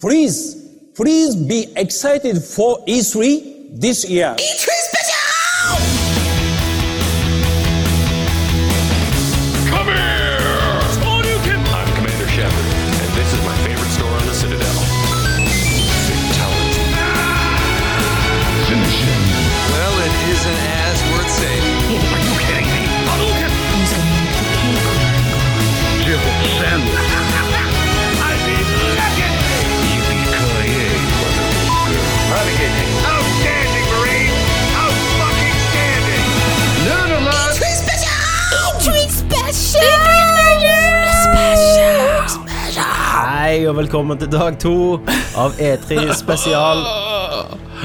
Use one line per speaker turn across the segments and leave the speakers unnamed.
Please, please be excited for E3 this year.
E3 spesial!
Come here! I'm Commander Shepard, and this is my favorite store on the Citadel. Fatality.
Well, it isn't as worth saving.
Yippee-ki-yay, motherfucker.
Outstanding, Marine! Out fucking standing!
E3 spesial! E3 spesial! Spesial!
Hei og velkommen til dag to av E3 spesial.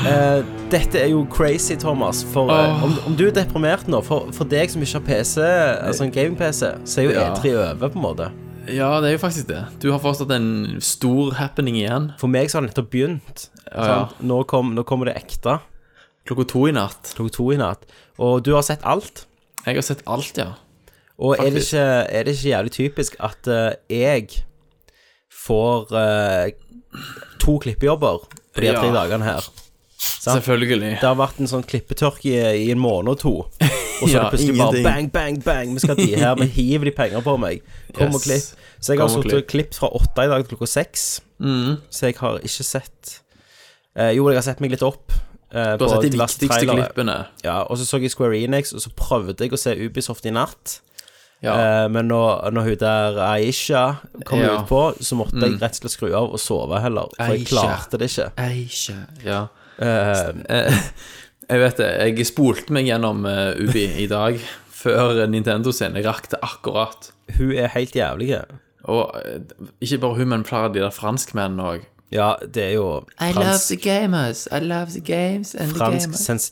Eh, dette er jo crazy, Thomas. For eh, om, om du er deprimert nå For, for deg som ikke har PC, altså en gaming-PC, så er jo
Ja.
E3 over, på en måte.
Ja, det er jo faktisk det. Du har fortsatt en stor happening igjen.
For meg så har det nettopp begynt.
ja.
sant? Nå, kom, nå kommer det ekte.
Klokka to i natt.
Klokka to i natt. Og du har sett alt.
Jeg har sett alt, ja.
Og er det,
Faktisk.
ikke, er det ikke jævlig typisk at eh, jeg får eh, to klippejobber på de her tre
Ja.
dagene her? Sant?
Selvfølgelig.
Det har vært en sånn klippetørk i, i en måned og to. Og så er
Ja,
det plutselig bare
ingenting.
bang, bang, bang. Vi skal ha de her, vi hiver de penger på meg. Kom og
Yes.
klipp. Så jeg har
Kom og Mm.
sittet og klippet fra åtte i dag til klokka seks. Så jeg har ikke sett eh, Jo, jeg har sett meg litt opp. eh,
Du har
på
sett de
diverse
viktigste
trailere.
klippene.
Ja, og så så jeg Square Enix, og så prøvde jeg å se Ubisoft i natt.
Ja.
Eh, men når, når hun der Aisha kom
Ja. Mm.
ut på, så måtte jeg rett og slett skru av og sove heller. For jeg
Aisha.
klarte det ikke.
Ei, kjæ- Ja. Eh, jeg vet det. Jeg spolte meg gjennom eh, Ubi i dag, før eh, Nintendo sin. Jeg rakk det akkurat.
Hun er helt jævlig.
Og eh, ikke bare hun, men flere av de der franskmennene òg.
Ja, det er jo fransk,
gamers. I love the games and
fransk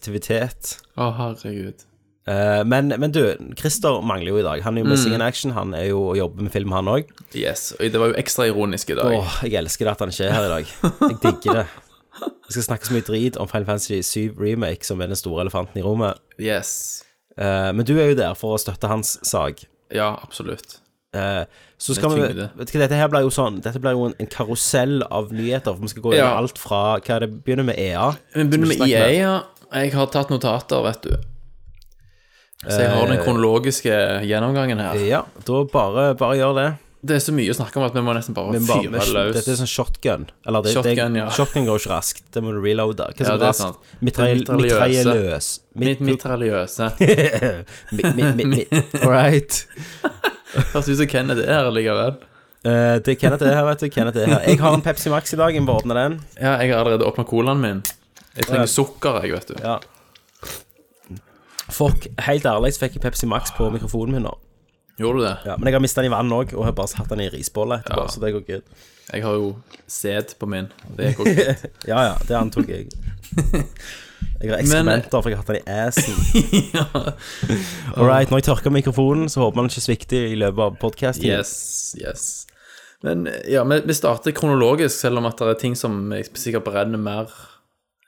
sensitivitet.
Å, herregud.
Eh, men, men du, Christer mangler jo i dag. Han er jo
Mm.
missing in action. Han er jo og jobber med film, han òg.
Yes. Og det var jo ekstra ironisk i dag.
Åh, jeg elsker det at han ikke er her i dag. Jeg digger det. Vi skal snakke så mye drit om Final Fantasy 7 Remake, som er den store elefanten i rommet.
Yes.
Eh, men du er jo der for å støtte hans sak.
Ja, absolutt.
Eh, så
Det
skal vi,
tyngde.
vet du hva, Dette her blir jo sånn Dette blir jo en, en karusell av nyheter. For Vi skal gå
Ja.
gjennom alt fra Hva er det begynner med E EA.
Vi begynner med
Som vi
EA,
snakket
ja. Jeg har tatt notater, vet du. Så jeg
Eh,
har den kronologiske gjennomgangen her.
Ja, da bare, bare gjør det.
Det er så mye å snakke om at vi må nesten bare
Men bare,
fyre
men,
løs.
dette er sånn shotgun. Eller det,
Shotgun,
det,
ja.
shotgun går jo ikke raskt. Det må du reloade. Hva
Ja,
som
det er sant.
raskt? Mitrail-
Det er mitraljøse.
Mitrailløs.
Mitt
Mit-
mitraljøse.
mi- mi- mi- mi- All right.
Høres ut som Kenneth er her likevel.
Eh, det er Kenneth er her, vet du. Kenneth er her. Jeg har en Pepsi Max i dag. Jeg må ordne den.
Ja, jeg har allerede åpna colaen min. Jeg
Ja.
trenger sukker, jeg, vet du.
Ja. Fuck, helt ærlig så fikk jeg Pepsi Max på mikrofonen min nå.
Gjorde du det?
Ja, men jeg har mista den i vann òg, og har bare hatt den i risbolle etterpå.
Ja.
Så det går good.
Jeg har jo sæd på min. Det gikk også greit.
Ja ja, det antok jeg. Jeg har ekskrementer, for jeg har hatt den i assen.
Ja.
All right, når jeg tørker mikrofonen, så håper man ikke svikter i løpet av podkasten.
Yes, yes. Men ja, vi, vi starter kronologisk, selv om at det er ting som jeg sikkert brenner mer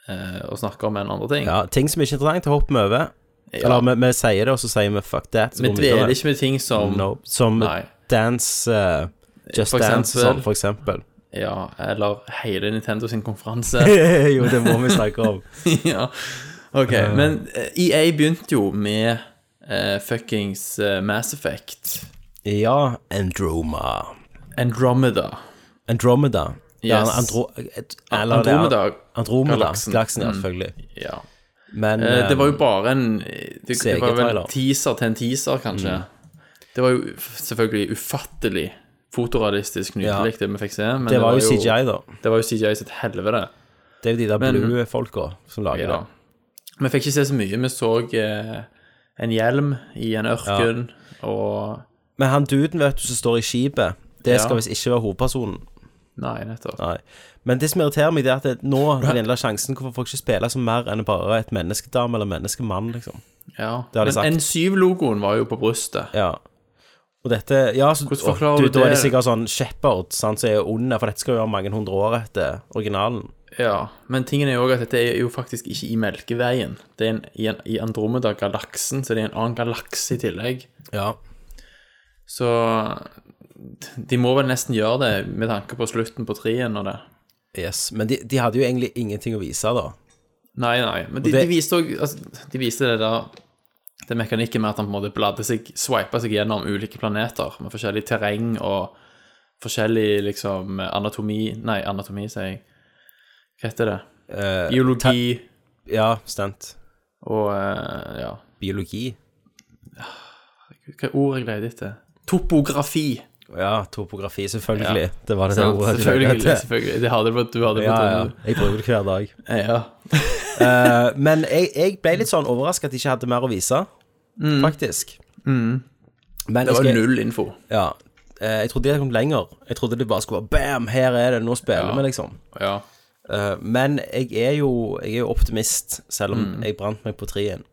eh, å snakke om enn andre ting.
Ja, ting som ikke er interessant, hopper vi over.
Ja.
Eller vi, vi sier det, og så sier vi fuck that. Så
vi
går vi
dveler
videre.
ikke med ting som
no, Som
Nei.
dance eh, Just
For
Dance og
eksempel.
sånn, for eksempel.
Ja, eller hele Nintendo sin konferanse.
jo, det må vi snakke om.
ja. Ok, men eh, EA begynte jo med eh, fuckings eh, Mass Effect.
Ja, Androma.
Andromeda.
Andromeda. Ja,
Yes.
Andro... et- eller det er-
Andromeda.
Andromeda.
Galaksen.
Galaksen, ja, selvfølgelig.
Ja.
Men
Eh, Det var jo
eh,
bare en Det, det var vel
CG-trailer.
teaser til en teaser, kanskje.
Mm.
Det var jo f- selvfølgelig ufattelig fotorealistisk nydelig, det vi fikk se. Men
eh, det var jo CGI, da.
Det var jo CGI sitt helvete.
Det er jo de der
Men-
blue folka som lager
Ja.
det.
Vi fikk ikke se så mye. Vi så eh, en hjelm i en ørken, og
Men han duden, vet du, som står i skipet, det
Ja.
skal visst ikke være hovedpersonen.
Nei, nettopp.
Nei. Men det som irriterer meg, det er at det, nå har de endelig sjansen. Hvorfor får folk ikke spille som mer enn bare et menneskedame eller menneskemann, liksom?
Ja.
har de
Men
sagt.
N7-logoen var jo på brystet.
Ja. Og dette Ja, så
Hvordan forklarer
og
du
Da er det
det?
sikkert sånn Shepherd, sant, som er ond, for dette skal jo være mange hundre år etter originalen.
Ja. Men tingen er jo også at dette er jo faktisk ikke i Melkeveien. Det er en, i, en, i Andromeda-galaksen, så det er en annen galakse i tillegg.
Ja.
Så de må vel nesten gjøre det med tanke på slutten på trien og det.
Yes. Men de, de hadde jo egentlig ingenting å vise, da.
Nei, nei. Men de,
det-
de viste òg altså, De viste det der Det mekanikken med at han på en måte bladde seg Swipa seg gjennom ulike planeter med forskjellig terreng og forskjellig liksom anatomi Nei, anatomi, sier jeg. Hva heter det? Biologi
Ja, stent.
og eh, Ja.
Biologi.
Hva ord jeg leter etter? Topografi.
Ja, topografi, selvfølgelig. Det var det det ordet. jeg
Selvfølgelig.
lette.
selvfølgelig. Det hadde du hadde
Ja, ja.
fått
Jeg bruker det hver dag.
ja. ja.
Eh, men jeg, jeg ble litt sånn overraska at de ikke hadde mer å vise,
Mm.
faktisk. Men
Det
jeg
var
skal-
null info.
Ja. Eh, jeg trodde de hadde kommet lenger. Jeg trodde det bare skulle være bam, her er det, nå spiller
Ja.
vi, liksom.
Ja.
Eh, men jeg er, jo, jeg er jo optimist, selv om
Mm.
jeg brant meg på trien.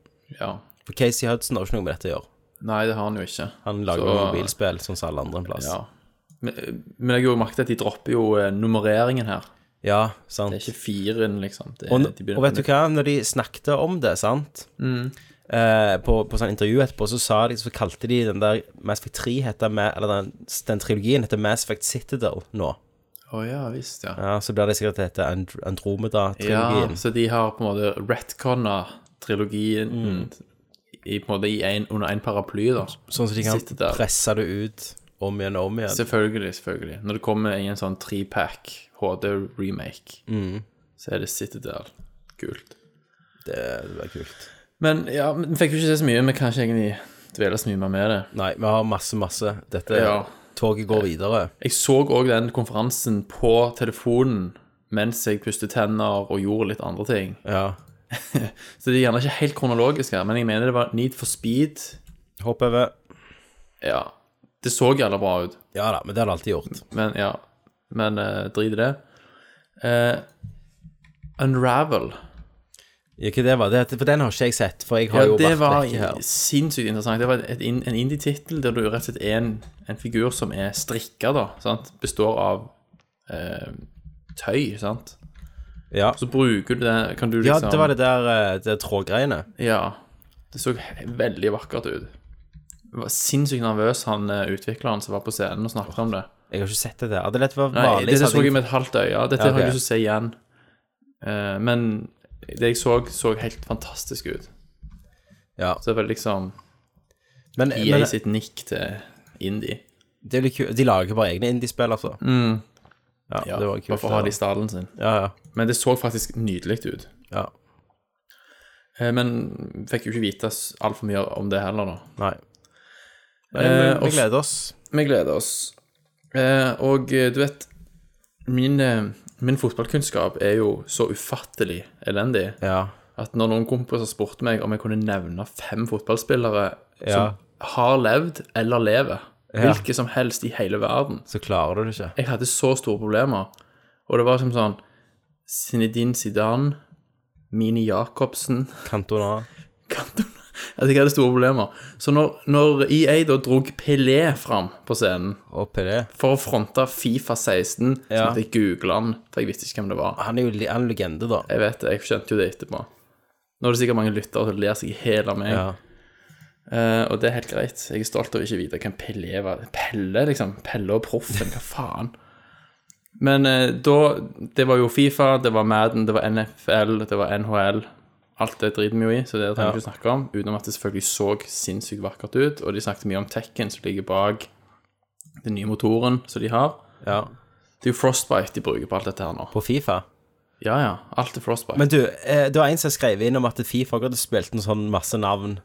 ja.
For Casey Hudson har jo ikke noe med dette å gjøre.
Nei, det har han jo ikke.
Han lager
Så-
jo mobilspill sånn som alle andre en plass. Ja,
Ja. Men, eh, men jeg har jo merket at de dropper jo eh, nummereringen her.
sant.
Det er ikke firen, liksom. Det,
Og,
de begynner
og vet
på
du hva, når de snakket om det, sant eh, På, på sånn intervju etterpå, så sa de, så kalte de den der Mass Effect 3 heter Ma- Eller den, den trilogien heter Mass Effect Citadel nå.
nytt. Å ja, visst, ja.
Ja, Så blir det sikkert det heter And
Ja,
Andromeda-trilogien.
så de har på en måte retconna trilogien i, på en måte i en, under én paraply, da.
Mm. sånn som de
Citadel.
kan presse det ut om igjen og om igjen.
Selvfølgelig, selvfølgelig. Når det kommer i en sånn trepack HD-remake,
Mm.
så er det Citadel. Kult.
Det blir kult.
Men ja, men vi fikk jo ikke se så mye. Vi kan ikke egentlig dvele så mye mer med det.
Nei, vi har masse, masse. Dette
Ja.
Toget går videre.
Jeg så òg den konferansen på telefonen mens jeg pustet tenner og gjorde litt andre ting.
Ja.
Så det er gjerne ikke helt kronologisk her, men jeg mener det var Need for Speed.
Hopp over.
Ja. Det så jævla bra ut,
Ja da, men det har det alltid gjort.
men ja. Men eh, drit i det. Eh, Unravel.
Ja, Hva det var det? For den har ikke jeg sett, for jeg har
Ja,
jo
det
vært
var
vekke her.
sinnssykt interessant. Det var et, in- en indie-tittel der du rett og slett er en, en figur som er strikka, da. Sant? Består av eh, tøy, sant.
Ja.
Så bruker du det Kan du
Ja,
liksom
det var det der eh, det trådgreiene.
Ja. Det så he- veldig vakkert ut. Jeg var sinnssykt nervøs, han eh, utvikleren som var på scenen og snakket om det.
Jeg har ikke sett det der. Hadde dette vært
Nei,
vanlig,
dette
så
så
hadde
jeg
jeg
med et halvt øye. Dette
Ja, ok.
har jeg lyst til å se igjen. Eh, men det jeg så, så helt fantastisk ut.
ja.
Så det var liksom
Men,
EA
Eh, men
sitt nikk til indie.
det er litt kult. De lager bare egne indiespill, altså. Ja,
Mm. Ja,
det var kult.
bare for å ha det i stallen sin.
Ja, ja.
Men det så faktisk nydelig ut.
ja.
Eh, men fikk jo ikke vite altfor mye om det heller, da.
Nei.
Eh,
Men vi-
og-
vi gleder oss.
Vi gleder oss. Eh, og eh, du vet min, eh, min fotballkunnskap er jo så ufattelig elendig
Ja.
at når noen kompiser spurte meg om jeg kunne nevne fem fotballspillere
Ja.
som har levd eller lever,
Ja.
hvilke som helst i hele verden
Så klarer du det ikke.
Jeg hadde så store problemer. Og det var som sånn Zinedine Zidane, Mini Jacobsen
Cantona.
Cantona. At jeg hadde store problemer. Så når, når EA da drog Pelé fram på scenen
Og PD.
for å fronte Fifa 16, så
Ja.
måtte jeg google han, for jeg visste ikke hvem det var.
Han er jo li- en legende, da.
Jeg vet det, jeg skjønte jo det etterpå. Nå er det sikkert mange lyttere som ler seg i hæl av meg,
Ja.
eh, og det er helt greit. Jeg er stolt av ikke å vite hvem Pelle var. Pelle, liksom. Pelle og Proffen, hva faen? Men eh, da Det var jo Fifa, det var Madden, det var NFL, det var NHL. Alt det driter vi jo i, så det trenger vi ikke snakke om. Utenom at det selvfølgelig så sinnssykt vakkert ut, og de snakket mye om Tekken som ligger bak den nye motoren som de har.
ja.
Det er jo Frostbite de bruker på alt dette her nå.
På Fifa.
Ja, ja. Alt er Frostbite.
Men du, eh, det var en som skrev inn om at Fifa hadde spilt en sånn masse navn.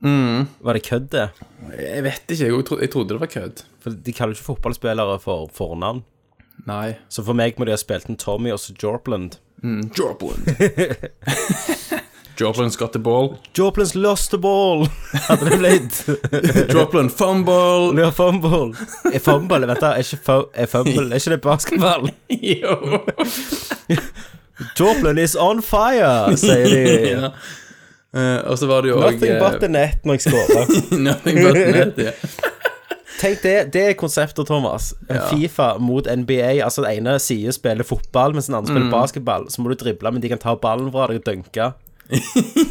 Mm.
Var det kødd, det?
jeg vet ikke. Jeg, tro, jeg trodde det var kødd.
For de kaller jo ikke fotballspillere for fornavn.
Nei.
Så for meg må de ha spilt en Tommy og så Jorpland.
Joplin. Joplin's got the ball.
Joplin's lost the ball! Hadde det blitt.
Joplin fumble.
Det er fumble. Er fumble, vet du, er ikke, fu- er fumble, er ikke det basketball?
jo.
Joplin is on fire, sier de.
ja. Eh, og så var det jo òg
Nothing but the net når jeg scorer.
Nothing but net, ja.
Tenk det, det er konseptet, Thomas. Fifa mot NBA. Altså den ene siden spiller fotball, mens den andre
Mm.
spiller basketball. Så må du drible, men de kan ta ballen fra deg og dunke.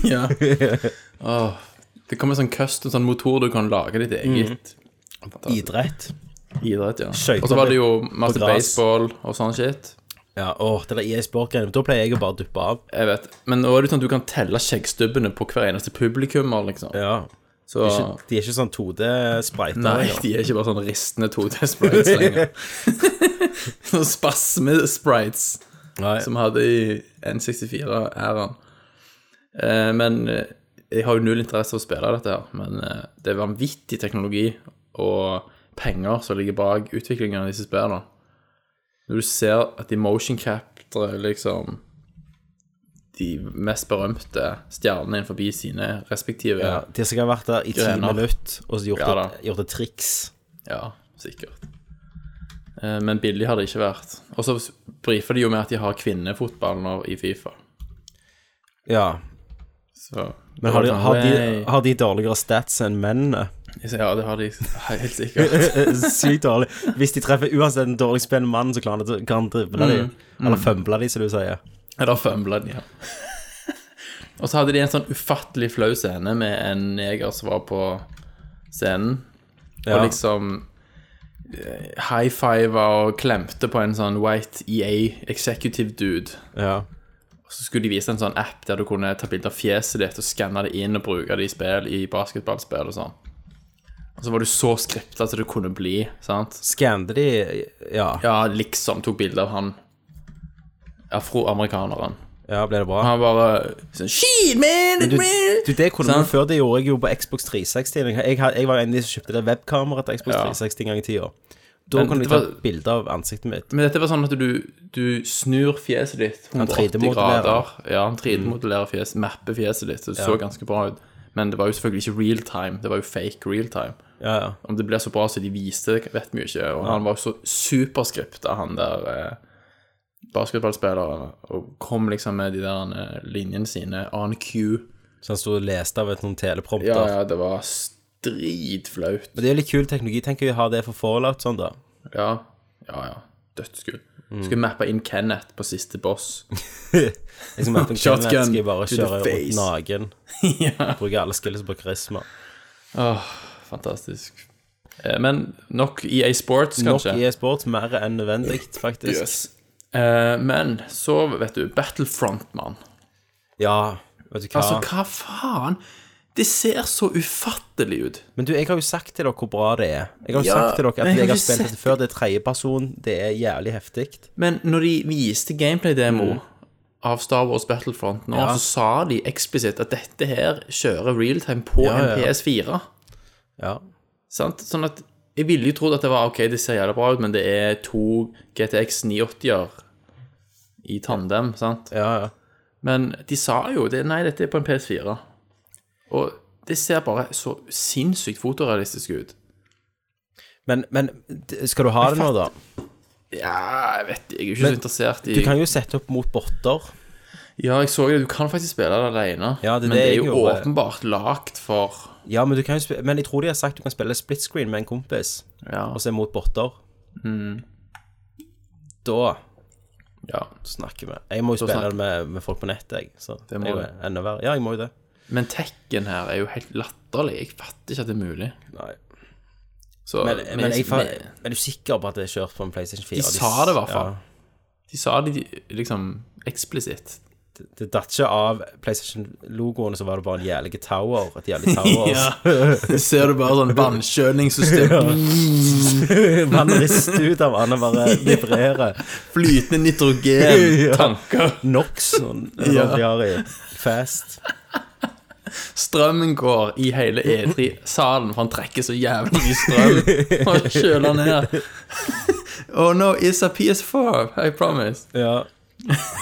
ja. Åh, Det kommer en sånn custom sånn motor du kan lage ditt eget
Idrett.
idrett, ja.
Skøyter
Og så var det jo masse
på gras.
baseball og sånn shit.
Ja, åh, det der EA Sport-greiene. Da pleier jeg å bare duppe av.
Jeg vet. Men nå er det sånn at du kan telle skjeggstubbene på hver eneste publikummer, liksom.
Ja.
Så
De er ikke, de er ikke sånn 2D-spriter.
Nei, de er ikke bare sånn ristende 2D-sprites lenger. Sånn spasme-sprites
Nei.
som hadde i N64-æraen. Eh, men eh, jeg har jo null interesse av å spille dette her, men eh, det er vanvittig teknologi og penger som ligger bak utviklingen av disse spillene. Når du ser at de motion capturer liksom de mest berømte stjernene innenfor sine respektive
Ja, de som har vært der i ti
Grener.
minutter og så gjort,
Ja, da.
et, gjort et triks.
Ja, sikkert. Eh, Men billig har det ikke vært. Og så brifer de jo med at de har kvinnefotball nå i Fifa.
Ja. Sånn, eh,
Så
Men har de, har de,
Way.
har de dårligere stats enn mennene?
Ja, det har de helt sikkert.
Sykt dårlig. Hvis de treffer uansett en dårlig spennende mann, så klarer han å- kan han drible dem. Eller fumble dem, som du sier.
Eller fumbla de, ja. Og så hadde de en sånn ufattelig flau scene med en neger som var på scenen.
Ja.
Og liksom eh, high-fiva og klemte på en sånn white EA executive dude.
Ja.
Så skulle de vise en sånn app der du kunne ta bilde av fjeset ditt og skanne det inn og bruke det i spill, i basketballspill og sånn. Og så var du så skripta som du kunne bli, sant?
Skande de Ja,
Ja, liksom tok bilde av han afroamerikaneren.
ja ble det bra?
Han bare sånn Shit, man!
Du, du, det kunne man
Sant?
før, det gjorde jeg jo på Xbox 360. Jeg, had- jeg var en av de som kjøpte det webkameraet til Xbox
Ja.
360 en gang i tida. Da
Men
kunne jeg
det
ta
var-
bilde av ansiktet mitt.
Men dette var sånn at du, du snur fjeset ditt 180
3D-modellerer.
grader. Ja, han
Mm.
3D-modellerer fjeset, mapper fjeset ditt. Så det så ganske bra ut. Men det var jo selvfølgelig ikke real time. Det var jo fake real time.
Ja, ja.
Om det blir så bra som de viste, vet vi jo ikke. Og han var jo så superskripta, han der eh, basketballspilleren, og kom liksom med de der eh, linjene sine on cue.
Så han sto og leste av et noen teleprompter.
Ja, ja, det var stridflaut.
Men det er jo litt kul teknologi. Tenk å ha det for fallout sånn, da.
Ja, ja. ja. Dødskult. Skulle mappe inn Kenneth på siste boss.
Liksom at en
Shotgun
Kenneth skal jeg bare
to the
kjøre rundt
face.
naken.
ja.
Bruke alle skills på karisma.
Fantastisk. Eh, men nok E EA Sports, kanskje.
Nok i e-sport, mer enn nødvendig, faktisk.
Yes. Eh, men så, vet du, Battlefront, mann.
Ja, vet du hva.
Altså, hva faen? Det ser så ufattelig ut.
men du, jeg har jo sagt til dere hvor bra det er. Jeg har jo
Ja,
sagt til dere
men jeg har
at jeg har
ikke
spilt
sett
dette før. Det er tredjeperson. Det er jævlig heftig.
Men når de viste gameplay-demo
Mm.
av Star Wars Battlefront nå, så sa de eksplisitt at dette her kjører realtime på
Ja, ja,
en
ja.
PS4.
Ja.
Sant? Sånn at jeg ville jo trodd at det var OK, det ser jævlig bra ut, men det er to GTX 980-er i tandem, sant?
ja, ja.
Men de sa jo det, nei, dette er på en PS4. Og det ser bare så sinnssykt fotorealistisk ut.
Men, men d- skal du ha det nå, da?
Ja, jeg vet Jeg er jo ikke så interessert i
Du kan jo sette opp mot botter.
Ja, jeg så det. Du kan faktisk spille det alene.
Ja, det er
men
det
det er
jeg
jo
gjorde.
åpenbart lagt for
Ja, men, du kan jo sp men jeg tror de har sagt du kan spille split screen med en kompis,
Ja. Mm.
og så mot botter. Da
ja.
snakker vi. Jeg må jo spille
snakker-
det med, med folk på nettet, jeg. Så det
må
er jo
du.
enda verre. Ja, jeg må jo det.
Men tekken her er jo helt latterlig. Jeg fatter ikke at det er mulig.
Nei.
Så,
Men,
vi-
men, jeg, fa-
vi-
er du sikker på at det er kjørt på en PlayStation 4?
De sa det i hvert fall. De sa det liksom eksplisitt.
Ja, det datt ikke av PlayStation-logoen, så var det bare en jævlig tower. Et jævlig tower.
Det ser du bare sånn vannkjølingssystem.
Man rister ut av vannet, bare vibrerer.
Flytende nitrogen. Tanker.
Nox sånn, og
Ja.
Ferrari. Fast.
Strømmen går i hele E3-salen, for han trekker så jævlig mye strøm. Han kjøler ned. Oh no, it's a PS4, I promise.
Ja.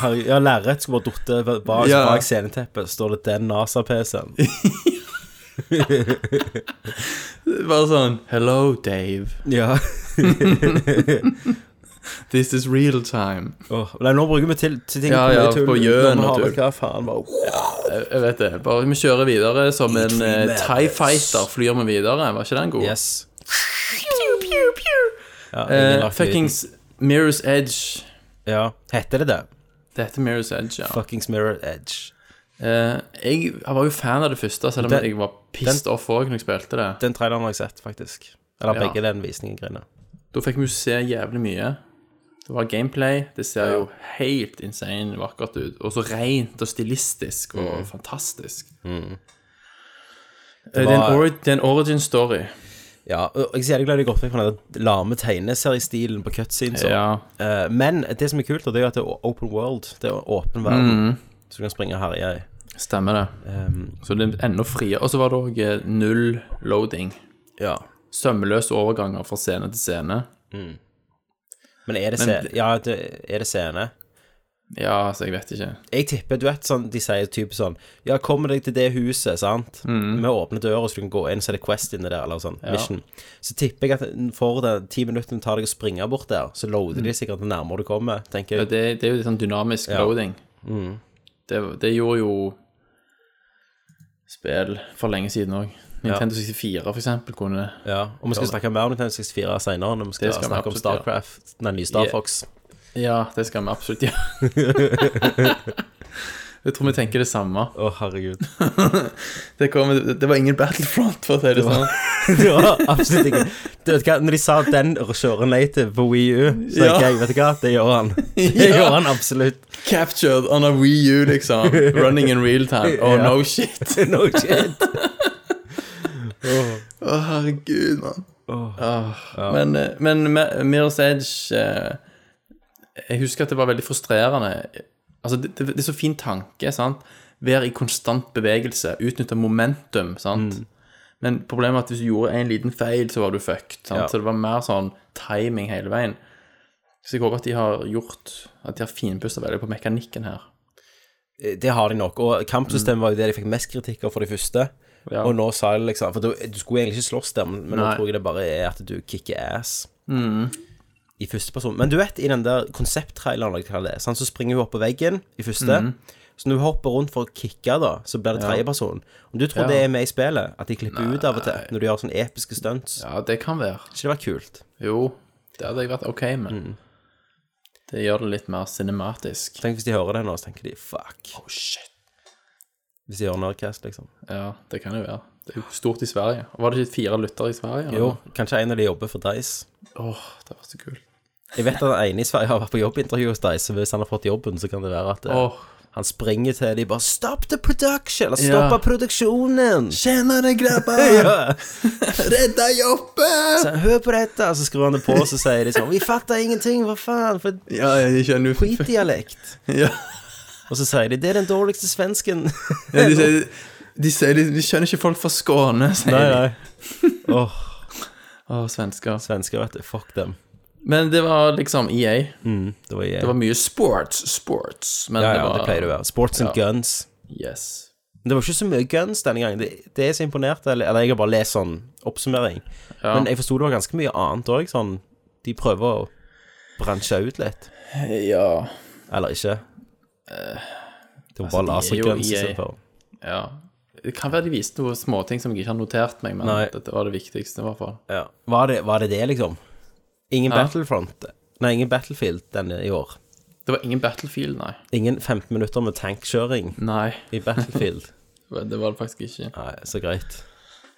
Herregud, Ja, lerret skulle bare datt bak,
Ja.
bak sceneteppet. Står det den NASA-PC-en?
Bare sånn Hello, Dave.
Ja.
This is real time.
Åh, Nei, nå bruker vi til, til ting
Ja, ja,
mye tull.
på gjøn
Nå
og
har vi
tull.
Hva faen, bare
Jeg, jeg vet det. Bare vi kjører videre som en eh, Tie Fighter. Flyr vi videre? Var ikke den god?
Yes. Ja, ingen
Eh,
lagt lyden.
fuckings Mirror's Edge.
Ja. Heter det det?
Det heter Mirror's Edge, ja.
Fuckings Mirror Edge.
Eh, jeg, jeg var jo fan av det første, selv om
Den-
jeg var pissed off òg når jeg spilte det.
Den traileren har jeg sett, faktisk. Eller
Ja.
begge den visningen-greiene.
Da fikk vi jo se jævlig mye. Det var gameplay. Det ser jo helt insane vakkert ut. Og så rent og stilistisk og fantastisk. Eh, Mm. Det, er en
var-
ori det er en origin story.
Ja, og jeg er så jævlig glad de gått vekk fra den der lame tegneseriestilen på cutscenes. og-
Ja.
Eh, men det som er kult, det er jo at det er open world. Det er åpen verden.
Mm.
Så du kan springe og herje i. ehm,
Stemmer det. så det er enda friere. Og så var det òg null loading.
Ja.
Sømløse overganger fra scene til scene.
Men er det, se ja, det, er det scene?
Ja, altså, jeg vet ikke.
Jeg tipper, du vet sånn, de sier typisk sånn Ja, kom deg til det huset, sant?
Mm.
Vi åpner døra, så du kan gå inn, så er det Quest inni der, eller sånn. Mission. Så tipper jeg at for det ti minutter det tar deg å springe bort der, så loader de sikkert det nærmere du kommer,
Mm.
tenker
Ja,
jeg.
det, det er jo litt sånn dynamisk loading.
Mm.
Det, det gjorde jo spill for lenge siden òg. Nintendo 64, for eksempel, kunne
Ja, og vi skal snakke mer om Nintendo 64 senere, når vi skal,
Det skal vi
snakke om
absolutt gjøre.
Starcraft, nei, ny Star
Yeah.
Fox.
Ja, det skal vi absolutt gjøre. jeg tror vi tenker det samme.
Å, herregud.
Det, kom, det var ingen battlefront, for å si det sånn.
Det var absolutt ikke Du vet hva, når de sa at den kjører native på Wii U, så tenkte
Ja.
jeg, vet du hva, det gjør han. Det
Ja.
gjør han absolutt.
Captured on a Wii U, liksom. Running in real time. Oh,
Ja.
no shit.
No shit.
Å, herregud, mann. Men, eh, men Mi- Mirror's Edge eh, Jeg husker at det var veldig frustrerende. Altså, det, det, det er så fin tanke, sant? Være i konstant bevegelse, utnytte momentum, sant? Men problemet er at hvis du gjorde en liten feil, så var du fucked. Sant?
Ja.
Så det var mer sånn timing hele veien. Så jeg håper at de har gjort At de har finpusta veldig på mekanikken her.
Eh, Det har de nok. Og kampsystemet var jo det de fikk mest kritikk av for de første.
Ja.
Og nå sa de liksom For du, du skulle egentlig ikke slåss der, men men nå
Nei. Mm.
tror jeg det bare er at du kicker ass. I første person. Men du vet, i den der konsepttraileren, eller hva det er, sant, så springer hun opp på veggen i første.
Mm.
Så når hun hopper rundt for å kicke, da, så blir det tredjeperson. Om du tror
Ja.
det er med i spillet, at de klipper ut av og til når du gjør sånne episke stunts,
Ja, det kan være. Mm.
ikke det vært kult?
Jo, det hadde jeg vært ok med. Det gjør det litt mer cinematisk.
Tenk hvis de hører det nå, så tenker de fuck. Oh shit. Hvis de gjør Nerdcast, liksom.
Ja, det kan det jo være. Det er jo stort i Sverige. Var det ikke fire lyttere i Sverige? eller?
Jo, kanskje en av de jobber for Dice.
Åh, det var så kult.
Jeg vet at den ene i Sverige har vært på jobbintervju hos deg, så hvis han har fått jobben, så kan det være at eh,
Åh.
han springer til de bare 'Stop the production!' Eller
Ja.
'Stoppa produksjonen!'
Tjenere, grabber!
Ja.
Redda jobben!
Så hør på dette, og så skrur han det på, og så sier de sånn 'Vi fatter ingenting, hva faen?' For et
Ja, jeg skjønner jo
skitdialekt.
Ja.
Og så sier de 'Det er den dårligste svensken'.
Ja, de, sier- de, sier de, de skjønner ikke folk fra Skåne, sier de.
Åh,
Åh, svensker.
svensker, vet du. Fuck dem.
Men det var liksom EA.
Det var, jeg.
Det var mye sports, sports. Men
ja, ja,
Mm. det
det,
var
pleier det å være. Sports and guns.
Yes.
Men Det var ikke så mye guns denne gangen. Det, det er så imponert. Eller, eller jeg har bare lest sånn oppsummering. Men jeg forsto det var ganske mye annet òg. Sånn, de prøver å bransje ut litt.
Ja.
Eller ikke. Det var bare
Eh, altså, de er jo E
laserguns
EA.
istedenfor.
Ja. Det kan være de viste noen småting som jeg ikke har notert meg, men
Nei.
dette var det viktigste, i hvert fall.
Ja. Var, det- var det det, liksom? Ingen Battlefront Nei, ingen Battlefield denne i år.
Det var ingen Battlefield, nei.
Ingen 15 minutter med tankkjøring
Nei,
i Battlefield.
det var det faktisk ikke.
Nei, så greit.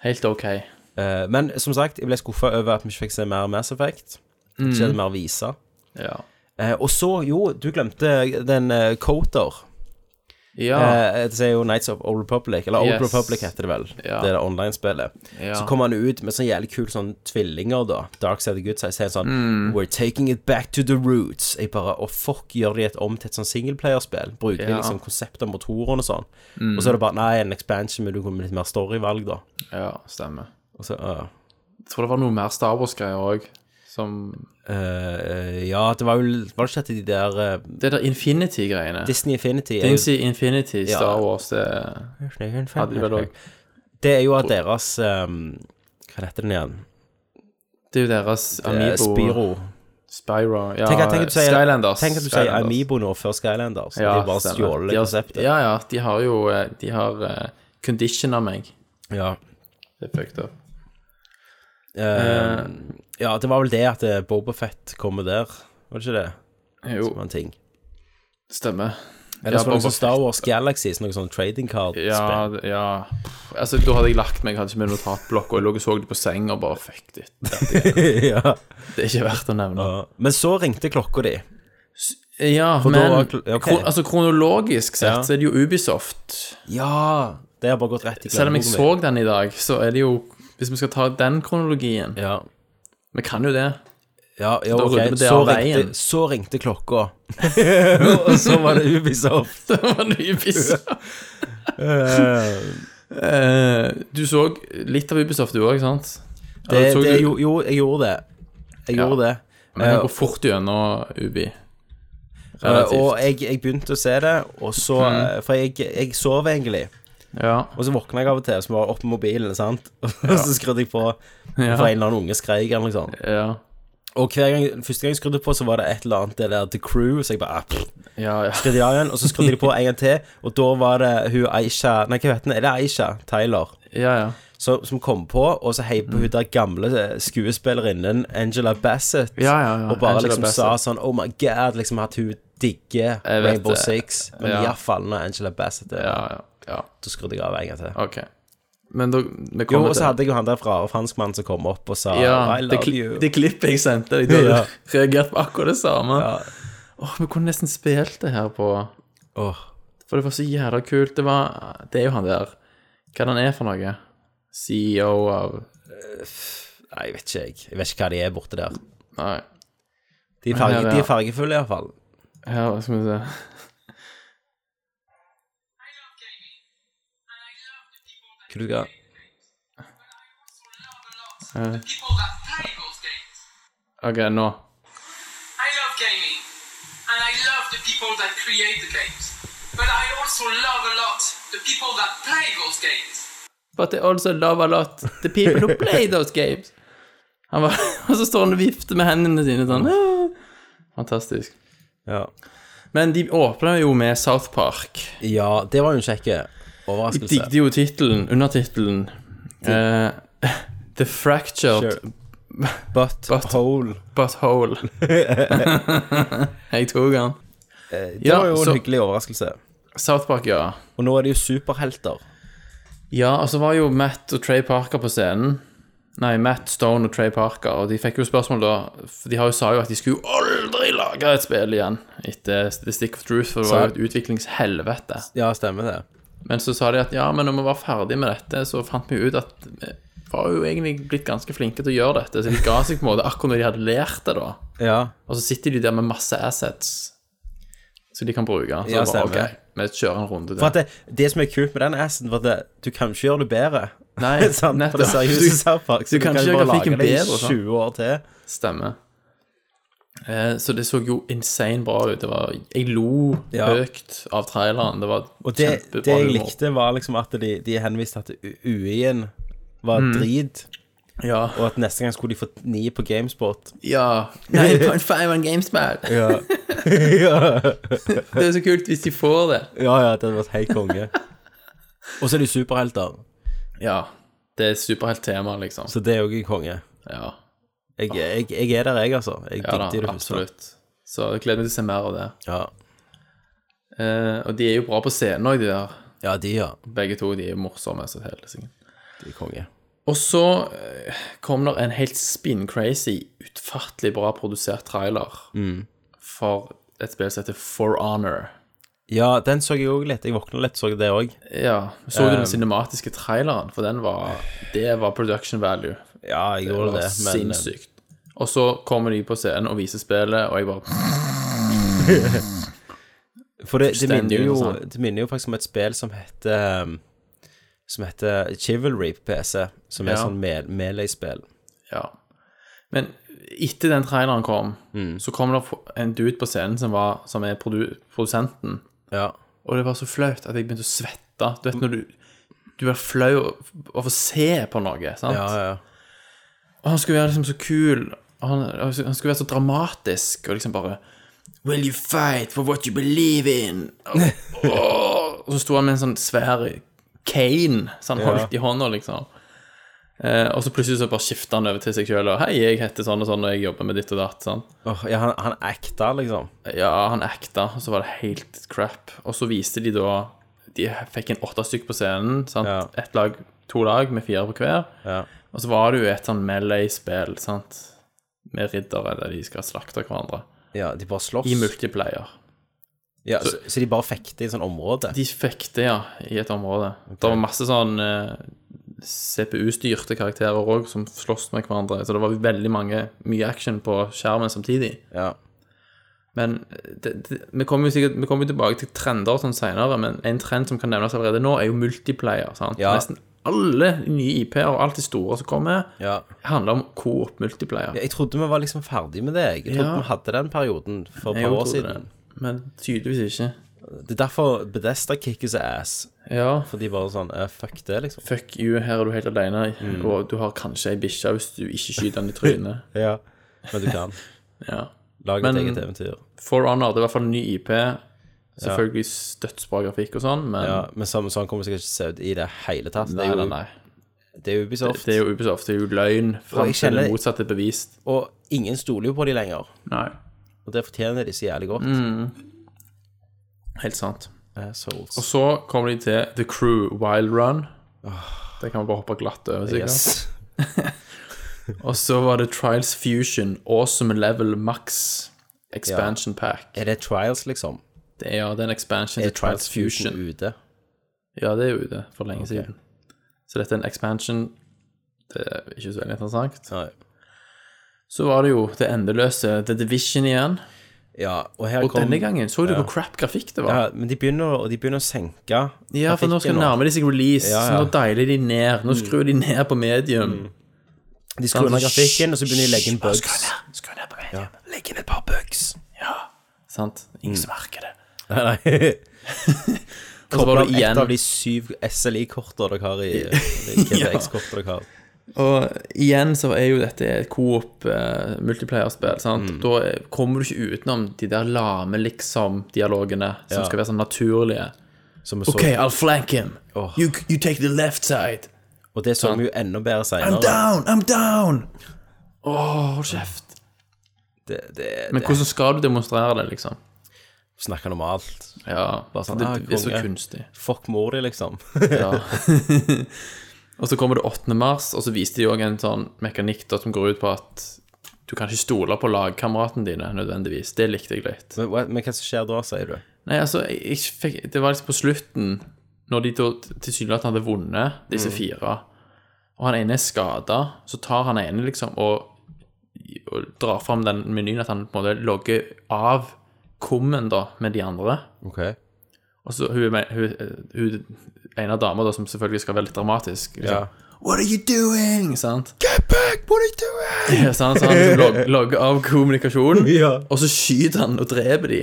Helt ok.
Eh, men som sagt, jeg ble skuffa over at vi ikke fikk se mer Mass Effect.
Mm.
Ikke se mer viser.
Ja.
Eh, og så, jo, du glemte den eh, Coder.
Ja,
Eh, det er jo Nights of Old Republic, eller Old
Yes.
Republic heter det vel.
Ja.
Det er det online-spillet.
Ja.
Så kommer han ut med sånn jævlig kul sånn tvillinger, da. Dark Side of Good Side sier sånn
Mm.
We're taking it back to the roots. Jeg bare Å, fuck, gjør de et om til et sånn singleplayerspill? Bruker de
Ja. Mm.
liksom konseptet om motorene og sånn? Og så er det bare Nei, en expansion, men du kommer med litt mer storyvalg, da.
ja, stemmer.
Og så, øh.
Jeg tror det var noe mer Star Wars-greier òg. Som
Eh, ja, det var jo Var det ikke at de der eh,
Det der Infinity-greiene.
Disney Infinity er jo-
Dingsy Infinity, Star
Ja.
Wars, det hadde de vel òg.
Det er jo at deres ehm, Hva heter den igjen?
Det er jo deres
Eh,
Amibo
Spiro.
Spyro ja,
Tenk, at- tenk at du sier,
Skylanders.
Tenk at du sier
Skylanders.
Amibo nå før Skylanders.
Ja,
de bare
stemmer.
stjåler
De har-
konseptet.
Ja, ja. De har jo eh, De har eh, conditioner meg.
Ja.
Det er fucked up.
Eh, ja, det var vel det at eh, Boba Fett kommer der, var det ikke det?
Jo,
Det var en ting.
stemmer.
Eller
Ja,
så var det
Boba
sånn Star Wars Galaxies, noe sånn trading card-spill.
Ja, ja Pff, Altså, da hadde jeg lagt meg, hadde ikke med notatblokk, og jeg lå og så det på seng og bare Fuck it.
Ja.
Det er ikke verdt å nevne.
Ja. Men så ringte klokka di.
Ja,
da
men
var kl- ok.
kro altså, kronologisk sett
Ja.
så er det jo Ubisoft.
Ja! Det har bare gått rett i
Selv om jeg
glemmeboken
så den i dag, så er det jo Hvis vi skal ta den kronologien
min. Ja.
Vi kan jo det.
Ja, ja,
Da
ok.
rydder vi det
Så
av veien.
ringte, så ringte klokka. og så var det Ubisoft.
Det var nye pisser. Eh, du så litt av Ubisoft, du òg, sant?
Det,
Eller så
det,
du-
jo, jo, jeg gjorde det. Jeg
Ja.
gjorde det.
Men jeg går fort gjennom Ubi.
Eh,
Relativt. Mhm.
og jeg, jeg begynte å se det, og så eh, For jeg, jeg sov egentlig.
ja.
Og så våkna jeg av og til, som var oppe med mobilen, sant. Og så skrudde jeg på, for en eller annen unge skreik eller noe sånt.
ja.
Og hver gang, første gang jeg skrudde på, så var det et eller annet det der The Crew, så jeg bare ah, pff,
Ja, ja.
skrudde jeg av igjen, og så skrudde jeg på en gang til, og da var det hun Aisha Nei, hva heter hun? Er det Aisha Tyler?
ja, ja.
Som, som kom på, og så heiv
Mm.
på hun der gamle eh, skuespillerinnen Angela Bassett,
Ja, ja, ja,
og bare
Angela
liksom sa sånn Oh my God, liksom at hun digger
vet
Rainbow
det.
Six, men
Ja.
iallfall når Angela Bassett
ja,
er der,
ja, ja.
så skrudde jeg av en gang til.
OK. Men da vi
Jo,
kommer
og så
til
hadde jeg jo han der fra franskmannen som kom opp og sa
ja,
I
det,
love
kli,
you.
det klippet jeg sendte deg, da hadde
Ja.
du reagert på akkurat det samme. Åh, vi kunne nesten spilt det her på
Åh.
For det var så jævla kult. Det, var, det er jo han der. Hva er det han er for noe? CEO av
Nei, jeg vet ikke, jeg. Jeg vet ikke hva de er borte der.
Nei,
De er,
Ja,
farge,
ja.
de er fargefulle, iallfall.
her skal vi se.
Hva du skal
people that play those games.
OK, nå.
I love gaming, and I love the people that create the games. But I also love a lot the people that play those games.
But they also love a lot the people who play those games. Han bare, og så står han og vifter med hendene sine sånn. «Ah!» Fantastisk.
Ja.
Men de åpna jo med South Park.
ja, det var jo en kjekk eh,
Jeg
overraskelse.
digget jo tittelen, undertittelen eh, The Fractured
Sure. But,
But-
hole.
Butthole. Jeg tok den.
Det
Ja,
var jo en
så-
hyggelig overraskelse.
South Park, ja.
Og nå er de jo superhelter.
Ja, og så var jo Matt og Trey Parker på scenen. Nei, Matt Stone og Trey Parker, og de fikk jo spørsmål da for De har jo sa jo at de skulle jo aldri lage et spill igjen etter The Stick of Truth, for det var jo et utviklingshelvete.
Ja, stemmer det.
Men så sa de at ja, men når vi var ferdig med dette, så fant vi jo ut at vi var jo egentlig blitt ganske flinke til å gjøre dette, så de ga seg på en måte akkurat når de hadde lært det, da.
Ja.
Og så sitter de der med masse assets som de kan bruke. Så
Ja,
bare,
stemmer.
ok, vi kjører en runde til.
For at det, det som er kult med den assen, var at det, du kan ikke gjøre det bedre.
Nei,
Sant? For
nettopp.
det seriøse
Du-
South Park, så
du kan ikke gjøre
bare lage
grafikken
det
bedre,
i
sant?
20 år til.
Stemmer. Eh, så det så jo insane bra ut. Det var, jeg lo
Ja.
høyt av traileren. Det var
Og det,
kjempebra
det jeg
humor.
likte, var liksom at de, de henviste at U- UI-en var drit,
Ja.
og at neste gang skulle de få ni på Gamespot.
ja. 9.5 on GameSpad.
Ja. ja.
Det er så kult hvis de får det.
Ja, ja, det hadde vært helt konge. Og så er de superhelter,
Ja. Det er superhelttema, liksom.
så det er jo ikke konge.
Ja,
Jeg, jeg, jeg er der, jeg, altså. Jeg
ja da,
digger det første.
absolutt. Så jeg gleder meg til å se mer av det.
Ja.
Eh, og de er jo bra på scenen òg, de der.
ja, de, ja.
Begge to. De er jo morsomme. Så helt, liksom.
De er konge.
Og så eh, kom der en helt spin-crazy, utfattelig bra produsert trailer for et spill som heter For Honor.
Ja, den så jeg òg litt. Jeg våkna litt, så det òg.
Ja, Så du den cinematiske traileren? For den var Det var production value.
Ja, jeg
Det var
gjorde det, men eh,
sinnssykt. Og så kommer de på scenen og viser spillet, og jeg bare
For det, det, minner
Fullstendig
jo,
interessant.
det minner jo faktisk om et spill som heter um, Som heter Chivalry på PC, som er
Ja.
sånn me melee-spill.
Ja. Men etter den traileren kom,
Mm.
så kom det en dude på scenen som, var, som er produ produsenten.
Ja.
Og det var så flaut at jeg begynte å svette. Du
Mm.
vet når du Du er flau av å se på noe, sant?
Ja, ja.
Og han skulle være liksom så kul. og Han, han skulle være så dramatisk og liksom bare Will you fight for what you believe in? Og, og, og så sto han med en sånn svær cane som han holdt i hånda, liksom. Eh, og så plutselig så bare skifter han over til seg sjøl og 'Hei, jeg heter sånn og sånn, og jeg jobber med ditt og datt'. Sånn.
Åh, ja, han, han acta, liksom.
Ja, han acta, og så var det helt crap. Og så viste de da De fikk en åtte stykk på scenen. sant?
Ja.
Ett lag, to lag med fire på hver.
Ja.
Og så var det jo et sånn melee-spill, sant. Med riddere der de skal slakte hverandre.
Ja, de bare slåss.
I multiplayer.
Ja, så, så de bare fekter i sånn område?
De fekte, ja, i et område. Det var masse sånn eh, CPU-styrte karakterer òg som sloss med hverandre. Så det var veldig mange, mye action på skjermen samtidig.
Ja.
Men eh, det, det, vi kommer jo sikkert vi kommer jo tilbake til trender og sånn senere, men en trend som kan nevnes allerede nå, er jo multiplayer. sant?
Ja.
Nesten alle nye IP-er og alt det store som kommer,
Ja.
handler om coop multiplayer.
Jeg trodde vi var liksom ferdig med det. Jeg trodde
Ja.
vi hadde den perioden for et
Jeg
par
jo
år
trodde
siden.
det, Men tydeligvis ikke.
Det. er derfor Bedesta kicker seg ass.
Ja,
For de bare sånn eh, Fuck det, liksom.
fuck you, her er du helt alene,
Mm.
og du har kanskje ei bikkje hvis du ikke skyter den i trynet.
Ja. Men du kan.
Ja.
Lag
Men-
et eget eventyr.
For Honor, det er i hvert fall en ny IP. Selvfølgelig dødsbra grafikk og sånn, men
Ja, men sånn, sånn kommer det sikkert ikke til å se ut i det hele tatt.
nei,
det, er
nei,
jo,
nei.
det er jo Ubisoft.
Det er jo Ubisoft, det er jo løgn. Fram
jeg
til det
kjenner-
motsatte er bevist.
Og ingen stoler jo på de lenger.
Nei.
Og det fortjener de så jævlig godt.
Mm.
Eh,
Helt sant.
Assholes.
Og så kommer de til The Crew Wild Run. Det kan vi bare hoppe glatt over, sikkert.
Ah. Yes.
Og så var det Trials Fusion Awesome Level Max Expansion Pack.
Er det trials, liksom?
Det er, ja, det er en expansion
Er
til Trials Fusion.
ute?
Ja, det er jo ute for lenge siden. Så dette er en expansion. Det er ikke så veldig interessant.
Nei.
Så var det jo det endeløse The Division igjen.
Ja, og her
Og
kom
denne gangen så du hvor crap grafikk det var.
ja, Men de begynner, og de begynner å senke
Ja, for nå skal
trafikken
nærme de seg release,
Ja, ja. Mm.
så nå deiler de ned. Nå skrur de ned på medium.
De skrur ned grafikken, og så begynner de å legge inn bugs.
Skru ned på medium. Legg inn et par bugs. Ja, sant. Ingen som merker det.
Nei, nei.
Mm. Og så var det
Et
igjen
av de syv SLI-kortene dere har i i GTX-kortene dere har.
Og igjen så er jo dette et coop eh, multiplayer-spill, sant. Da er- kommer du ikke utenom de der lame liksom-dialogene som
Ja.
skal være sånn naturlige.
Som vi så,
OK, I'll flank him.
Åh.
You, you take the left side.
Og det så vi jo enda bedre
I'm
senere.
down, I'm down. Åh, hold kjeft.
Det, det,
Men hvordan skal du demonstrere det, liksom?
det snakker om alt.
Ja, bare
sånn,
det,
ah,
det er så
konge.
kunstig.
Fuck mor di, liksom.
Ja. og så kommer det 8. mars, og så viste de òg en sånn mekanikk da, som går ut på at du kan ikke stole på lagkameratene dine nødvendigvis. Det likte jeg litt.
Men, hva- men hva som skjer da, sier du?
Nei, altså, jeg, jeg fikk, det var liksom på slutten, når de da tilsynelatende hadde vunnet, disse fire, og han ene er skada, så tar han ene liksom og, og drar fram den menyen at han på en måte logger av kummen da, med de andre.
Ok.
Og så Altså, hun, hun, eh, hun, hun ene dama da, som selvfølgelig skal være litt dramatisk.
Ja.
Liksom. What are you doing? Sant? Get back! What are you doing? Ja, sant, så han liksom log, logger av kommunikasjonen,
Ja.
og så skyter han og dreper de.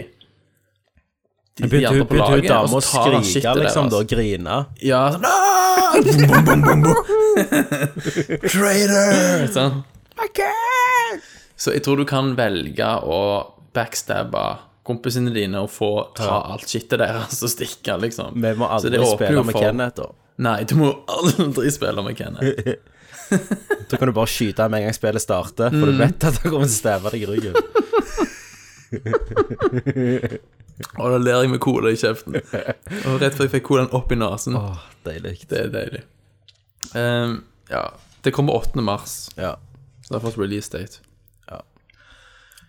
De, de
Begynte
andre
hun
på
begynte hun
laget,
dame
og
å
så tar han
skrike,
skittet altså.
liksom, da?
deres.
Grine?
Ja, sånn «Ah!» Traitor! Sånn. Så jeg tror du kan velge å backstabbe kompisene dine og få ta alt skittet deres og stikke, liksom.
Vi må
Så det åpner
aldri
jo
spille med
for-
Kenneth, da.
Nei, du må aldri spille med Kenneth.
Da kan du bare skyte ham med en gang spillet starter, for
Mm.
du vet at han kommer til å stæve deg i ryggen.
Og da ler jeg med cola i kjeften. Og rett før jeg fikk colaen opp i nesen.
Åh, Deilig.
Det er deilig. Ehm, ja. Det kommer 8. mars.
Ja.
Så det er fått release date.
ja,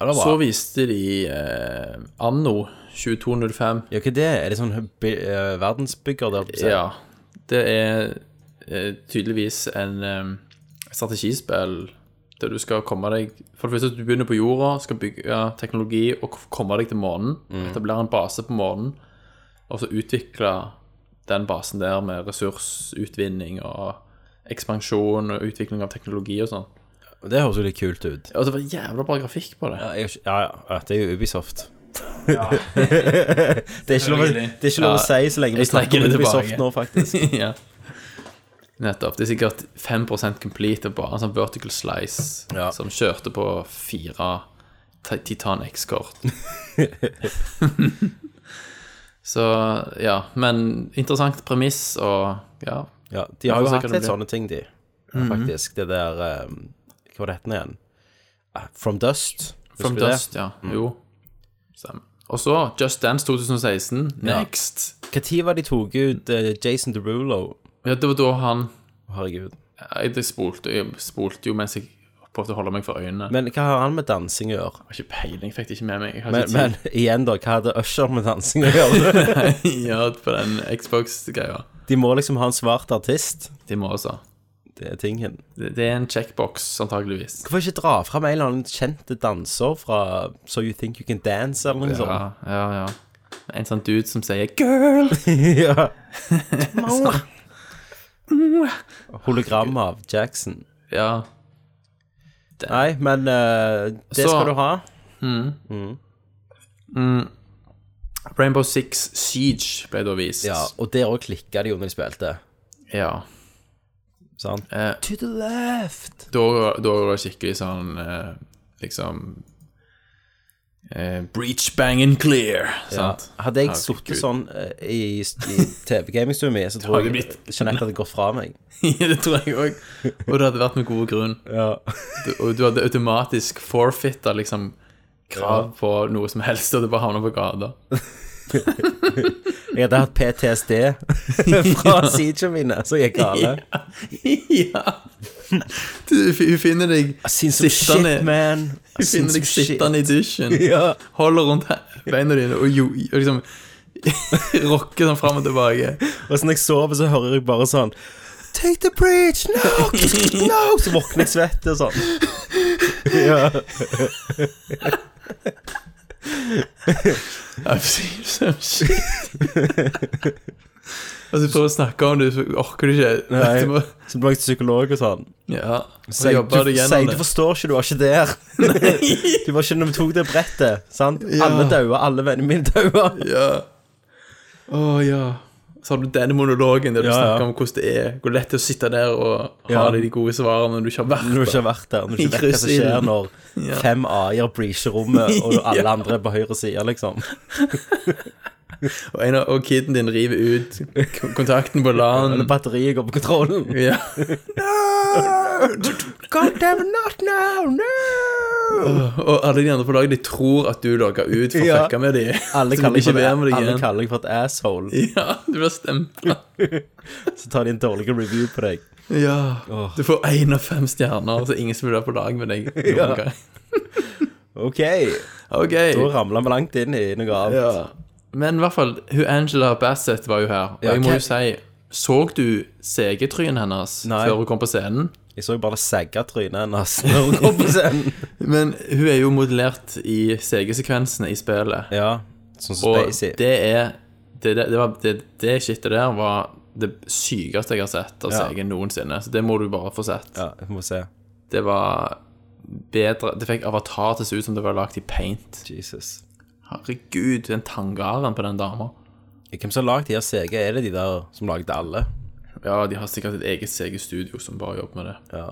det var
Så
bra.
viste de eh, anno 2205.
Ja, hva er det? Er det sånn by- eh, verdensbygger der? på seg?
Ja. Det er eh, tydeligvis en eh, strategispill der du skal komme deg For det første, du begynner på jorda, skal bygge teknologi og k- komme deg til månen. Etablere en base på månen, og så utvikle den basen der med ressursutvinning og ekspansjon og utvikling av teknologi og sånn.
Det høres jo litt kult ut.
Og altså, det var jævla bra grafikk på det.
Ja, jeg, ja, ja, ja, det er jo Ubisoft. det er ikke lov, å- det er ikke lov å
Ja,
si så lenge vi
jeg trekker
snakker om
det
Ubisoft
tilbake.
nå, faktisk.
ja. Nettopp. Det er sikkert 5 complete og bare en sånn vertical slice
Ja.
som kjørte på fire Ti- Titan X-kort. Så ja, men interessant premiss og ja.
Ja, de har jo
får se
hatt
hva det
litt
blir.
sånne ting, de. faktisk. Det der eh, Hva var det het igjen? Ah, From Dust. Husker
From
du det? Mm.
Dust, ja. Jo. Stemmer. Og så Just Dance 2016. Next.
Når var de tok ut eh, Jason Derulo?
Ja, det var da han
Herregud.
Jeg det spolte, jeg spolte jo mens jeg prøvde å holde meg for øynene.
Men hva har han med dansing å gjøre?
jeg har ikke peiling, jeg fikk det ikke med meg. Jeg har
Men,
ikke
men
tid
igjen, da. Hva hadde Usher med dansing å gjøre?
ja, på den Xbox-greia.
De må liksom ha en svart artist.
De må også.
Det er tingen.
Det, det er en checkbox, antageligvis.
Hvorfor ikke dra fram en eller annen kjente danser fra So You Think You Can Dance eller
Ja,
noe sånt?
ja, ja. En sånn dude som sier 'girl'.
ja. Hologram av Jackson.
Ja.
Nei, men eh, det
Så-
skal du ha.
Rainbow Six Siege ble da vist.
Ja, og der òg klikka de jo når de spilte.
ja.
Sant?
Eh,
To the left.
da, da var det skikkelig sånn eh, liksom eh, Breach, bang and clear. Sant?
Hadde jeg
Herregud.
sittet sånn eh, i, i TV-gamingstua mi, så tror
hadde
jeg
blitt-
Jeanette hadde gått fra meg.
Ja, det tror jeg òg. Og det hadde vært med god grunn. Du, og du hadde automatisk forfeitta liksom krav på noe som helst, og du bare havna på gata.
Jeg hadde hatt PTSD fra siegen mine, så gikk gale.
ja. Du, hun finner deg
Seen some
Sittende-
shit, man. I
Hun
seen
finner
some
deg
shit.
sittende i dusjen,
Ja.
holder rundt he- beina dine og, jo, og liksom rocker sånn fram og tilbake.
Og så når jeg sover, så hører jeg bare sånn Take the bridge, no, no Så våkner jeg svett og sånn ja.
I've seen some shit. altså, du prøver å snakke om det, så orker du ikke.
Nei.
Du må,
Så blir jeg psykolog og sånn
ja, så
Sier
jobber
du,
du
sier,
gjennom
du
det.
forstår ikke, du var ikke der Du var ikke når vi tok det brettet sant? Alle daua, alle vennene mine daua
Ja. Å ja. Så har du denne monologen der du
Ja, ja.
snakker om hvordan det er, hvor lett det er å sitte der og ha
Ja.
de gode svarene når du ikke har vært
Når du
der.
ikke har vært der Når du ikke vet hva som
Kryssilden.
skjer når
Ja.
Fem A-er breacher rommet Og alle
Ja.
andre er på høyre siden liksom
Og, en av- og kiden din river ut k- kontakten på LAN.
Eller batteriet går på kontrollen
Ja.
God damn not now, no
Og alle de andre på laget de tror at du logga ut for å
Ja.
fucke med dem.
Alle kaller
ikke være med deg
alle
igjen.
kaller deg for et asshole
Ja, du blir stempla.
Så tar de en dårlig review på deg.
Ja. Du får én av fem stjerner, så ingen som vil være på lag med deg. noen
Ja.
gang.
OK,
Ok.
da ramla vi langt inn i noe annet.
Ja. Men i hvert fall, hun Angela Bassett var jo her. Og
Ja,
jeg må
hva-
jo si Så du CG-trynet hennes
Nei.
før hun kom på scenen?
Jeg så jo bare sagga trynet hennes når hun kom på scenen.
Men hun er jo modellert i CG-sekvensene i spillet.
ja, sånn som
Og
Spacey.
det er Det, det, det, var, det, det shitet der var det sykeste jeg har sett av
Ja.
CG noensinne. Så det må du bare få sett.
Ja, vi må se.
Det var bedre Det fikk avatar til å se ut som det var lagd i paint.
Jesus.
Herregud, den tangaren på den dama.
Hvem som har lagd de her CG? Er det de der som lagde alle?
Ja, de har sikkert et eget CG-studio som bare jobber med det.
Ja.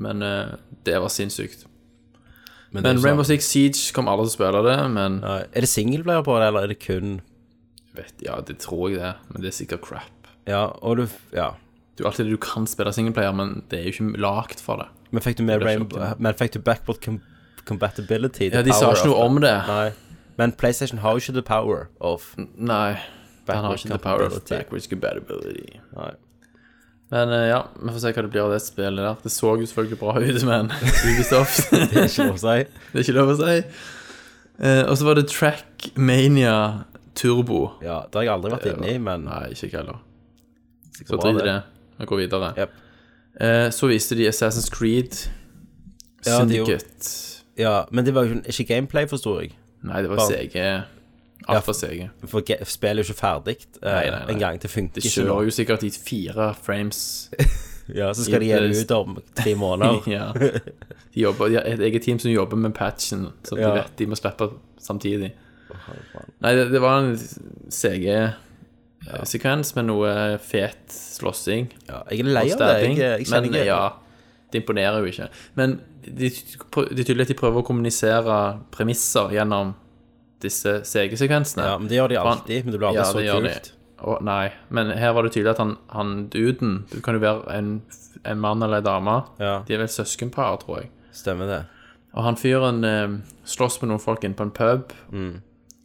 Men eh, det var sinnssykt. Men
Men, det er jo
Rainbow
sånn-
Six Siege kom alle til å spille det, men
Nei, Er det singleplayer på det, eller er det kun
vet, ja, det tror jeg det. Men det er sikkert crap.
Ja, og du Ja.
Du, alt det du kan spille singleplayer, men det er jo ikke lagd for det.
Men fikk du med
Det blir
Rainbow
ikke-
Men fikk du backward com compatibility?
Ja, De sa ikke noe om Mm. det.
Nei. Men PlayStation har jo ikke the power of
Nei. Han har
Backward
ikke the power of
compatibility.
backwards compatibility.
Nei.
Men eh, ja, vi får se hva det blir av det spillet der. Det så jo selvfølgelig bra ut, men Ubisoft
Det er ikke lov å si.
Det er ikke lov å si. Eh, og så var det Trackmania Turbo.
Ja, det har jeg aldri vært inne i, men
Nei, ikke jeg heller.
sikkert
Så
bra,
drit i det. Vi går videre.
Jep.
Eh, så viste de Assassin's Creed
Ja, det er jo-
Syndicate.
Ja, men det var jo ikke gameplay, forsto jeg.
Nei, det var
Bare-
CG.
Ja.
Altfor CG.
For ge- spillet er jo ikke ferdig
Nei, nei, nei.
en gang. Det funker
Det
ikke nå.
kjører jo sikkert i fire frames.
Ja, så skal de gi det ut om tre måneder.
ja. De jobber, de har et eget team som jobber med patchen, så de
Ja.
vet de må slippe samtidig. Nei, det, det var en CG-sekvens med noe eh, fet slåssing.
Ja, jeg er lei av det.
stabbing,
Jeg, eh, jeg kjenner
men
ikke
ja, det imponerer jo ikke. Men det er tydelig at de prøver å kommunisere premisser gjennom disse
Ja,
CG-sekvensene.
men det gjør de alltid, men det blir aldri
Ja, det
så
gjør
kult.
de. Å, nei. Men her var det tydelig at han, han duden Det kan jo være en, en mann eller en dame.
Ja.
De er vel søskenpar, tror jeg.
Stemmer det.
Og han fyren eh, slåss med noen folk inne på en pub
Mm.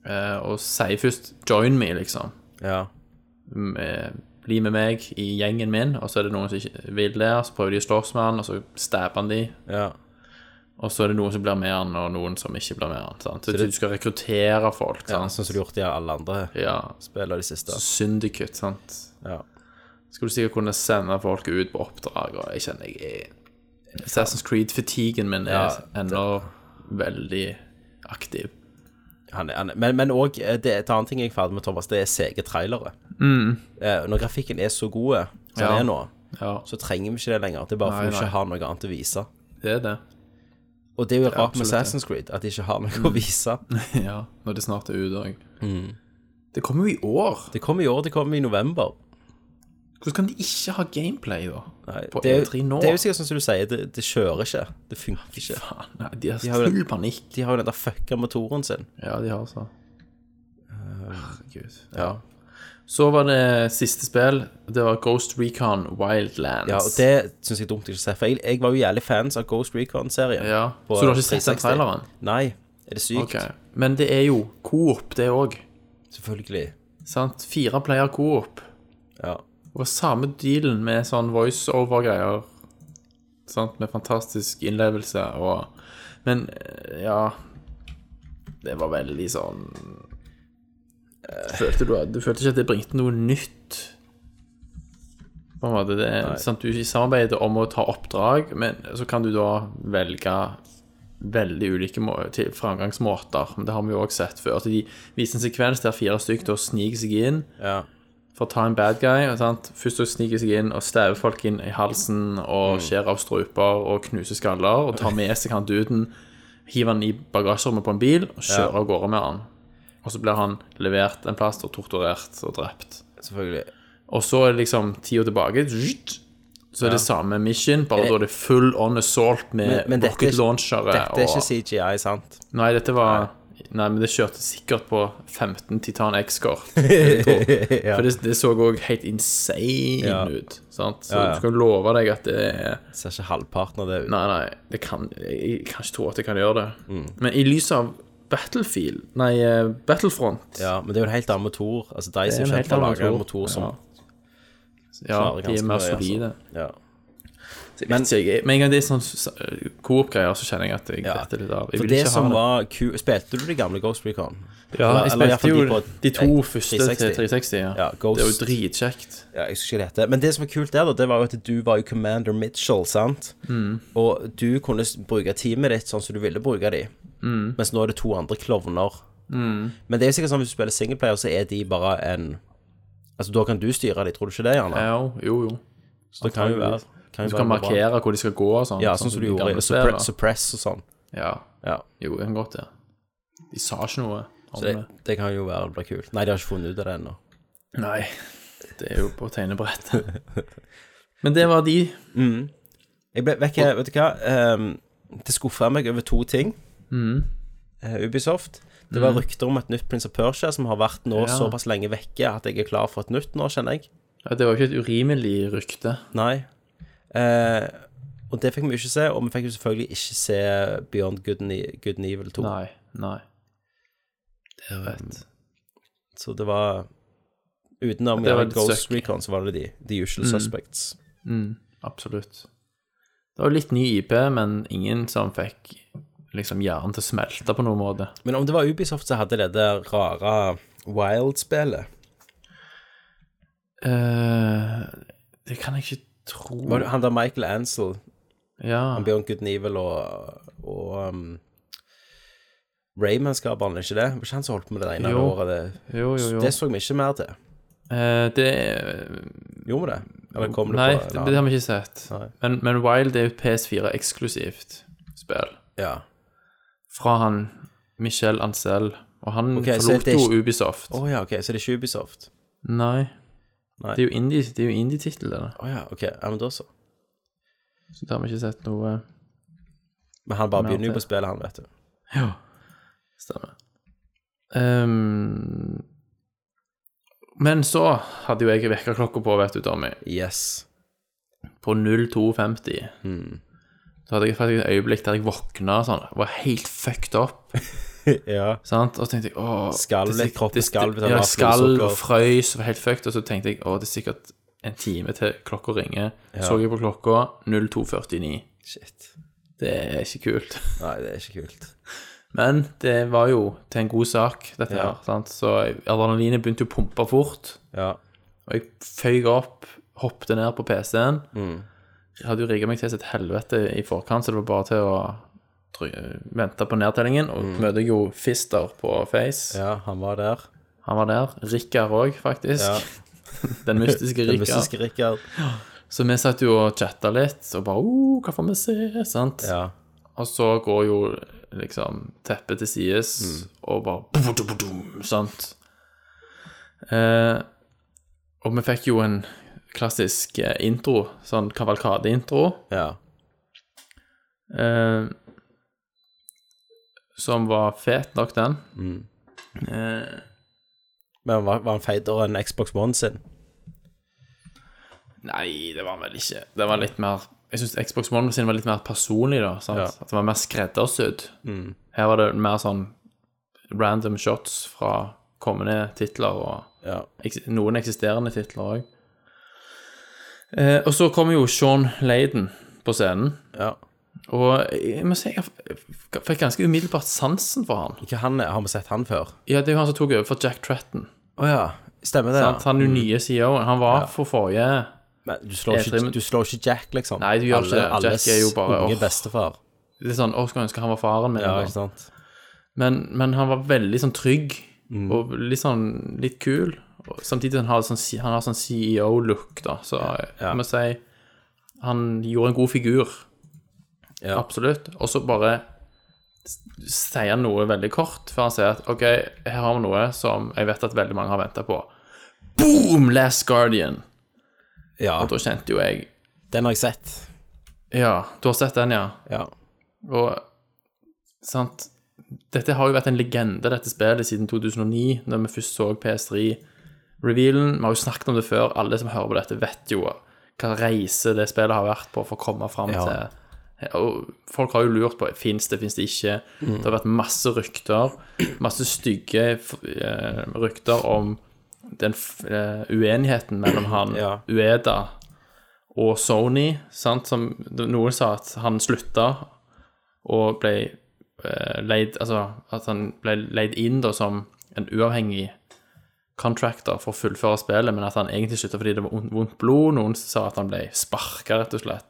eh, og sier først 'join me', liksom.
Ja.
Mm, eh, Bli med meg i gjengen min, og så er det noen som ikke vil det, og så prøver de å slåss med han, og så stabber han de,
ja.
og så er det noen som blir med han, og noen som ikke blir med han. Sant? Så, du skal rekruttere folk,
Sånn
sant.
som du har gjort i alle andre
Ja.
spill av de siste.
Syndikutt, sant.
Ja.
Skal du sikkert kunne sende folk ut på oppdrag, og jeg kjenner jeg er Assassin's Creed-fatigen min er
Ja,
ennå veldig aktiv.
Han, er- han, er- men men også, eh, det, et annet ting jeg er ferdig med, Thomas, det er sege trailere.
Mm.
Eh, når grafikken er så god som
Ja.
den er nå,
Ja,
så trenger vi ikke det lenger. Det er bare
Nei,
for vi
nei.
ikke har noe annet å vise.
det er det.
Og det er jo rart med
absolutt Mm. det.
Assassin's Creed, at de ikke har noe å vise.
Ja, når det snart er ute òg.
Mm.
Det kommer jo i år.
Det kommer i år, det kommer i november.
Hvordan kan de ikke ha gameplay, da?
Nei,
på
det, er,
E3 nå?
det er jo sikkert sånn som du sier, det, det kjører ikke. Det funker ikke.
Faen, nei, de har
har jo-
full panikk.
De har jo den der fucka motoren sin.
Ja, de har så. Herregud. Ja. Så var det siste spill. Det var Ghost Recon Wildlands.
Ja, og det syns jeg er dumt å ikke se. For jeg, jeg var jo jævlig fans av Ghost Recon-serien.
Ja.
på
Så du har ikke sett den
360.
traileren?
Nei. Er det sykt?
Ok. Men det er jo coop, det òg.
Selvfølgelig.
Sant? Fire player coop.
Ja.
Og samme dealen med sånn voiceover-greier. Sant? Med fantastisk innlevelse og Men eh, ja Det var veldig sånn eh, følte du, du følte ikke at det bringte noe nytt? På en måte. Det, sant? Du samarbeider om å ta oppdrag, men så kan du da velge veldig ulike må til framgangsmåter. Men det har vi jo også sett før. At de viser en sekvens der fire stykker da sniker seg inn
Ja.
for å ta en bad guy. og Sant? Først så sniker seg inn og stæver folk inn i halsen
Mm.
og skjærer av struper og knuser skaller og tar med seg han duden, hiver han i bagasjerommet på en bil og kjører av gårde med han. Og så blir han levert en plass og torturert og drept.
Selvfølgelig.
Og så er det liksom ti år tilbake. zzt, Så er det samme mission, bare da er det full on assault med
Eh. Men- men dette er ikke-
rocket launchere.
Dette er
og-
ikke CGI, sant?
Nei, dette var Nei, men det kjørte sikkert på 15 Titan X-kort. vil jeg tro. For det, det så òg helt insane
Ja.
ut. Sant? Så
Ja, ja.
du skal love deg at det er
Ser ikke halvparten av det ut.
Nei, nei, det kan, jeg kan ikke tro at jeg kan gjøre det.
Mm.
Men i lys av Battlefield Nei, eh, Battlefront
Ja, men det er jo en helt annen motor. Altså, de
Det er
som
en helt
kjøpte
annen
lager en
motor.
motor som
Ja,
klarer
de
ganske
er
mye,
mer
altså.
solide.
Ja.
Men med en gang det er sånn s- s- coop-greier, så kjenner jeg at jeg, dette er litt av. Jeg
For
vil
det
ikke ha
som
det.
var ku... Spilte du de gamle Ghost Recon?
Ja,
eller-
jeg
eller i hvert
spilte
fall de
jo
på
de to
tre-
første til
360.
360. Ja.
Ja,
det er jo
Ghost.
dritkjekt.
Ja, jeg husker ikke det heter. Men det som var kult der, da, det var jo at du var jo Commander Mitchell, sant?
Mm.
Og du kunne s- bruke teamet ditt sånn som du ville bruke de.
Mm.
Mens nå er det to andre klovner. Men det er sikkert sånn hvis du spiller singleplayer, så er de bare en Altså, da kan du styre de, tror du ikke det, Janne?
Ja, jo, jo.
så det kan jo være kan jo
Du skal
være bra.
markere hvor de skal gå og sånn.
Ja, sånn som du
de
gjorde
gamle
i
spillene.
Suppre- Suppress og sånn.
Ja.
Ja.
Jo, jeg kan godt det. De sa ikke noe om
Så
det.
det, det kan jo være det blir kult. Nei, de har ikke funnet ut av det ennå.
Nei. Det er jo på tegnebrettet. Men det var de.
Jeg ble vekk, vet du hva Ehm, Det skuffa meg over to ting
Mm.
Eh, Ubisoft Det var rykter om et nytt Prince of Persia Som har vært nå
Ja.
såpass lenge vekke At jeg er klar for et nytt nå, kjenner jeg
Ja, det var jo ikke et urimelig rykte.
Nei Eh, Og det fikk vi jo ikke se Og vi fikk jo selvfølgelig ikke se Beyond Good, and E- Good and Evil 2
Nei. Nei. Det er rett.
Så det var Utenom
Det var
ja,
litt
Ghost
søkk. Mm.
Recon så var det de The Usual Suspects
Absolutt. Det var litt ny IP, men ingen som fikk liksom hjernen til å smelte på noen måte.
Men om det var Ubisoft så hadde det der rare Wild-spillet
eh det kan jeg ikke tro
Var det- Han der Michael Ansel
Ja.
Beyond Good and Evil og, og um, Rayman-skaperen, er ikke det? Var ikke han som holdt på med det ene
Jo.
året? Det,
Jo, jo, jo.
det så vi ikke mer til.
Eh, det
Gjorde vi det? Eller kom det
Nei,
på
det, det har vi ikke sett.
Nei.
Men, men Wild er jo PS4-eksklusivt spill
Ja.
fra han Michel Ancel. Og han
Ok, så
forlot
det er
jo
ikke-
Ubisoft.
Å ja, OK, så det er ikke Ubisoft?
Nei.
Nei.
Det er jo indie- det er jo indie-tittel, det. da.
Å ja, OK. Ja, men da så.
Så det har vi ikke sett noe
Men han bare
Men
begynner jo
det-
på spillet, han, vet du.
Ja. Stemmer. Ehm, Men så hadde jo jeg vekkerklokka på, vet du, Tommy,
Yes.
på 02.50.
Mm.
Så hadde jeg faktisk et øyeblikk der jeg våkna og sånn, var helt fucked up,
Ja.
sant? Og så tenkte jeg, åh
Skalv
det er
litt,
sikk-
kroppen
det-
skalv,
Ja,
det var
jeg skalv
blodsukker.
og frøys, var helt fucked, og så tenkte jeg, åh, det er sikkert en time til klokka ringer. Så jeg på klokka 02.49.
Shit.
Det er ikke kult.
Nei, det er ikke kult.
Men det var jo til en god sak, dette her. sant? Så adrenalinet begynte jo å pumpe fort.
Ja.
Og jeg føyk opp, hoppte ned på PC-en.
Mm.
Jeg hadde jo rigga meg til sitt helvete i forkant, så det var bare til å try- vente på nedtellingen. Og møter jeg jo Fister på Face.
Mm. ja, han var der.
Han var der. Rikard òg, faktisk.
Ja.
Den mystiske Rikard.
Den mystiske Rikard.
Så vi satt jo og chatta litt, og bare oh, hva får vi se? Sant?
Ja.
Og så går jo liksom teppet til sides, og bare bu-bu-du-bu-dum, Sant? Eh, og vi fikk jo en klassisk eh, intro, sånn kavalkadeintro,
ja.
eh, som var fet nok, den.
Men var, var han feitere enn Xbox One sin?
Nei, det var vel ikke Det var litt mer Jeg syns Xbox One sin var litt mer personlig, da. Sant?
Ja. Mm.
At det var mer skreddersydd. Her var det mer sånn random shots fra kommende titler og
Ja.
eks- noen eksisterende titler òg. Eh, og så kommer jo Sean Layden på scenen.
ja.
Og jeg må si jeg f- fikk ganske umiddelbart sansen for han.
Hva han er? Har vi sett han før?
Ja, Det er jo han som tok over for Jack Tretton.
Å ja. Mm. Stemmer det.
sant? Han er jo nye CEO-en. Han var for forrige
Men du slår,
E3, men-
ikke, du slår ikke Jack, liksom?
Nei, du gjør ikke det.
alles
Jack er jo bare-
unge
åh.
bestefar.
Det er sånn, å, skulle ønske han var faren min.
Ja,
da.
ikke sant?
men, men han var veldig sånn trygg og litt sånn litt kul. Og samtidig han har sånn, han har sånn CEO-look, da. Så jeg må si han gjorde en god figur.
Ja.
Absolutt. Og så bare s- sier han noe veldig kort, før han sier at OK, her har vi noe som jeg vet at veldig mange har venta på. Boom! Last Guardian.
ja.
Og da kjente jo jeg
Den har jeg sett.
Ja, du har sett den, ja.
Ja.
Og sant Dette har jo vært en legende, dette spillet, siden 2009, når vi først så PS3-revealen. Vi har jo snakket om det før. Alle som hører på dette, vet jo hva reise det spillet har vært på for å komme fram
Ja.
til og Folk har jo lurt på fins det, fins det ikke. Det har vært masse rykter. Masse stygge f- eh, rykter om den f eh, uenigheten mellom han
Ja.
Ueda og Sony, sant, som noen sa at han slutta og ble eh, leid Altså at han ble leid inn da som en uavhengig contractor for å fullføre spillet, men at han egentlig slutta fordi det var ond- vondt blod. Noen sa at han ble sparka, rett og slett.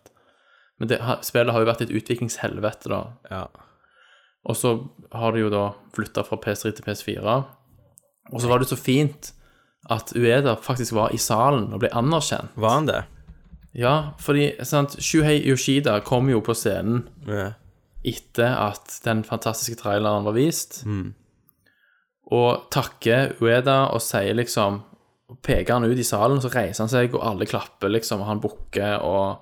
Men det, ha- spillet har jo vært et utviklingshelvete, da.
Ja.
Og så har det jo da flytta fra PS3 til PS4. Og så var det så fint at Ueda faktisk var i salen og ble anerkjent.
Var han det?
Ja, fordi sant, Shuhei Yoshida kom jo på scenen
Ja.
etter at den fantastiske traileren var vist,
Mm.
og takker Ueda og sier liksom og Peker han ut i salen, så reiser han seg, og alle klapper, liksom, og han bukker, og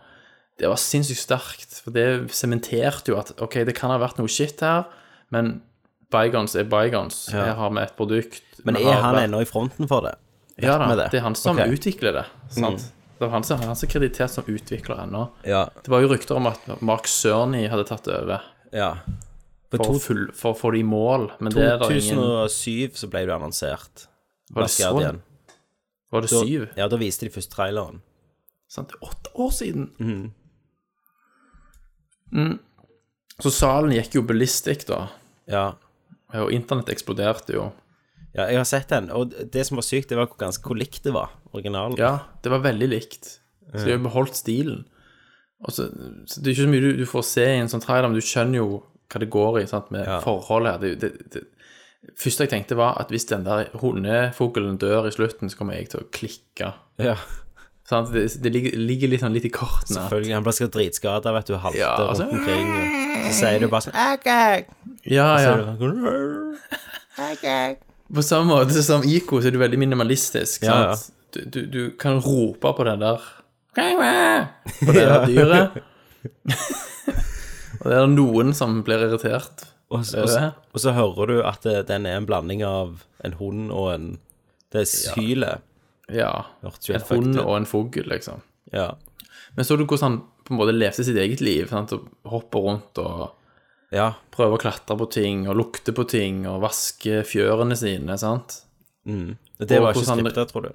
Det var sinnssykt sterkt, for det sementerte jo at OK, det kan ha vært noe shit her, men bygons er bygons. Her har vi et produkt.
Men
vi har
er han
vært-
ennå i fronten for det?
ja, da,
med
det?
det?
er han som
Ok. Mm.
utvikler det. Sant? Det er han som, han som er kreditert som utvikler ennå.
Ja.
Det var jo rykter om at Mark Cerny hadde tatt over
ja. På
for, full, for å få det i mål, men det er det ingen
2007 så ble det annonsert.
Var det
Last
så?
Guardian.
Var det
Da-
syv?
Ja, da viste de først traileren.
Sant? Det er åtte år siden! Mm. Så salen gikk jo ballistisk, da.
Ja.
Og internett eksploderte jo.
ja, jeg har sett den, og det som var sykt, det var hvor ganske hvor likt det var, originalen.
Ja, det var veldig likt. Så de har beholdt stilen. Og så, så Det er ikke så mye du, du får se i en sånn trailer, men du skjønner jo hva det går i sant, med forholdet her. Det, er jo- det, det, første jeg tenkte, var at hvis den der hundefuglen dør i slutten, så kommer jeg til å klikke.
Ja,
Sant? Det, det ligger, ligger litt, sånn, litt i kortene.
Selvfølgelig. Han ble sikkert dritskada, vet du, halter
Ja, altså-
rundt omkring. og Så sier du bare sånn «Agag!»
Ja, ja.
Så er Altså, det sånn,
På samme måte som IK, så er du veldig minimalistisk.
Ja, ja.
sant? Du, du, du kan rope på den der På det der dyret. Og det er noen som blir irritert.
Og så, og, så, eh, og så hører du at det, den er en blanding av en hund og en Det er sylet.
Ja.
Hørtes jo
En
helt fucked
hund
ut.
og en fugl, liksom.
Ja.
Men så du hvordan han på en måte levde sitt eget liv? Sant? Og hopper rundt og
ja.
prøver å klatre på ting og lukte på ting og vaske fjørene sine, sant?
Det
Og
var ikke
hvordan han-
skriptet, tror du.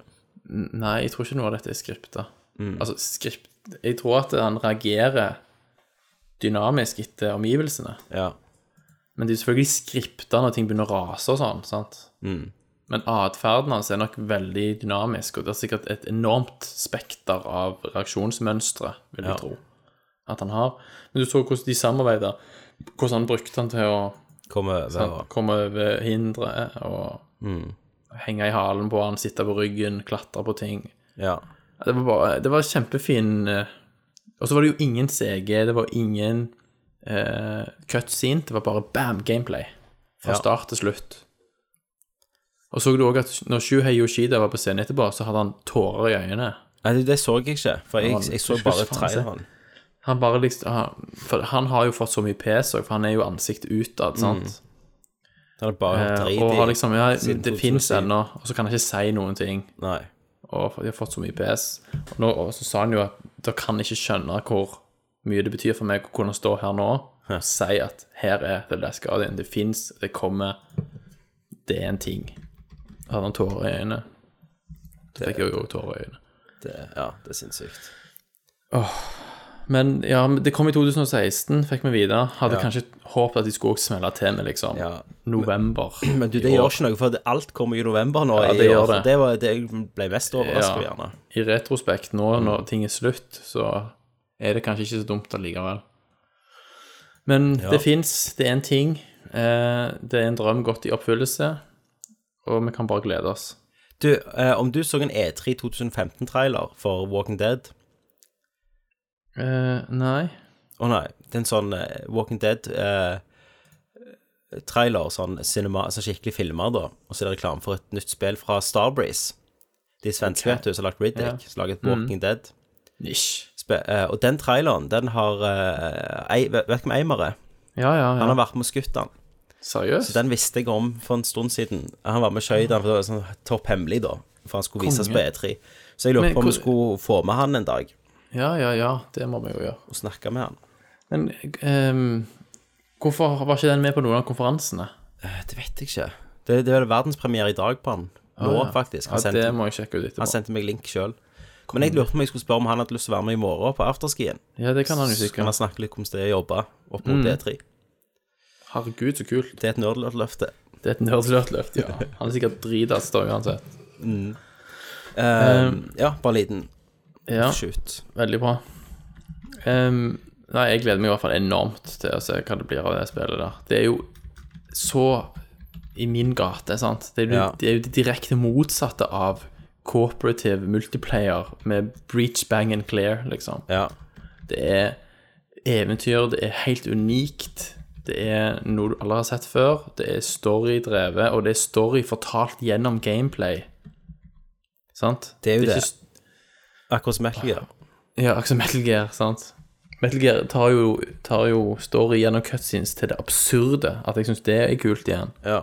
Nei, jeg tror ikke noe av dette er skripta. Altså, skript Jeg tror at han reagerer dynamisk etter omgivelsene.
Ja.
Men det er jo selvfølgelig skripta når ting begynner å rase og sånn, sant? Men atferden hans er nok veldig dynamisk, og det er sikkert et enormt spekter av reaksjonsmønstre, vil jeg tro, at han har. Men du så hvordan de samarbeider, hvordan han brukte han til å
Komme over.
sant, komme over hindre og henge i halen på han, sitte på ryggen, klatre på ting.
Ja.
Ja, Det var bare Det var kjempefin eh, Og så var det jo ingen CG, det var ingen eh, cutscene. Det var bare bam, gameplay. Fra
Ja.
start til slutt. Og så du òg at når Shuhei Yoshida var på scenen etterpå, så hadde han tårer i øynene.
Nei, det, det så jeg ikke, for jeg, jeg så
Jeg
bare
husker faen
traileren.
Han bare liksom han, For han har jo fått så mye pes òg, for han er jo ansiktet utad, sant.
Jeg hadde bare hørt
Eh,
drit
og
i.
har liksom Ja,
siden
det fins
2010.
ennå, og så kan han ikke si noen ting.
Nei.
og for- de har fått så mye PS. Og, nå, og så sa han jo at dere kan ikke skjønne hvor mye det betyr for meg å kunne stå her nå og si at her er The Last Guardian, det fins, det kommer, det er en ting. Da hadde han tårer i øynene. Da fikk jeg jo også tårer i øynene.
Det, ja, det er sinnssykt.
Men ja, men det kom i 2016, fikk vi vite. Hadde kanskje håpet at de skulle også smelle til med liksom
Ja.
november.
Men du, det
i år.
gjør ikke noe, for det, alt kommer jo i november nå.
Ja,
i
det
år,
gjør
så
det.
Det var det jeg ble mest overrasket over, gjerne. Mm.
I retrospekt, nå når ting er slutt, så er det kanskje ikke så dumt allikevel. Men det fins, det er en ting. Eh, det er en drøm godt i oppfyllelse, og vi kan bare glede oss.
Du, eh, om du så en E3 2015-trailer for Walking Dead
Eh, nei.
Å nei, det er en sånn eh, Walking Dead-trailer, sånn cinema, altså skikkelig filmer, da. Og så er det reklame for et nytt spill fra Starbreeze. De svenske, vet du, som har lagd Riddick, som har laget
Mm.
Walking Dead.
Nisj.
Spe eh, og den traileren, den har eh, ei, Vet vet du hvem Eimer er?
Ja, ja,
Han har
ja.
vært med og skutt han. Så
Seriøst?
den visste jeg om for en stund siden. Han var med og skjøt han, for det var sånn topp hemmelig, da. For han skulle vises på
Konge.
E3. Så jeg lurte
Men
på om vi
hvor-
skulle få med han en dag
Ja, ja, ja. Det må vi jo gjøre.
og snakke med han.
Men ehm, hvorfor var ikke den med på noen av konferansene?
Eh, Det vet jeg ikke. Det, det er vel verdenspremiere i dag på han. Nå,
Ja.
faktisk. Han,
Ja,
sendte,
det må jeg sjekke ut etterpå.
han sendte meg link sjøl. Men jeg lurte på om jeg skulle spørre om han hadde lyst til å være med i morgen på afterskien.
Ja, det kan han jo
Så kan
sikkert.
han snakke litt om hvordan det er å jobbe opp mot E3.
Herregud, så kult.
Det er et nerdløfte.
Det er et nerdlørt løft, ja. Han er sikkert dritass da, uansett.
Eh, ja, bare en liten
Ja.
shoot.
Veldig bra. Ehm, nei, jeg gleder meg i hvert fall enormt til å se hva det blir av det spillet der. Det er jo så i min gate, sant. Det er jo,
Ja.
det, er jo det direkte motsatte av cooperative multiplayer med breach, bang and clear, liksom.
Ja.
Det er eventyr, det er helt unikt. Det er noe du aldri har sett før. Det er story drevet, og det er story fortalt gjennom gameplay. Sant?
Det er jo
ikke
det. Akkurat som Metal Gear.
ja, akkurat som Metal Gear, sant. Metal Gear tar jo, tar jo story gjennom cutscenes til det absurde, at jeg syns det er kult igjen.
Ja.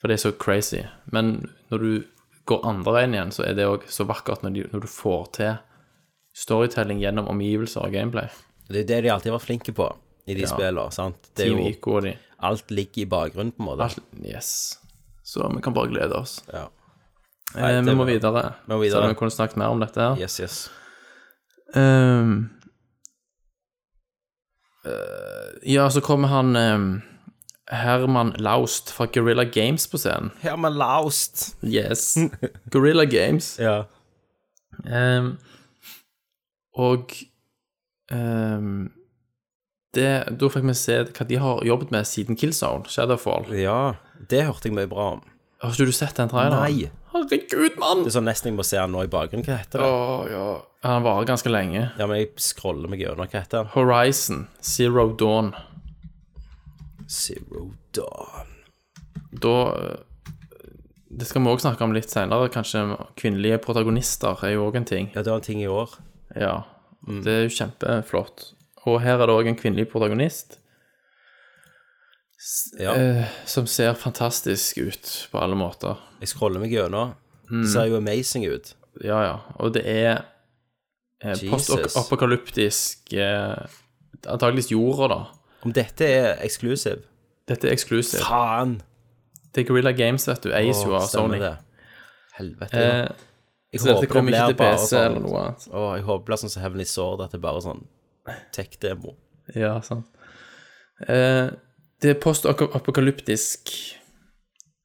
For det er så crazy. Men når du går andre veien igjen, så er det òg så vakkert når, de, når du får til storytelling gjennom omgivelser og gameplay.
Det er jo det de alltid var flinke på i de
Ja.
spillene, sant. Det er
Team
jo
Ico og de.
Alt ligger i bakgrunnen, på en måte.
Alt, yes. Så vi kan bare glede oss.
Ja.
eh,
det
vi må
var-
videre.
vi må videre.
Selv om vi kunne snakket mer om dette. her.
Yes, yes.
Ehm, eh, ja, så kommer han ehm, Herman Laust fra Guerrilla Games på scenen.
Herman Laust.
Yes. Guerrilla Games.
Ja.
Ehm, og ehm, det, Da fikk vi se hva de har jobbet med siden Killzone, Shadowfall.
ja. Det hørte jeg mye bra om.
Har ikke du sett den traileren?
Nei.
Herregud, mann!
Det er sånn nesten jeg må se han nå i bakgrunnen. Hva heter det?
Å, ja. Han varer ganske lenge.
Ja, men jeg scroller meg gjennom. Hva heter han?
Horizon, Zero Dawn.
Zero Dawn.
da eh, Det skal vi òg snakke om litt seinere, kanskje. Kvinnelige protagonister er jo òg en ting.
Ja, det var en ting i år.
Ja.
Mm.
Det er jo kjempeflott. Og her er det òg en kvinnelig protagonist
Ja.
eh, som ser fantastisk ut på alle måter.
Jeg scroller meg gjennom.
Mm.
Ser jo amazing ut.
Ja, ja. Og det er eh,
Jesus.
post-apokalyptisk eh, Antakeligvis jorda, da.
Om dette er eksklusiv?
Dette er eksklusivt.
Faen!
Det er Gorilla Games, vet du. Eies jo av
Stemmer
Sony.
det. Helvete. ja.
Eh, så dette
håper
kommer
det
ikke til
blir bare
PC
sånn.
eller noe annet.
Å, jeg håper det blir sånn som Heavenly Sword, at det bare er sånn tech-demo.
Ja, sant. Eh, det er post-apokalyptisk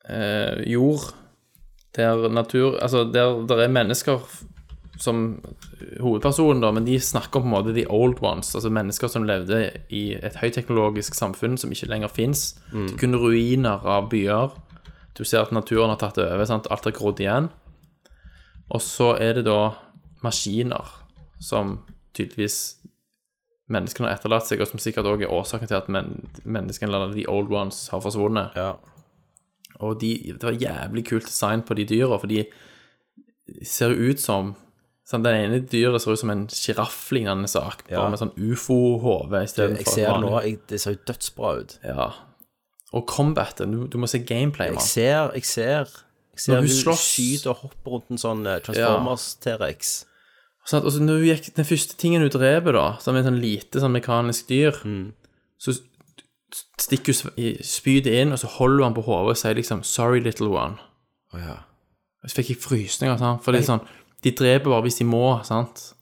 eh, jord, der natur Altså, der, der er mennesker f- som hovedperson, da, men de snakker på en måte the old ones. Altså mennesker som levde i et høyteknologisk samfunn som ikke lenger fins. Det er kun ruiner av byer. Du ser at naturen har tatt det over. Sant? Alt er grodd igjen. Og så er det da maskiner som tydeligvis menneskene har etterlatt seg, og som sikkert også er årsaken til at men menneskene, eller the old ones, har forsvunnet.
Ja.
Og de, det var jævlig kult design på de dyra, for de ser jo ut som sant, Den ene dyret ser ut som en sjirafflignende sak, bare
Ja.
med sånn ufo-hode
Jeg
istedenfor
ser det nå, jeg, det ser jo dødsbra ut.
Ja. Og combaten, du, du må se gameplay,
Jeg
mann.
ser, jeg ser Jeg ser
Når hun
hun
slåss.
skyter og hopper rundt en sånn eh, Transformers T-rex.
Sånn at, altså, når hun gikk, den første tingen hun dreper, da, som er en sånn lite sånn mekanisk dyr,
Mm.
så s- stikker hun sv- i- spydet inn, og så holder hun på hodet og sier liksom 'sorry, little one'. Og Så fikk jeg frysninger, sant? for det er sånn De dreper bare hvis de må, sant?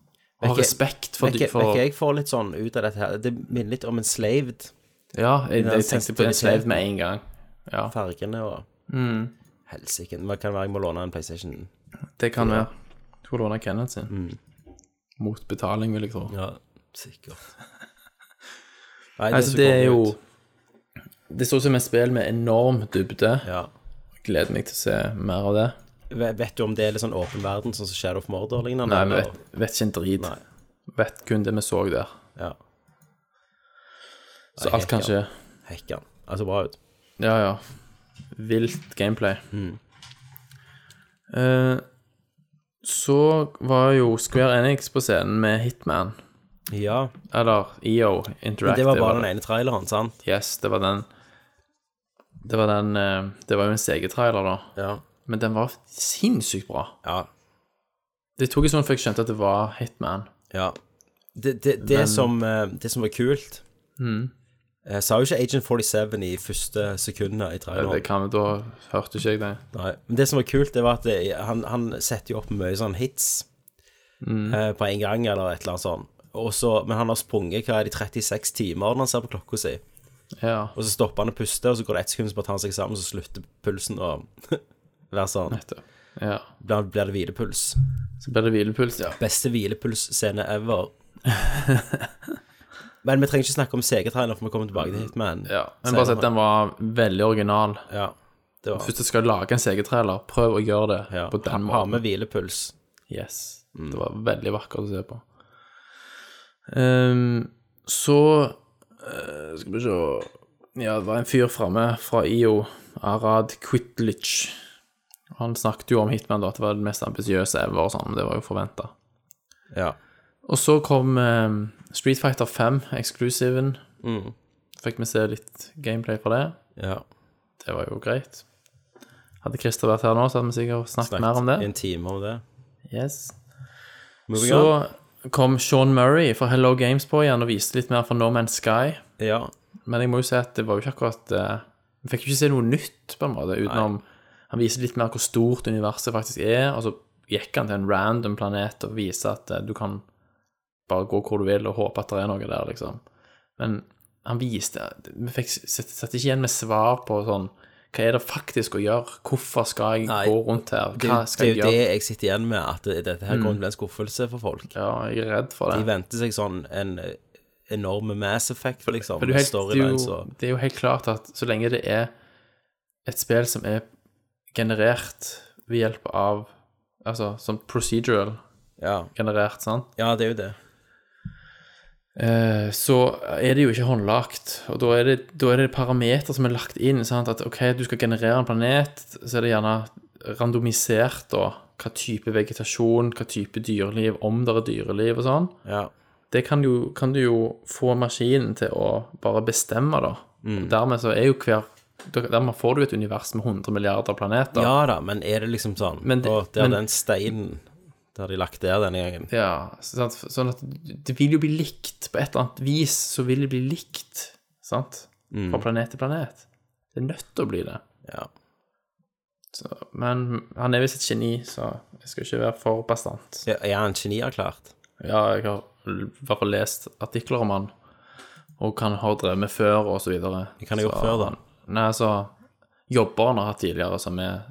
Og har
Vet ikke-
respekt for
Vet
de
ikke-
for
vet ikke jeg får litt sånn ut av dette her Det minner litt om enslaved.
Ja, jeg,
den
jeg tenkte på en slave
sensitiviteten.
med en gang.
Fargene og
Mm.
Helsike. Men det kan være jeg må låne en PlayStation.
Det kan være. Jeg tror låne Kenneth sin. Mot betaling, vil jeg tro.
Ja, sikkert. Nei,
altså,
ser
det er
konge
jo
ut.
Det står ut som et spill med enorm dybde.
ja.
Gleder meg til å se mer av det.
Ve- Vet du om det er litt sånn åpen verden, sånn som Shadow of Mordor og lignende?
Nei, vi
eller?
vet, vet ikke en drit.
Nei.
Vet kun det vi så der.
Ja.
Så
Nei,
alt kan
helt
skje.
Hekkan. Altså, bra ut.
Ja, ja. Vilt gameplay.
Mm.
Eh, så var jo Square Enix på scenen med Hitman.
Ja.
Eller EO Interactive.
Det var
var
bare den ene traileren, sant?
Yes, det var den Det var den eh, Det var jo en CG-trailer, da.
Ja.
Men den var sinnssykt bra.
Ja.
Det tok en stund før jeg skjønte at det var Hitman.
Ja. Det, det, det, som, eh, det som var kult
Mm.
eh, Sa jo ikke Agent 47 i første sekundene i
Det
traileren.
kan vi da Hørte ikke jeg det.
Nei. Men det som var kult, det var at det, han, han setter jo opp mye sånn hits
Mm.
eh, på en gang, eller et eller annet sånt. Og så- men han har sprunget hva er det, 36 timer når han ser på klokka si.
Ja.
Og så stopper han å puste, og så går det ett sekund, så bare tar han seg sammen, så slutter pulsen å være sånn.
Nettopp. Ja.
Da blir det hvilepuls.
Så ble det hvilepuls. Ja.
Beste hvilepulsscene ever. Men vi trenger ikke snakke om CG-traileren, for vi kommer tilbake til Hitman.
ja. Men bare si at den var veldig original.
Ja, det var
Hvis du skal lage en CG-trailer, prøv å gjøre det
ja.
på den
Ha
måten.
med Mm. hvilepuls.
Yes. Det var veldig vakkert å se på. Ehm, så eh, Skal vi se Ja, det var en fyr framme fra IO, Arad Quitlich. Han snakket jo om Hitman, da, at det var det mest ambisiøse ever, og sånn. men Det var jo forventa.
Ja.
Og så kom ehm, Street Fighter 5, eksklusiven.
Mm.
Fikk vi se litt gameplay fra det.
ja.
Det var jo greit. Hadde Christer vært her nå, så hadde vi sikkert snakket,
Snakket
mer om det.
i en time om det.
Yes.
Moving on.
Så kom Sean Murray fra Hello Games på igjen og viste litt mer fra No Man's Sky.
Ja.
Men jeg må jo si at det var jo ikke akkurat eh, Vi fikk jo ikke se noe nytt, på en måte, utenom Han viste litt mer hvor stort universet faktisk er, og så gikk han til en random planet og viste at eh, du kan bare gå hvor du vil og håpe at det er noe der, liksom. Men han viste Vi fikk satt satt ikke igjen med svar på sånn Hva er det faktisk å gjøre? Hvorfor skal jeg
Nei,
gå rundt her?
Det,
Hva
det
skal
er
jeg
jo det
gjøre? Mm.
jeg sitter igjen med, at det- dette her kommer til å bli en skuffelse for folk.
Ja, jeg er redd for det.
De venter seg sånn en eh, enorme Mass Effect, liksom.
For det, er jo helt,
med
det, er
storylines
jo,
og
det er jo helt klart at så lenge det er et spill som er generert ved hjelp av Altså som procedural
ja.
generert, sant,
ja, det er jo det.
Eh, så er det jo ikke håndlagt. Og da er det, da er det parameter som er lagt inn. Sant, at OK, du skal generere en planet, så er det gjerne randomisert, da. Hva type vegetasjon, hva type dyreliv, om det er dyreliv og sånn.
Ja.
det kan,
Mm.
jo, kan du jo få maskinen til å bare bestemme, da. Og dermed så er jo hver da- dermed får du et univers med 100 milliarder planeter.
Ja da, men er det liksom sånn
Men det-
Og der
men-
den steinen Der de lagt der denne gangen
Ja, sant? Sånn at det vil jo bli likt på et eller annet vis, så vil det bli likt, sant?
Mm.
Fra planet til planet. Det er nødt til å bli det.
Ja.
Så, men han er visst et geni, så jeg skal ikke være for bastant.
Ja, Er han genierklært?
Ja, jeg har l- i hvert fall lest artikler om han, og han har drevet med før, og så videre.
Hva han har gjort
Så-
før, da?
Nei, så jobber han har hatt tidligere som er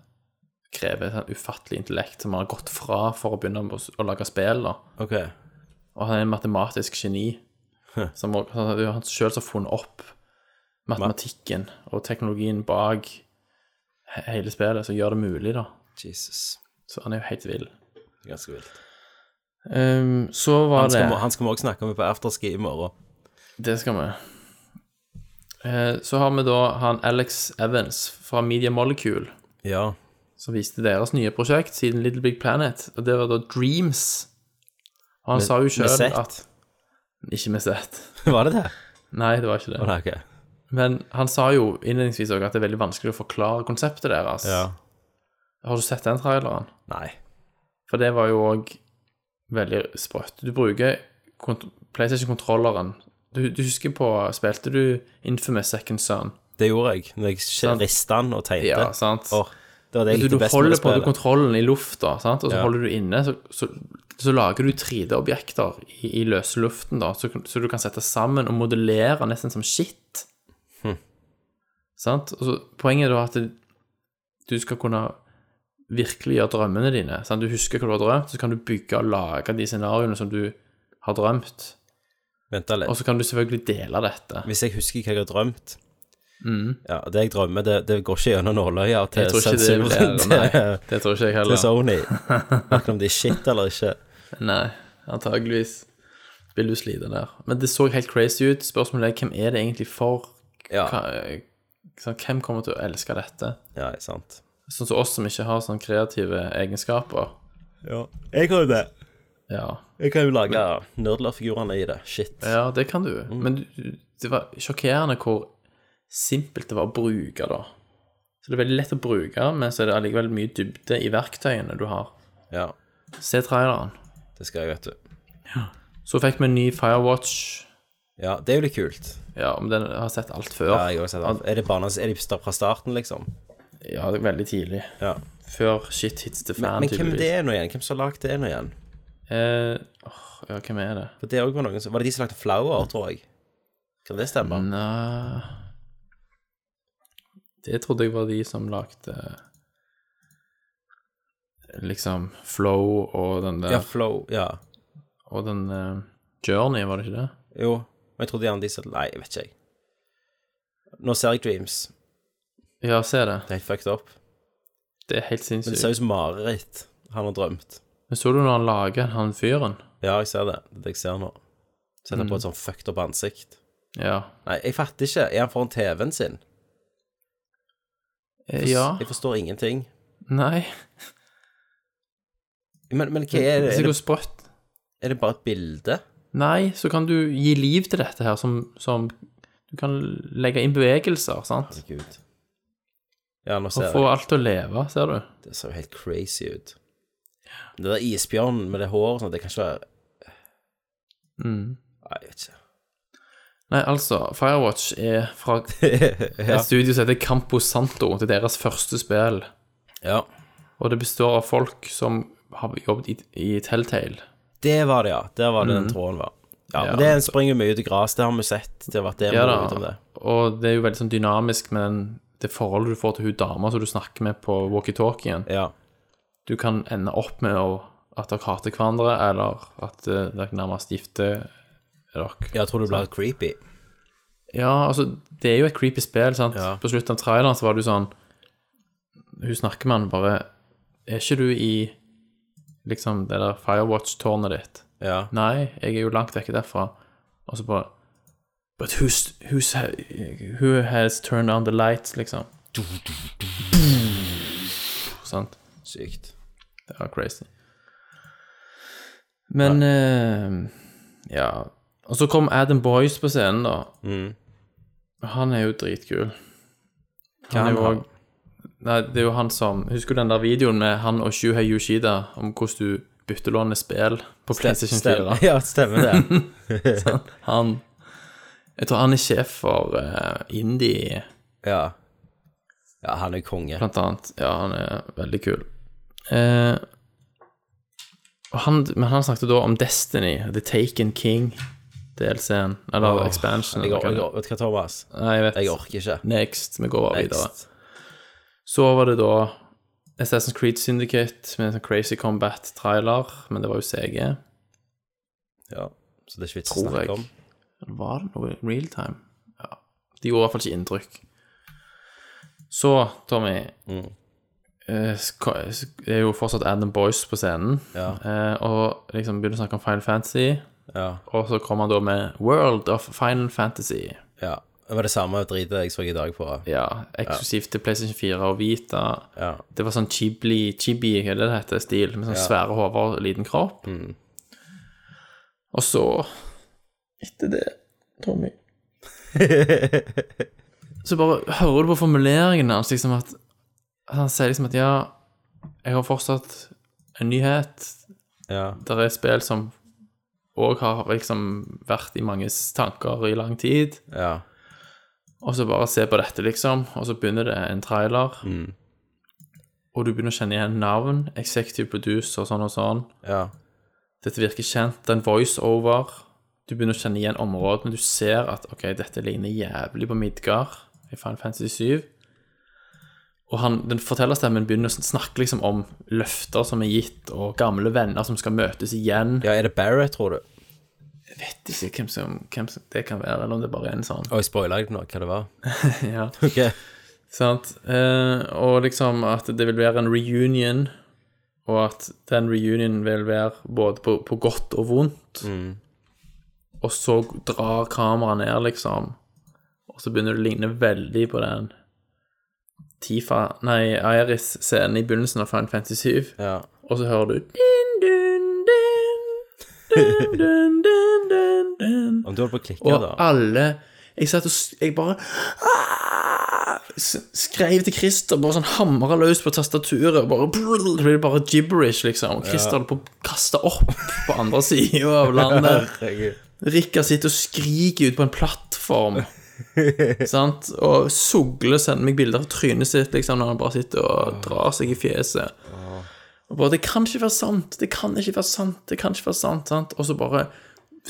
krever et sånn ufattelig intellekt som han har gått fra for å begynne å, å lage spill, da.
Ok.
Og han er en matematisk geni.
Hm.
Som, og- han- det er jo han selv som har funnet opp matematikken og teknologien bak he- hele spillet, som gjør det mulig, da.
Jesus.
Så han er jo helt vill.
Det er Ganske vilt.
Ehm, så var
Han skal,
det
han skal vi også snakke om på afterski i morgen.
Det skal vi. Eh, Så har vi da han Alex Evans fra Media Molecule,
Ja.
som viste deres nye prosjekt siden Little Big Planet, og det var da Dreams. Og han
Med-
sa jo
med
sjøl
Z?
at Ikke med sett.
Var det det?
Nei, det var ikke det.
Å, nei, ok.
Men han sa jo innledningsvis også at det er veldig vanskelig å forklare konseptet deres.
Ja.
Har du sett den traileren?
Nei.
For det var jo òg veldig sprøtt. Du bruker kont- PlayStation-kontrolleren. Du, du husker på Spilte du Infamous Second Son?
Det gjorde jeg. Når jeg
Sant.
rista den og tegnte.
Ja, sant.
Åh, det var det jeg
Du,
likte
Altså, du
best med
holder
det
på
spillet.
kontrollen i lufta, sant? og så
Ja.
holder du inne. Så, så, så lager du 3D-objekter i, i løse luften, da, så, så du kan sette sammen og modellere nesten som skitt.
Hm.
Sant? Og så, poenget er da at det, du skal kunne virkelig gjøre drømmene dine. Sant? Du husker hva du har drømt, så kan du bygge og lage de scenarioene som du har drømt.
Vent da litt.
Og så kan du selvfølgelig dele dette.
Hvis jeg husker hva jeg har drømt Ja, Det jeg drømmer, det, det går ikke gjennom nåløya til
Mm. Jeg tror ikke det
sensuren
blir det. Nei,
til,
det tror ikke jeg
til
heller.
Sony. Verken om de er shit eller ikke.
Nei, antageligvis vil du slite der. Men det så helt crazy ut. Spørsmålet er hvem er det egentlig for?
Ja.
Hva- sånn, hvem kommer til å elske dette?
Ja, sant.
Sånn som oss som ikke har sånne kreative egenskaper.
Jeg kan jo det.
Ja,
Jeg kan jo lage nerdlerfigurene i det. Shit.
ja det kan du.
Mm.
Men du- det var sjokkerende hvor simpelt det var å bruke, da. Så det er veldig lett å bruke, men så er det allikevel mye dybde i verktøyene du har.
Ja,
Se traileren.
det skal jeg, vet du.
Så fikk vi en ny Firewatch.
Ja, det er jo litt kult.
Ja, om den har sett alt før.
Ja, jeg har også sett det. Er det bare er de sta- fra starten, liksom?
Ja, det er veldig tidlig.
Ja.
Før shit hits the fan,
Men hvem det
tydeligvis.
er nå igjen? Hvem som har lagd det nå igjen?
Eh, åh, ja, hvem er det?
For det også var, noen som, var det de som lagde Flower, tror jeg? Kan det stemme?
Nei eh, Det trodde jeg var de som lagde Liksom Flow og den der
Ja, Flow. Ja.
Og den eh, Journey, var det ikke det?
Jo. Men jeg trodde gjerne de som Nei, jeg vet ikke, jeg. Nå ser jeg Dreams.
Ja, se det.
Det er helt fucked up.
Det er helt
Men det
sinnssykt.
ser ut som mareritt. Han har drømt.
Men så du når han lager han fyren?
Ja, jeg ser det. Det er det jeg ser nå. Setter på et sånn fucked up ansikt.
Ja.
Nei, jeg fatter ikke. Er han foran TV-en sin?
Eh, ja.
Jeg forstår ingenting.
Nei.
Men, men hva er
Det
det?
er
Er
jo
det,
sprøtt.
er det bare et bilde?
Nei, så kan du gi liv til dette her som, som Du kan legge inn bevegelser, sant?
Herregud. Ja, nå
Og
ser
få
jeg.
alt til å leve, ser du.
Det ser jo helt crazy ut. Den der isbjørnen med det håret og sånn, det kan ikke være Nei, jeg vet ikke.
Nei, altså, Firewatch er fra et studio som heter Campo Santo. Det er deres første spill.
Ja.
Og det består av folk som har jobbet i, i Telltale.
Det var det, ja. Der var det den tråden var. Ja,
Mm. Ja,
men Det springer mye ut i gress, det har vi sett. Det har vært det vi
Ja
har
da.
vært om det.
Og det er jo veldig sånn dynamisk med den, det forholdet du får til hun dama som du snakker med på walkietalkien.
Ja.
Du kan ende opp med å, at dere hater hverandre, eller at eh, dere nærmest gifter dere.
Jeg tror det blir creepy.
Ja, altså, det er jo et creepy spill, sant? På slutten av traileren så var det jo sånn Hun snakker med han bare Er ikke du i liksom det der Firewatch-tårnet ditt?
Ja.
Nei, jeg er jo langt vekk derfra. Og så bare But who's, who's Who has turned on the lights, liksom? Sant?
Sykt.
Det var crazy. Men eh, ja. Og så kom Adam Boyce på scenen, da. Han er jo dritkul. Han er
han
jo
har?
også- Nei, det er jo han som Husker du den der videoen med han og Shuhei Yoshida om hvordan du byttelåner spill på PlayStation 4?
Ja, stemmer det.
Han Jeg tror han er sjef for eh, Indie,
Ja. ja, han er konge.
blant annet. Ja, han er veldig kul. Eh, og han, men han snakket da om Destiny, The Taken King, DLC-en, eller
Åh,
expansion.
Jeg,
eller
or-
hva
jeg,
det
or- vet du hva, Thomas?
er. Nei, jeg vet.
Jeg orker ikke.
Next. Vi går bare videre.
Next.
Så var det da Assassin's Creed Syndicate med en sånn Crazy Combat-trailer, men det var jo CG. Eller
Ja, så det er ikke vits å
Tror jeg.
snakke om.
var det noe real time? Ja. De gjorde i hvert fall ikke inntrykk. Så, Tommy
Mm.
eh, sk- Det er jo fortsatt Adam Boyce på scenen,
Ja.
eh, og liksom begynner å snakke om Final Fantasy,
Ja.
og så kommer han da med World of Final Fantasy.
ja. Det var det samme dritet jeg så i dag på
Ja, eksklusivt til PlayStation 4 og Vita.
Ja.
Det var sånn chibli, chibi, hva er det det heter, stil, med sånn svære hoder og liten kropp. Og så Etter det, Tommy Så bare hører du på formuleringene hans, liksom at at Han sier liksom at ja, jeg har fortsatt en nyhet.
Ja.
Der er spill som òg har liksom vært i manges tanker i lang tid.
ja.
Og så bare se på dette, liksom. Og så begynner det en trailer. Og du begynner å kjenne igjen navn, executive producer og sånn og sånn.
ja.
Dette virker kjent. Det er en voiceover. Du begynner å kjenne igjen områdene. Du ser at OK, dette ligner jævlig på Midgard i Final Fantasy 7. Og han, den fortellerstemmen begynner å snakke liksom om løfter som er gitt, og gamle venner som skal møtes igjen.
Ja, er det Barrett, tror du?
Jeg vet ikke hvem som, hvem som det kan være, eller om det bare er en sånn.
Å, jeg spoila ikke noe hva det var.
Ja.
Ok.
Sant? Eh, og liksom at det vil være en reunion, og at den reunionen vil være både på, på godt og vondt. Og så drar kameraet ned, liksom, og så begynner det å ligne veldig på den Tifa Nei, Iris-scenen i begynnelsen av Final Fantasy 7.
Ja.
Og så hører du din, din, din, din, din, din, din, din.
Om du holder på å klikke,
Og
da.
alle Jeg satt og s- Jeg bare ah, s- skrev til Christer, bare sånn hamra løs på tastaturet. og Bare, det ble bare gibberish, liksom. Og Christer holdt på å kaste opp på andre sida av landet.
Herregud.
Rikard sitter og skriker ut på en plattform. sant? Og Sugle sender meg bilder av trynet sitt liksom, når han bare sitter
Ah.
og drar seg i fjeset. Og bare 'Det kan ikke være sant! Det kan ikke være sant!' det kan ikke være sant, sant? Og så bare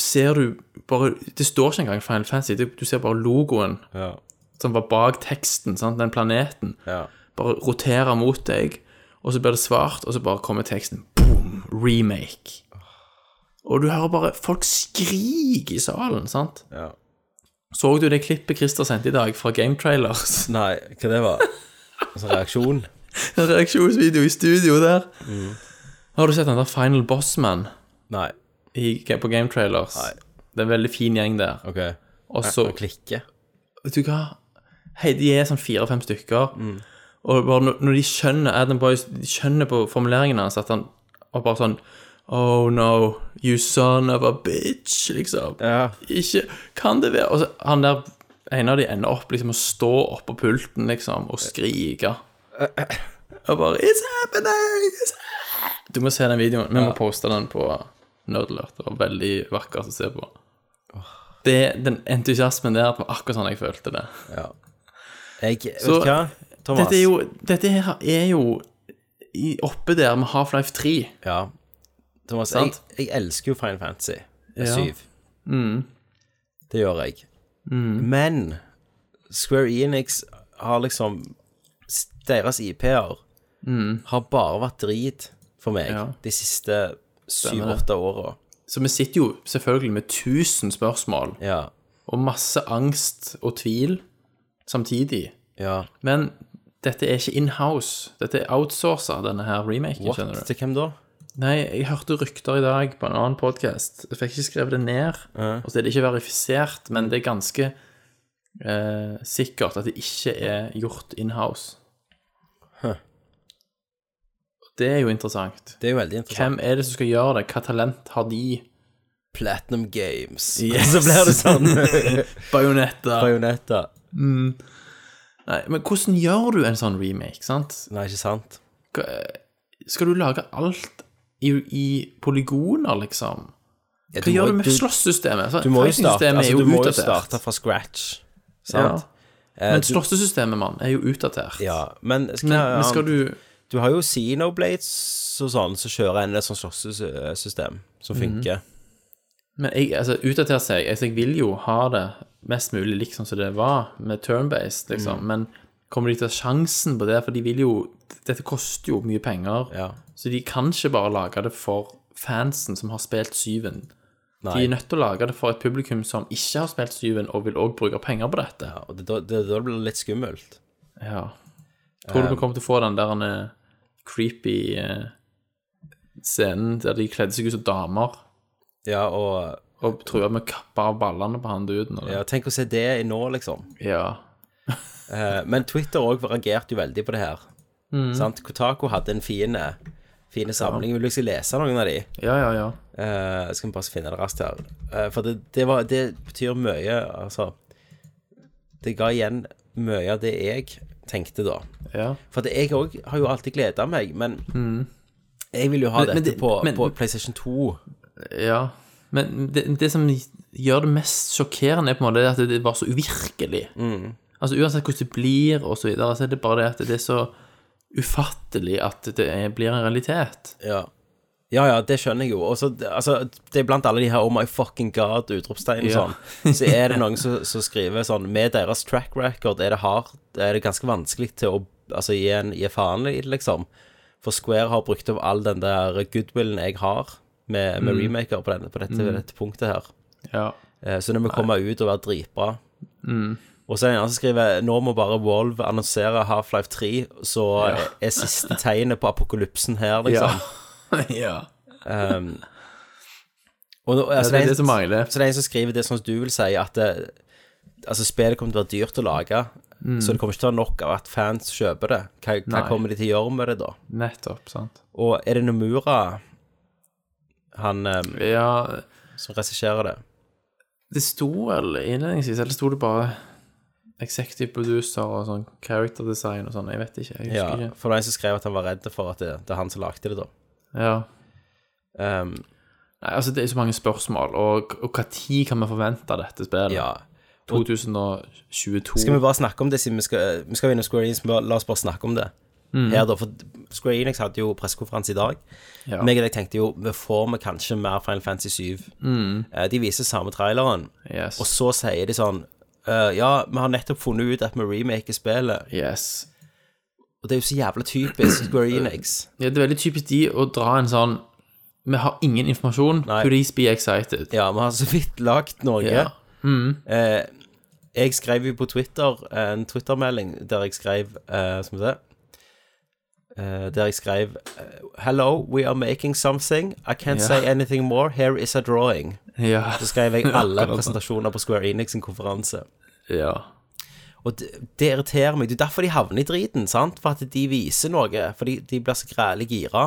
ser du bare, Det står ikke engang Final Fantasy. Du, du ser bare logoen
Ja.
som var bak teksten, sant? den planeten,
Ja.
bare rotere mot deg, og så blir det svart, og så bare kommer teksten boom, remake. Og du hører bare folk skrike i salen, sant?
Ja.
Så du det klippet Christer sendte i dag fra Game Trailers?
Nei, hva det var? En sånn reaksjon?
En reaksjonsvideo i studio der.
Mm.
Har du sett den der Final Bossman
Nei.
i, på Game Trailers?
Nei.
Det er en veldig fin gjeng der.
Ok.
Og så
Å klikke.
vet du hva Hei, de er sånn fire-fem stykker.
Mm.
Og bare når, når de skjønner Adam Boyes De skjønner på formuleringene hans at han var bare sånn Oh no, you son of a bitch, liksom.
Ja.
Ikke Kan det være Og så han der en av de ender opp liksom å stå oppå pulten, liksom, og skrike. Og bare It's happening! It's happening!» Du må se den videoen. Vi må poste den på Nerdlert. Det var veldig vakkert å se på. Det, den entusiasmen der det var akkurat sånn jeg følte det.
Jeg, vet
Så-
du hva, Thomas?
Dette er jo, dette her er jo i, oppe der med Half-Life 3.
Ja. Thomas, jeg,
Sant? Mm.
jeg elsker jo Final Fantasy
Ja.
7. Det gjør jeg.
Mm.
Men Square Enix har liksom Deres IP-er har bare vært drit for meg
Mm. Ja.
de siste
Stemmer det.
syv-åtte åra.
Så vi sitter jo selvfølgelig med 1000 spørsmål
Ja.
og masse angst og tvil samtidig.
ja.
Men dette er ikke in-house. Dette er outsourca, denne her remaken,
What?
skjønner du.
Til hvem da?
Nei, jeg hørte rykter i dag på en annen podkast. Jeg fikk ikke skrevet det ned. Og så er det ikke verifisert, men det er ganske eh, sikkert at det ikke er gjort in-house.
Huh.
Det er jo interessant.
Det er jo veldig interessant.
Hvem er det som skal gjøre det? Hva talent har de?
Platinum Games.
Yes.
Så blir det sånn
Bajonetter.
bajonetter.
Nei, men hvordan gjør du en sånn remake, sant?
Nei, ikke sant?
Hva- Skal du lage alt i, i polygoner, liksom?
Ja,
Hva gjør du med
du,
slåsssystemet?
du må jo starte,
Fighting-systemet er
altså, du må jo
utdatert.
starte fra scratch.
Ja.
Sant? Eh,
Men
du-
slåssesystemet, mann, er jo utdatert.
Ja, men, skal,
Men, men skal du
Du har jo Xenoblades og sånn, som kjører en sånn slåssesystem som funker.
Men jeg, altså, utdatert seg. Jeg, jeg vil jo ha det mest mulig liksom som det var, med turn-based,
Mm.
liksom. Men kommer de til å ha sjansen på det? For de vil jo Dette koster jo mye penger.
Ja.
Så de kan ikke bare lage det for fansen som har spilt Syven. De er
Nei.
nødt til å lage det for et publikum som ikke har spilt Syven, og vil òg bruke penger på dette.
Ja, og det, da- det, da blir det litt skummelt.
Ja. Tror du vi kommer til å få den der eh, creepy eh, scenen der de kledde seg ut som damer
Ja, og
og trua med å kappe av ballene på han duden? eller?
ja, tenk å se det i nå, liksom.
ja.
Eh, men Twitter òg reagerte jo veldig på det her. Sant? Kotako hadde en fin fine samling. Vil du ikke lese noen av de?
Ja, ja, ja.
Eh, skal vi bare finne det raskt her. Eh, for det, det, var, det betyr mye, altså. Det ga igjen mye av det jeg tenkte da.
ja.
For at jeg òg har jo alltid gleda meg, men jeg vil jo ha
Mm. Men- men
dette
det-
på,
men-
på PlayStation 2.
ja. Men det, det som gjør det mest sjokkerende, er på en måte det at det var så uvirkelig. Altså Uansett hvordan det blir, og så, videre, så er det bare det at det er så ufattelig at det er, blir en realitet.
Ja. ja, ja, det skjønner jeg jo. Og så, altså, det er blant alle de her 'Oh my fucking God', utropstegn og
Ja.
sånn, så er det noen som, som skriver sånn Med deres track record er det hard, er det ganske vanskelig til å altså, gi, en, gi faen i det, liksom. For Square har brukt opp all den der goodwillen jeg har med, med remaker på, den, på dette, dette punktet her.
Ja.
Eh, Så det må komme ut og være dritbra. Og så er det en annen som skriver Nå må bare Wolve annonsere Half-Life 3, så er siste tegnet på apokalypsen her, liksom.
ja.
Og, nå- altså,
det er
en-
det som mangler.
Så det er en som skriver det sånn som du vil si, at det, altså, spillet kommer til å være dyrt å lage. Så det kommer ikke til å være nok av at fans kjøper det. Hva, hva
Mm. Nei.
kommer de til å gjøre med det, da?
Nettopp, sant.
Og er det Nomura, han eh,
Ja,
som regisserer det?
det sto vel innledningsvis, eller sto det bare executive producer og sånn character design og sånn, jeg vet ikke, jeg
Ja,
husker
for det er en som skrev at han var redd for at det, det er han som lagde det, da.
ikke. Ja.
Um,
Nei, altså det er så mange spørsmål, og, og hva tid kan vi forvente av dette spillet?
ja.
2022?
Skal vi bare snakke om det siden vi skal, vi skal innom Square Enix? men La oss bare snakke om det.
Mm.
Her da, for Square Enix hadde jo pressekonferanse i dag.
Ja.
Meg og deg tenkte jo vi får vi kanskje mer Final Fantasy 7. Eh, De viser samme traileren,
Mm. Yes.
og så sier de sånn eh, Ja, vi har nettopp funnet ut at vi remaker spillet.
yes.
Og det er jo så jævla typisk Square Enix.
Ja, det er veldig typisk de å dra en sånn, vi har ingen informasjon,
Nei.
please be excited.
Ja, vi har så vidt lagt Norge.
Ja.
Eh, jeg skrev jo på Twitter eh, en Twitter-melding der jeg skrev eh, Skal vi se eh, Der jeg skrev eh, Hello, we are making something. I can't
Ja.
say anything more. Here is a drawing.
Ja.
Så skrev jeg alle
Akkurat sånn.
presentasjoner på Square Enix sin konferanse.
Ja.
Og det, det irriterer meg. Det er derfor de havner i driten, sant? For at de viser noe. Fordi de blir så grælig gira.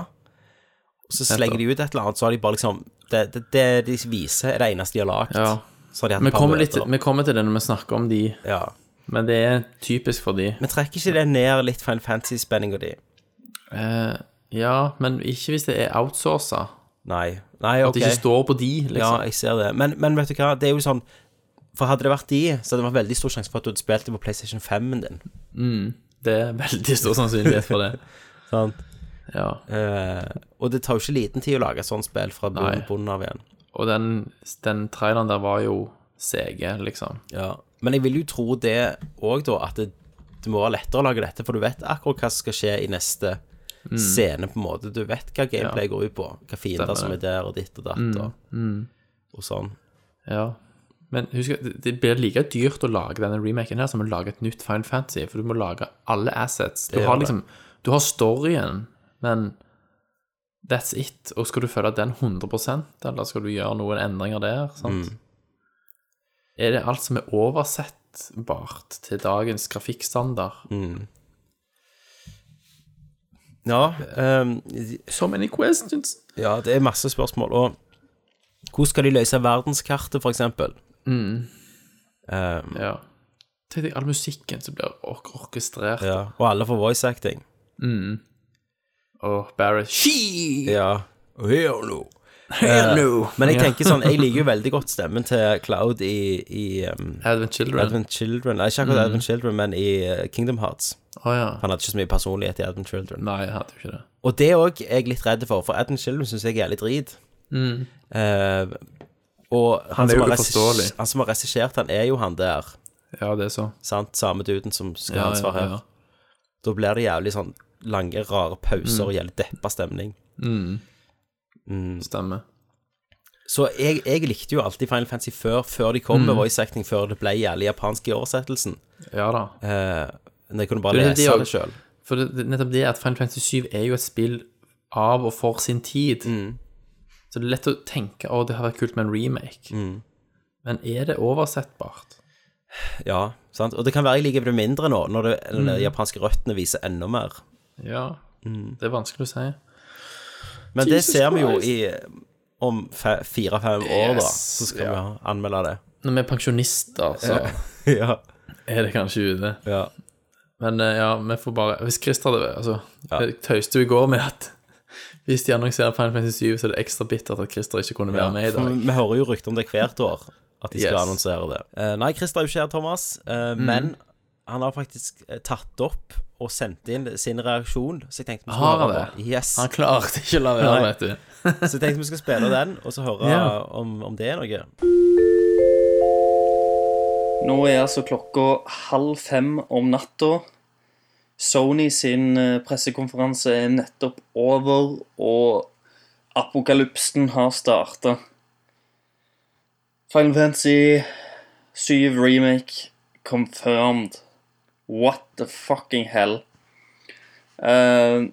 Og så slenger de ut et eller annet, så har de bare liksom Det, det, det de viser, er det eneste de har lagd.
Ja.
Så har de hatt
Vi
et par
kommer, litt,
møter.
vi kommer til det når vi snakker om de,
Ja.
men det er typisk for de.
Men trekker ikke det ned litt Final Fantasy-spenninga di?
Eh, ja, men ikke hvis det er outsourca.
Nei. Nei,
At
ok.
det ikke står på de,
Ja,
liksom.
jeg ser det. Men, men vet du hva, det er jo sånn For hadde det vært de, så hadde det vært veldig stor sjanse for at du hadde spilt det på PlayStation 5-en din.
Det er veldig stor sannsynlighet for det.
Sant.
Ja.
Eh, og det tar jo ikke liten tid å lage et sånt spill fra bunnen
Nei.
bunnen av igjen.
Og den, den traileren der var jo CG, liksom.
Ja. Men jeg vil jo tro det òg, da, at det, det må være lettere å lage dette, for du vet akkurat hva som skal skje i neste Mm. scene, på en måte. Du vet hva gameplay går ut på, hva fiender
Stemmer
som er
det.
der, og ditt og datt, og, og sånn.
Ja. Men husk, at det- det blir like dyrt å lage denne remaken her som å lage et nytt Final Fantasy, for du må lage alle assets. Du
Det
har
gjør det.
liksom Du har storyen, men that's it. Og skal du følge den 100 eller skal du gjøre noen endringer der? sant?
Mm.
Er det alt som er oversettbart til dagens grafikkstandard?
Mm. Ja. ehm,
So many questions.
Ja, det er masse spørsmål. Og Mm. hvordan skal de løse verdenskartet, for eksempel?
Ja. Tenk deg all musikken som blir ork orkestrert.
Ja. Og alle får voice acting.
Og Barrett She!
Ja.
Hello. Hello.
Eh, Men jeg tenker sånn, jeg liker jo veldig godt stemmen til Cloud i, i um,
Advent Children. Å
Advent Children. Nei, ikke
Mm.
akkurat Advent Children, men i uh, Kingdom Hearts.
ja.
Han hadde ikke så mye personlighet i Advent Children.
Nei, jeg hadde jo ikke det.
Og det òg er jeg litt redd for, for Advent Children syns jeg er litt drit.
Mm.
Eh, og han,
er
som
jo
har
uforståelig.
regissert- han som har regissert, han er jo han der,
Ja, det er så.
sant? Samme duden som skal ha
Ja,
ansvar
ja,
her.
ja.
Da blir det jævlig sånn lange, rare pauser
Mm.
og jævlig deppa stemning.
Stemmer.
Så jeg, jeg likte jo alltid Final Fantasy før, før de kom med
Mm.
voice acting, før det ble jævlig japansk i oversettelsen.
Ja da.
Eh, men jeg kunne bare
Du, det er
lese
de også.
det sjøl.
For det, det, nettopp det at Final Fantasy 7 er jo et spill av og for sin tid. Så det er lett å tenke å, det har vært kult med en remake. Men er det oversettbart?
Ja, sant? Og det kan være jeg liker det mindre nå, når det, eller
Mm.
de japanske røttene viser enda mer.
Ja. Det er vanskelig å si.
Men det
Jesus
ser vi jo
Christ.
i eh, om fe- fire-fem år, da. Så skal
ja.
vi anmelde det.
Når vi er pensjonister, så
ja.
er det kanskje ute.
ja.
Men eh, ja, vi får bare Hvis Christer hadde altså, Jeg tøyste jo i går med at hvis de annonserer Final Fantasy 7, så er det ekstra bittert at Christer ikke kunne være med i
for
dag.
vi- vi hører jo rykter om det hvert år, at de skal
Yes. Mm.
annonsere det. Eh, nei, Christer er jo ikke her, Thomas, eh, men han har faktisk eh, tatt opp og sendt inn sin reaksjon, så jeg tenkte vi skulle
Har han
høre på.
det?
Yes.
Han klarte ikke å la være,
Nei.
vet du.
Så jeg tenkte vi skal spille den, og så høre
Ja.
om, om det er noe.
Nå er altså klokka halv fem om natta. Sony sin eh, pressekonferanse er nettopp over, og apokalypsen har starta. Final Fantasy 7 Remake confirmed. What the fucking hell? Eh,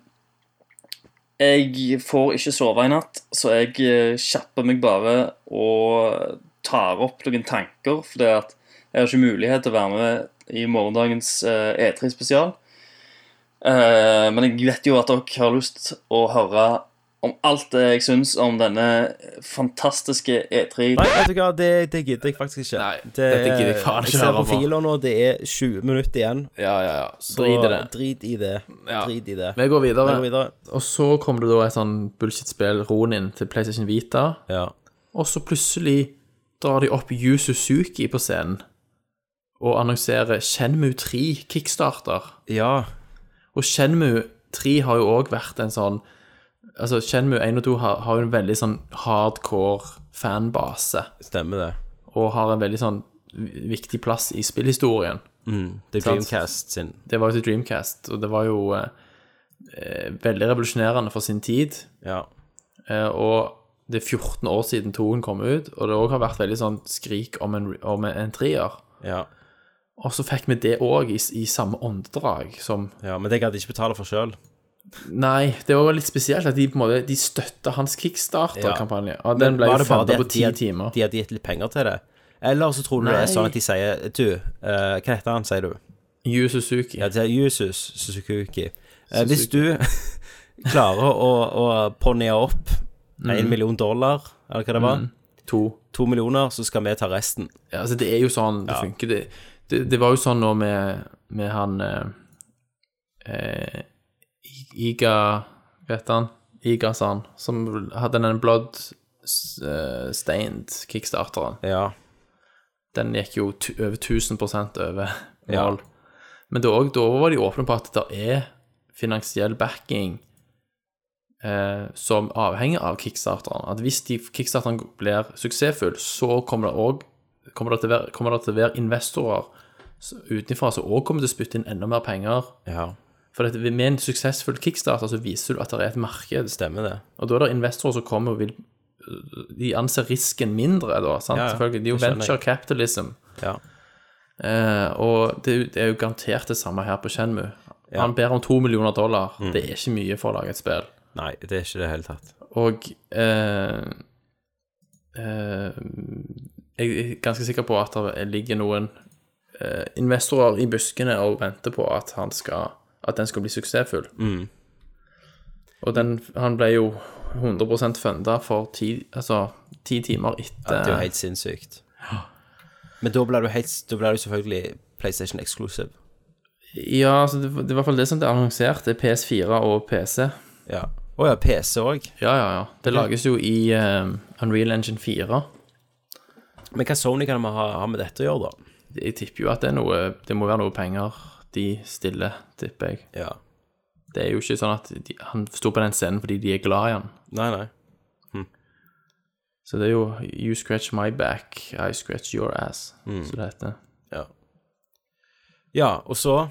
jeg får ikke sove i natt, så jeg eh, kjapper meg bare og tar opp noen tanker, fordi at jeg har ikke mulighet til å være med i morgendagens eh, E3-spesial. Eh, men jeg vet jo at dere har lyst å høre om alt det jeg syns om denne fantastiske E E3.
Nei, vet du hva, det, det gidder jeg faktisk ikke.
Nei, dette gidder jeg faen ikke
Jeg ser
høre
på
på.
fila nå, det er 20 minutter igjen.
Ja, ja, ja.
så
Drit i det.
Drit i det.
Ja.
Drit i det.
Vi går videre.
Vi går videre.
Og så kom det da et sånn bullshit-spill, Ronin, til PlayStation Vita.
Ja.
Og så plutselig drar de opp Yu Suzuki på scenen og annonserer Shenmue 3 kickstarter.
ja.
Og Shenmue 3 har jo òg vært en sånn Altså, Shenmue 1 og 2 har, har jo en veldig sånn hardcore fanbase.
Stemmer det.
Og har en veldig sånn vi- viktig plass i spillhistorien.
Det er Dreamcast sin.
Det var jo til Dreamcast, og det var jo eh, eh, veldig revolusjonerende for sin tid.
Ja.
Eh, og det er 14 år siden toen kom ut, og det òg har vært veldig sånn skrik om en, om en treer.
ja.
Og så fikk vi det òg i, s- i samme åndedrag som
ja. Men det kan jeg ikke betale for sjøl.
Nei, det var litt spesielt at de på en måte De støtta hans kickstarter-kampanje. Og den ble jo
Var det bare
funda
det
på
at de
ti
har-
timer.
De hadde gitt litt penger til det. Eller så tror du det
Nei.
er sånn at de sier Du, eh, hva heter han, sier du?
Yu Suzuki.
Ja, det er Yusus Suzuki. Eh, hvis du klarer å, å ponnie opp én million dollar, eller hva det var,
Mm. To.
to millioner, så skal vi ta resten.
Ja, altså, det er jo sånn det funker. Det, det, det var jo sånn nå med, med han eh, eh, I- Iga Hva heter han? Iga-san, som hadde den blood s- eh, stained-kickstarteren.
Ja.
Den gikk jo tu- over 1000 over
Ja.
mål. Men da, da var de åpne på at det er finansiell backing eh, som avhenger av kickstarteren. At hvis de, kickstarteren blir suksessfull, så kommer det òg kommer det, til å være, kommer det til å være investorer s- utenfra som òg kommer til å spytte inn enda mer penger.
ja.
For at med en suksessfull kickstarter så viser du at det er et marked.
Stemmer det.
Og da er det investorer som kommer og vil eh, De anser risken mindre, da. sant?
Ja, ja,
Selvfølgelig. Det er jo
det skjønner
venture
jeg.
capitalism.
Ja.
Eh, og det, er jo- det er jo garantert det samme her på Shenmue.
Ja. Mm.
Han ber om to millioner dollar. Det er ikke mye for å lage et spill.
Nei, det er ikke det i det hele tatt.
Og eh, eh, jeg er ganske sikker på at det ligger noen eh, investorer i buskene og venter på at, han skal, at den skal bli suksessfull.
Mm.
Og den, han ble jo 100 funda for ti, altså, ti timer
Det er jo
etter
helt sinnssykt. Men da blir det jo helt- da blir det jo selvfølgelig PlayStation Exclusive.
Ja, altså, det, det er i hvert fall det som det er annonsert. Det er PS4 og PC.
Ja. Å ja, PC òg.
Ja, ja, ja. Det lages jo i eh, Unreal Engine 4.
Men hva Sony kan vi ha, ha med dette å gjøre, da?
Jeg tipper jo at det er noe Det må være noe penger de stiller, tipper jeg.
Ja.
Det er jo ikke sånn at de, han sto på den scenen fordi de er glad i han.
Nei, nei.
Så det er jo You scratch my back, I scratch your ass, som det heter.
Ja, og så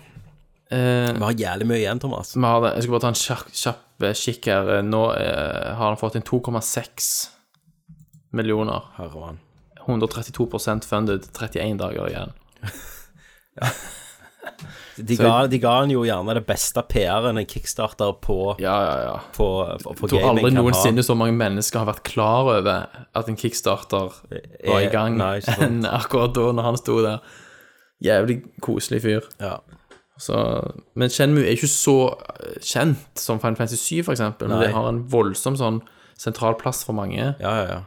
Mm.
Eh,
Vi har jævlig mye igjen, Thomas.
Vi har det. Jeg skal bare ta en kjapp, kjapp eh, kikk her. Eh, Nå eh, har han fått inn 2,6 millioner.
Herre mann.
132 funded, 31 dager igjen.
De ga, de ga han jo gjerne det beste PR-en en kickstarter på,
Ja, ja, ja.
på, på,
Jeg
på
tror aldri
gaming kan ha.
noensinne så mange mennesker har vært klar over at en kickstarter var i
Eh,
gang
nei, ikke sant.
enn akkurat da når han sto der. Jævlig koselig fyr.
Ja.
Så, men Shenmue er ikke så eh, kjent som Final Fantasy 7, for eksempel. Men
Nei.
det har en voldsom sånn sentral plass for mange.
ja, ja, ja.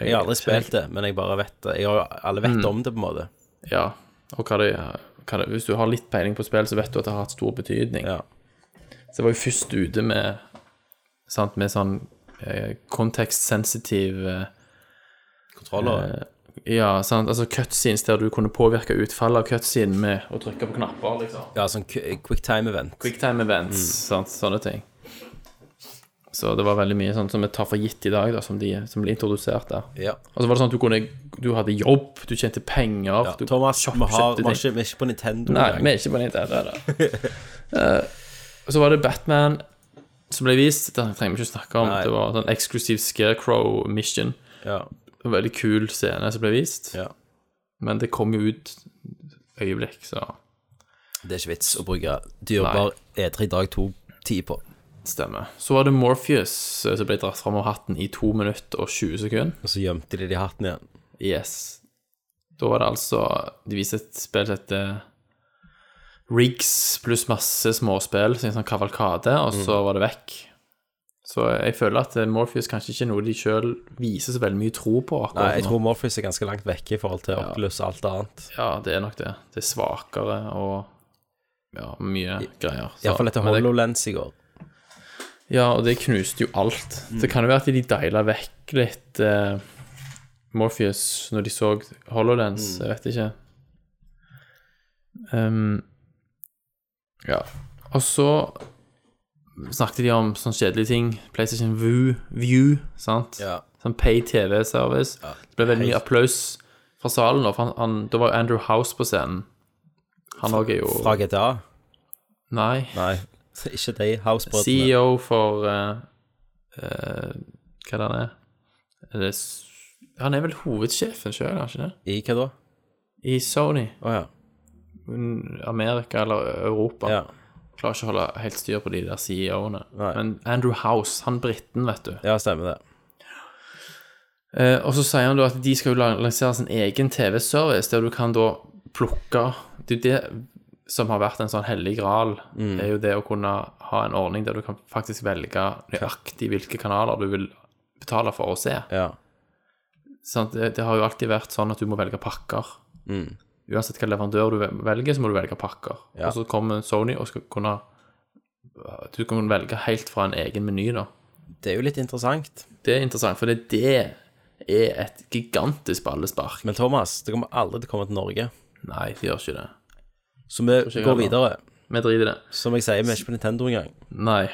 Jeg har aldri spilt det, men jeg bare vet det. Jeg har, alle
Mm.
vet om det, på en måte.
Ja, og hva det, hva det, hvis du har litt peiling på spill, så vet du at det har hatt stor betydning.
Ja.
Så jeg var jo først ute med, sant, med sånn eh, kontekstsensitiv eh,
Kontroller.
Ja, sant, altså cutscenes der du kunne påvirke utfallet av cutscenen med å trykke på knapper, liksom.
ja, Mm. sånn qu- quicktime-event.
Quicktime events, sant, sånne ting. Så det var veldig mye sånn som vi tar for gitt i dag, da, som, de, som ble introdusert der.
Ja.
Og så var det sånn at du kunne Du hadde jobb, du tjente penger
Ja,
du
Thomas, vi, har, vi,
kjøpte
har
ting.
ikke, vi er ikke på Nintendo
Nei,
engang.
vi er ikke på Nintendo. Da. Eh, og så var det Batman som ble vist. Den trenger vi ikke snakke om.
Nei.
Det var sånn eksklusiv Scarecrow Mission.
Ja.
En veldig kul scene som ble vist.
Ja.
Men det kom jo ut øyeblikk, så
Det er ikke vits å bruke dyrbar E3 dag 2-tid på.
stemmer. Så var det Morpheus eh, som ble dratt fram av hatten i 2 minutter og 20 sekunder.
Og så gjemte de det i hatten igjen.
Yes. Da var det altså De viste et spill som heter Riggs pluss masse småspill, så en sånn kavalkade, og så
Mm.
var det vekk. Så jeg føler at eh, Morpheus kanskje ikke er noe de sjøl viser så veldig mye tro på. akkurat
Nei, jeg
nå.
tror Morpheus er ganske langt vekke i forhold til Oculus og alt annet.
Ja, det er nok det. Det er svakere og ja, mye greier. Så-
Iallfall etter
men det-
HoloLens i går.
Ja, og det knuste jo alt. Det
Mm.
kan jo være at de deila vekk litt eh, Morpheus når de så HoloLens,
Mm.
jeg vet ikke. Ehm, ja. Og så snakket de om sånne kjedelige ting. PlayStation View, View sant?
Ja.
Sånn Pay TV-service. Det ble veldig mye applaus fra salen, da, for han, han, da var jo Andrew House på scenen. Han òg er jo
Fra GTA?
Nei.
Mm. Nei. E Så Ikke de House-brødrene.
CEO E for eh, eh, Hva er det han er? er det, s- han er vel hovedsjefen sjøl, er han ikke det?
I hva da?
I Sony.
Å ja.
Un- Amerika eller Europa.
ja.
Klarer ikke å holde helt styr på de der CEO-ene.
Nei.
Men Andrew House, han briten, vet du.
Ja, stemmer det.
Eh, og så sier han da at de skal jo la- lansere sin egen TV-service, der du kan da plukke Det er jo det som har vært en sånn hellig gral,
Mm.
er jo det å kunne ha en ordning der du kan faktisk velge nøyaktig hvilke kanaler du vil betale for å se.
Ja.
Sant? Det, det har jo alltid vært sånn at du må velge pakker. Uansett hvilken leverandør du vel- velger, så må du velge pakker.
Ja.
Og så kommer Sony og skal kunne øh, Du kan velge helt fra en egen meny, da.
Det er jo litt interessant.
Det er interessant, for det, det er et gigantisk ballespark.
Men Thomas, det kommer aldri til å komme til Norge.
Nei, det gjør ikke det.
Så vi
jeg
går
heller.
videre.
Vi driter i det.
Som jeg sier, vi er ikke på Nintendo engang.
Nei.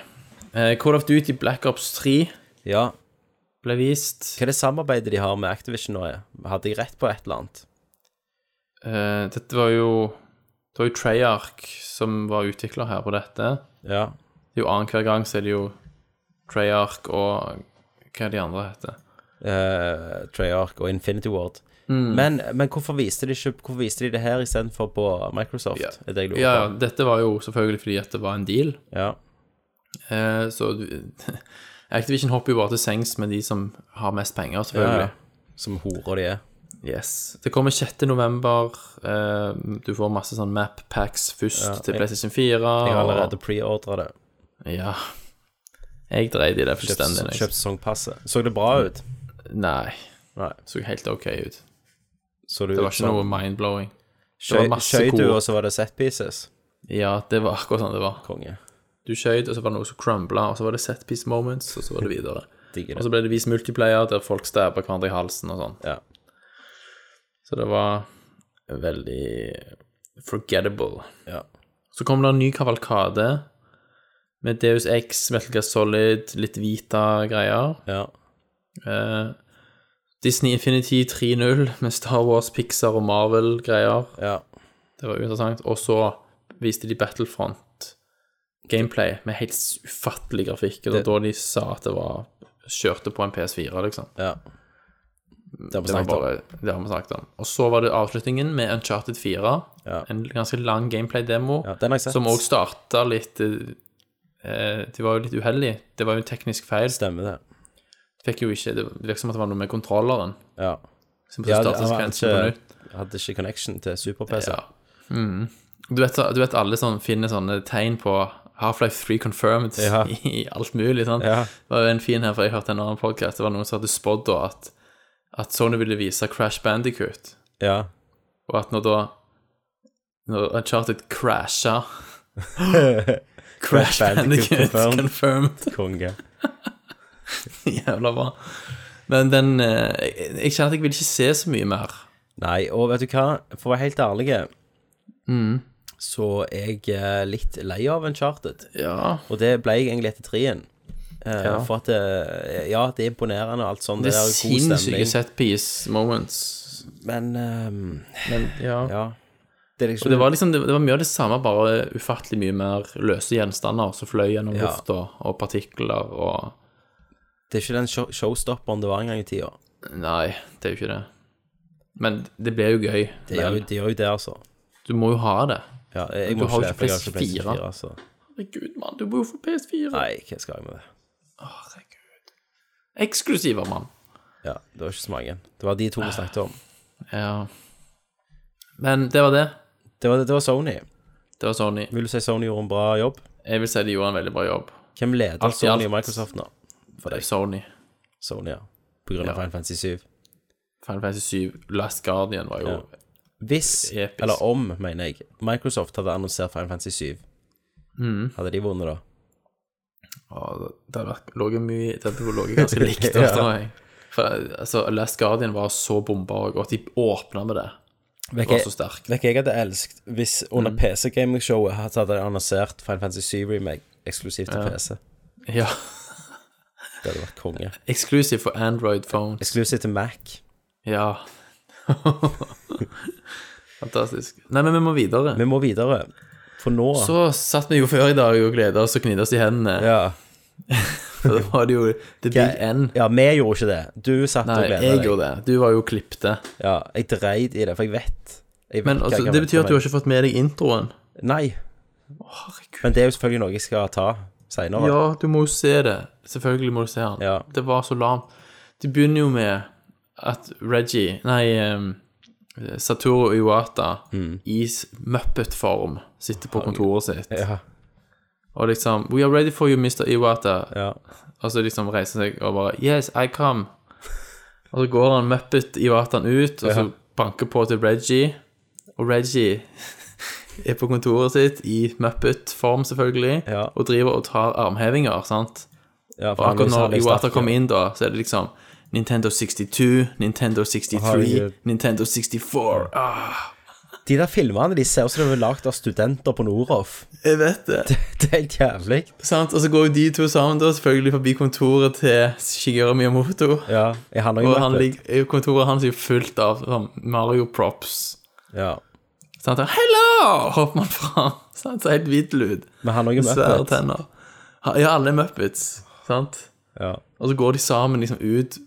Eh, Call of Duty Black Ops 3
Ja.
ble vist.
Hva er det samarbeidet de har med Activision nå? er? Hadde jeg rett på et eller annet?
Eh, dette var jo Det var jo Treyarch som var utvikler her på dette.
Ja.
Det er jo annenhver gang så er det jo Treyarch og hva er de andre heter.
Eh, Treyarch og Infinity Ward. Men, men hvorfor viste de ikke Hvorfor viste de det her istedenfor på Microsoft?
Ja.
Er det jeg lurer
Ja, ja,
på.
dette var jo selvfølgelig fordi at det var en deal.
Ja.
Eh, så du- Activision hopper jo bare til sengs med de som har mest penger, selvfølgelig.
Ja, Som horer de er.
Yes. Det kommer 6. november. eh, du får masse sånn map packs først til
jeg-
PlayStation 4.
Jeg har
og-
allerede preordra det.
Ja. Jeg dreide i det fullstendig.
Kjøpt,
jeg.
kjøpt sesongpasset. Så det bra ut?
Nei.
Nei.
Så helt ok ut.
Så det,
Det
ut
var ikke
som-
noe mind-blowing. Det var
Skjøy
masse
skjøy du,
kor.
sånn og så var det set pieces.
Ja, det var akkurat sånn det var.
Konge.
Du skjøt, og så var det noe som crumbla, og så var det set piece moments, og så var det videre.
Digger
Og så
det.
ble det vist multiplayer der folk stabba hverandre i halsen og sånn.
Ja.
Så det var veldig forgettable.
Ja.
Så kom det en ny kavalkade med Deus X, Metal Gear Solid, litt Vita greier.
ja.
Eh, Disney Infinity 3.0 med Star Wars, Pixar og Marvel-greier.
ja.
Det var uinteressant. Og så viste de Battlefront gameplay med helt ufattelig grafikk. Og det var da de sa at det var Kjørte på en PS4, liksom.
ja. Det har vi
Det, var
snakket om.
bare, det har vi snakket om. Og så var det avslutningen med Uncharted 4.
Ja.
En ganske lang gameplay-demo
Ja, den har jeg sett.
som òg starta litt eh, De var jo litt uheldige. Det var jo en teknisk feil.
Stemmer det.
Fikk jo ikke, det virket som at det var noe med kontrolleren.
Ja.
Som
Ja,
ja,
det-
startet
han
sekvensen på
hadde
nytt.
ikke, hadde ikke connection til super-PC.
Ja. Du, vet, du vet alle sånn, finner sånne tegn på Half-Life 3 Confirmed
Ja.
i alt mulig. sant?
Ja.
Det var jo en fin her, for jeg hørte en annen podcast, Det var noen som hadde spådd da at, at Sony ville vise Crash Bandicoot,
Ja.
og at når da når Uncharted crasha Crash
Bandicoot
Bandicoot
confirmed.
confirmed.
Konge.
Jævla bra. Men den eh, Jeg, jeg kjenner at jeg vil ikke se så mye mer.
Nei, og vet du hva, for å være helt ærlig,
Mm.
så er jeg eh, litt lei av Uncharted.
Ja.
Og det ble jeg egentlig etter treen. Eh, For at eh, Ja, det er imponerende og alt sånt.
Det er
Det, er god
sinnssyke
stemning.
setpiece moments.
Men eh,
Men ja.
ja. Det er
Og
liksom
det var liksom, det, det var mye av det samme, bare ufattelig mye mer løse gjenstander som fløy gjennom
Ja.
lufta, og partikler og
Det er ikke den show showstopperen det var en gang i tida.
Nei, det er jo ikke det. Men det blir jo gøy.
Det gjør
vel.
jo det, gjør jo det altså.
Du må jo ha det.
Ja, jeg
Men
må
du har jo
ikke det, for jeg har
ikke
ikke PlayStation 4.
PS4,
altså.
Herregud, mann, du må jo få PS4.
Nei, hva skal jeg med det?
Herregud. Eksklusiver, mann.
Ja, Det var ikke så mange. Det var de to vi snakket om.
Ja. Men det var det.
Det var, det var Sony.
Det var Sony.
Vil du si Sony gjorde en bra jobb?
Jeg vil si de gjorde en veldig bra jobb.
Hvem leder
Alt i
Sony
alt.
og Microsoft nå? For deg.
Sony.
Sony, ja. På grunn av
Ja.
Final Fantasy 7.
Final Fantasy 7, Last Guardian var jo
Ja. Hvis,
Episk.
eller om, mener jeg, Microsoft hadde annonsert Final Fantasy 7,
Mm.
hadde de vunnet da?
Ja, det hadde vært- lå jo mye Det hadde ligget ganske likt, da, tror jeg. For altså, Last Guardian var så bomba òg, og at de åpna med det. Det var så sterkt. Mm.
Vet ikke, jeg hadde elsket hvis under PC Gaming Showet hadde de annonsert Final Fantasy 7 Remake eksklusivt til PC.
Ja.
Det hadde vært konge.
Exclusive for Android phones.
Eksklusivt til Mac.
Ja. Fantastisk. Nei, men vi må videre.
Vi må videre, for nå
Så satt vi jo før i dag og gleda oss og knidde oss i hendene.
ja.
For da var det jo The Big N.
ja, vi gjorde ikke det. Du satt
Nei,
og gledet
jeg
deg.
gjorde det. Du var jo klippte.
Ja, jeg dreit i det, for jeg vet. Jeg vet
Men
hva
altså,
jeg
det betyr at du har
venter
ikke fått med deg introen.
meg. Nei. Men det er jo selvfølgelig noe jeg skal ta seinere.
Ja, du må jo se det. Selvfølgelig må du se han.
Ja.
Det var så lamt. De begynner jo med at Reggie Nei, em, Satoru Iwata
Mm.
i s- Muppet-form sitter på kontoret sitt.
Ja.
Og liksom We are ready for you, Mr. Iwata.
Ja.
Og så liksom reiser han seg og bare Yes, I come. Og så går han Muppet-Iwataen ut, og så banker på til Reggie. Og Reggie er på kontoret sitt i Muppet-form, selvfølgelig,
Ja.
og driver og tar armhevinger, sant?
Ja,
Og akkurat
sånn
når Iwata kom inn, da, så er det liksom Nintendo 62, Nintendo 63,
Herregud.
Nintendo 64 ah,
De der filmene de ser ut som de er lagd av studenter på Noroff.
Jeg vet det.
Det er helt jævlig.
sant? Og så går jo de to sammen, da, selvfølgelig forbi kontoret til Shigeru Miyamoto.
Ja, jeg handler jo
Og han
Muppet.
ligger, kontoret hans er jo fullt av sånn Mario-props.
Ja.
Sant? Og, Hello! hopper man fram. Sant? Så helt hvit lyd.
Men han er jo
Svære
Muppet.
tenner. Ja, alle er Muppets. Sant?
Ja.
Og så går de sammen liksom ut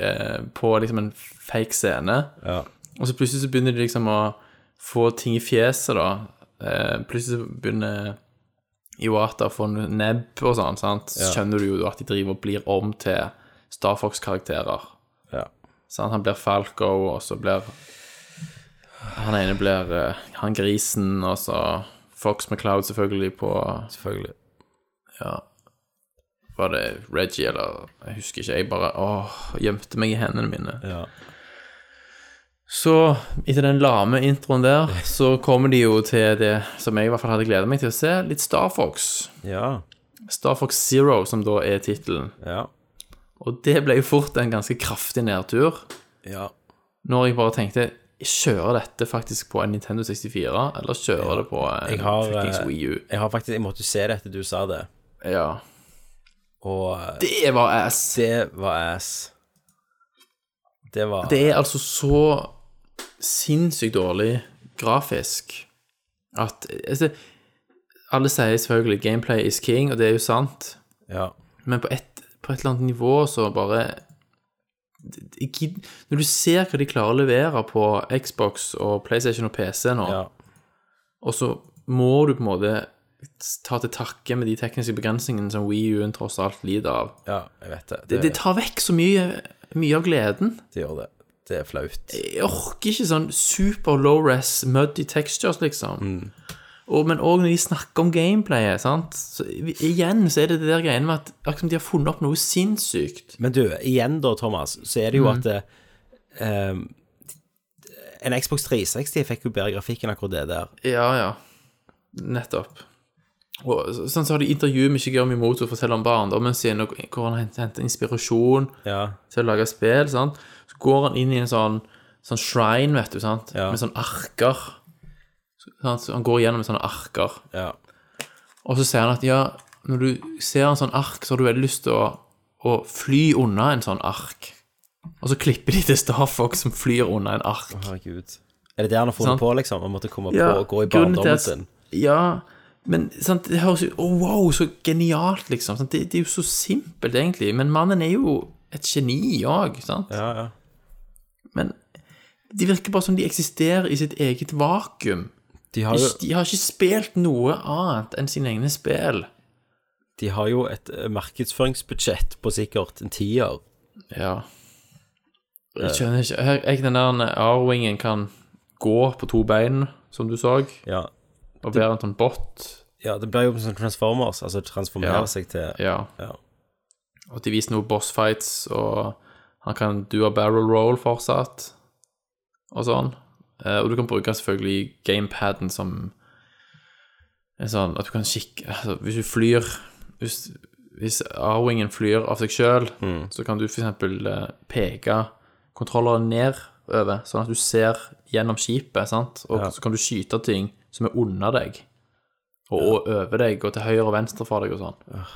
eh, på liksom en fake scene.
Ja.
Og så plutselig så begynner de liksom å få ting i fjeset, da. Eh, plutselig så begynner Iwata å få noe nebb og sånn, sant. Så skjønner du jo at de driver og blir om til Star Fox-karakterer.
Ja.
Sant? Han blir Falco, og så blir Han ene blir eh, han grisen, og så Fox McCloud selvfølgelig på
Selvfølgelig.
Var det Reggie, eller Jeg husker ikke. Jeg bare åh, gjemte meg i hendene mine.
Ja.
Så etter den lame introen der, så kommer de jo til det som jeg i hvert fall hadde gleda meg til å se, litt Star Fox.
Ja.
Star Fox Zero, som da er tittelen.
Ja.
Og det ble jo fort en ganske kraftig nedtur,
Ja.
når jeg bare tenkte Kjører dette faktisk på en Nintendo 64, eller kjører det på en
Jeg har,
fuckings
eh,
Wii U?
Jeg har faktisk Jeg måtte se det etter du sa det,
Ja.
og eh,
Det var ass.
det var ass. Det var
Det er altså så sinnssykt dårlig grafisk at altså, Alle sier selvfølgelig 'gameplay is king', og det er jo sant,
Ja.
men på et, på et eller annet nivå så bare jeg gidd- Når du ser hva de klarer å levere på Xbox og PlayStation og PC nå,
Ja.
og så må du på en måte ta til takke med de tekniske begrensningene som Wii U-en tross alt lider av
ja, jeg vet det.
Det, det tar vekk så mye, mye av gleden.
det gjør det. Det er flaut.
jeg orker ikke sånn super low-res muddy textures, liksom. Og, men òg når de snakker om gameplayet, sant. Så, i- igjen så er det det der greiene med at akkurat som de har funnet opp noe sinnssykt.
Men du, igjen da, Thomas, så er det
Mhm.
jo at eh, um, En Xbox 360 fikk jo bedre grafikk enn akkurat det der.
Ja, ja. Nettopp. Og så- sånn så har de intervju med Shigeru Moto og forteller om barndommen sin, og hvor han hent- henter inspirasjon
Ja.
til å lage spill, sant. Så går han inn i en sånn, sånn shrine, vet du, sant.
Ja.
Med sånn arker. Sant? Så han går gjennom sånne arker.
Ja.
Og så sier han at ja, når du ser en sånn ark, så har du veldig lyst til å, å fly unna en sånn ark. Og så klipper de til Star Fox som flyr unna en ark.
Herregud. Er det det han har funnet
Sant.
på, liksom? Han måtte komme
Ja,
på og gå i
grunnen til
barndommen
at-
sin?
Ja, men sant, det høres jo Å, wow, så genialt, liksom. Sant? Det, det er jo så simpelt, egentlig. Men mannen er jo et geni òg, sant.
Ja, ja.
Men de virker bare som de eksisterer i sitt eget vakuum.
De har jo,
Ikke- De har ikke spilt noe annet enn sine egne spill.
de har jo et eh, markedsføringsbudsjett på sikkert en tier.
Ja. Jeg skjønner ikke Her- Jeg, Den der R-wingen kan gå på to bein, som du så,
Ja.
og være en sånn bot.
ja, det blir jo som Transformers, altså transformere
Ja.
seg til
Ja.
Ja.
Og de viser noe boss fights, og han kan do a barrel roll fortsatt, og sånn. Eh, og du kan bruke selvfølgelig gamepaden som en sånn At du kan kikke altså, Hvis du flyr Hvis, hvis R-wingen flyr av seg sjøl, så kan du f.eks. Uh, peke kontrolleren nedover, sånn at du ser gjennom skipet, sant? og så kan du skyte ting som er under deg, og, og over deg, og til høyre og venstre for deg og sånn.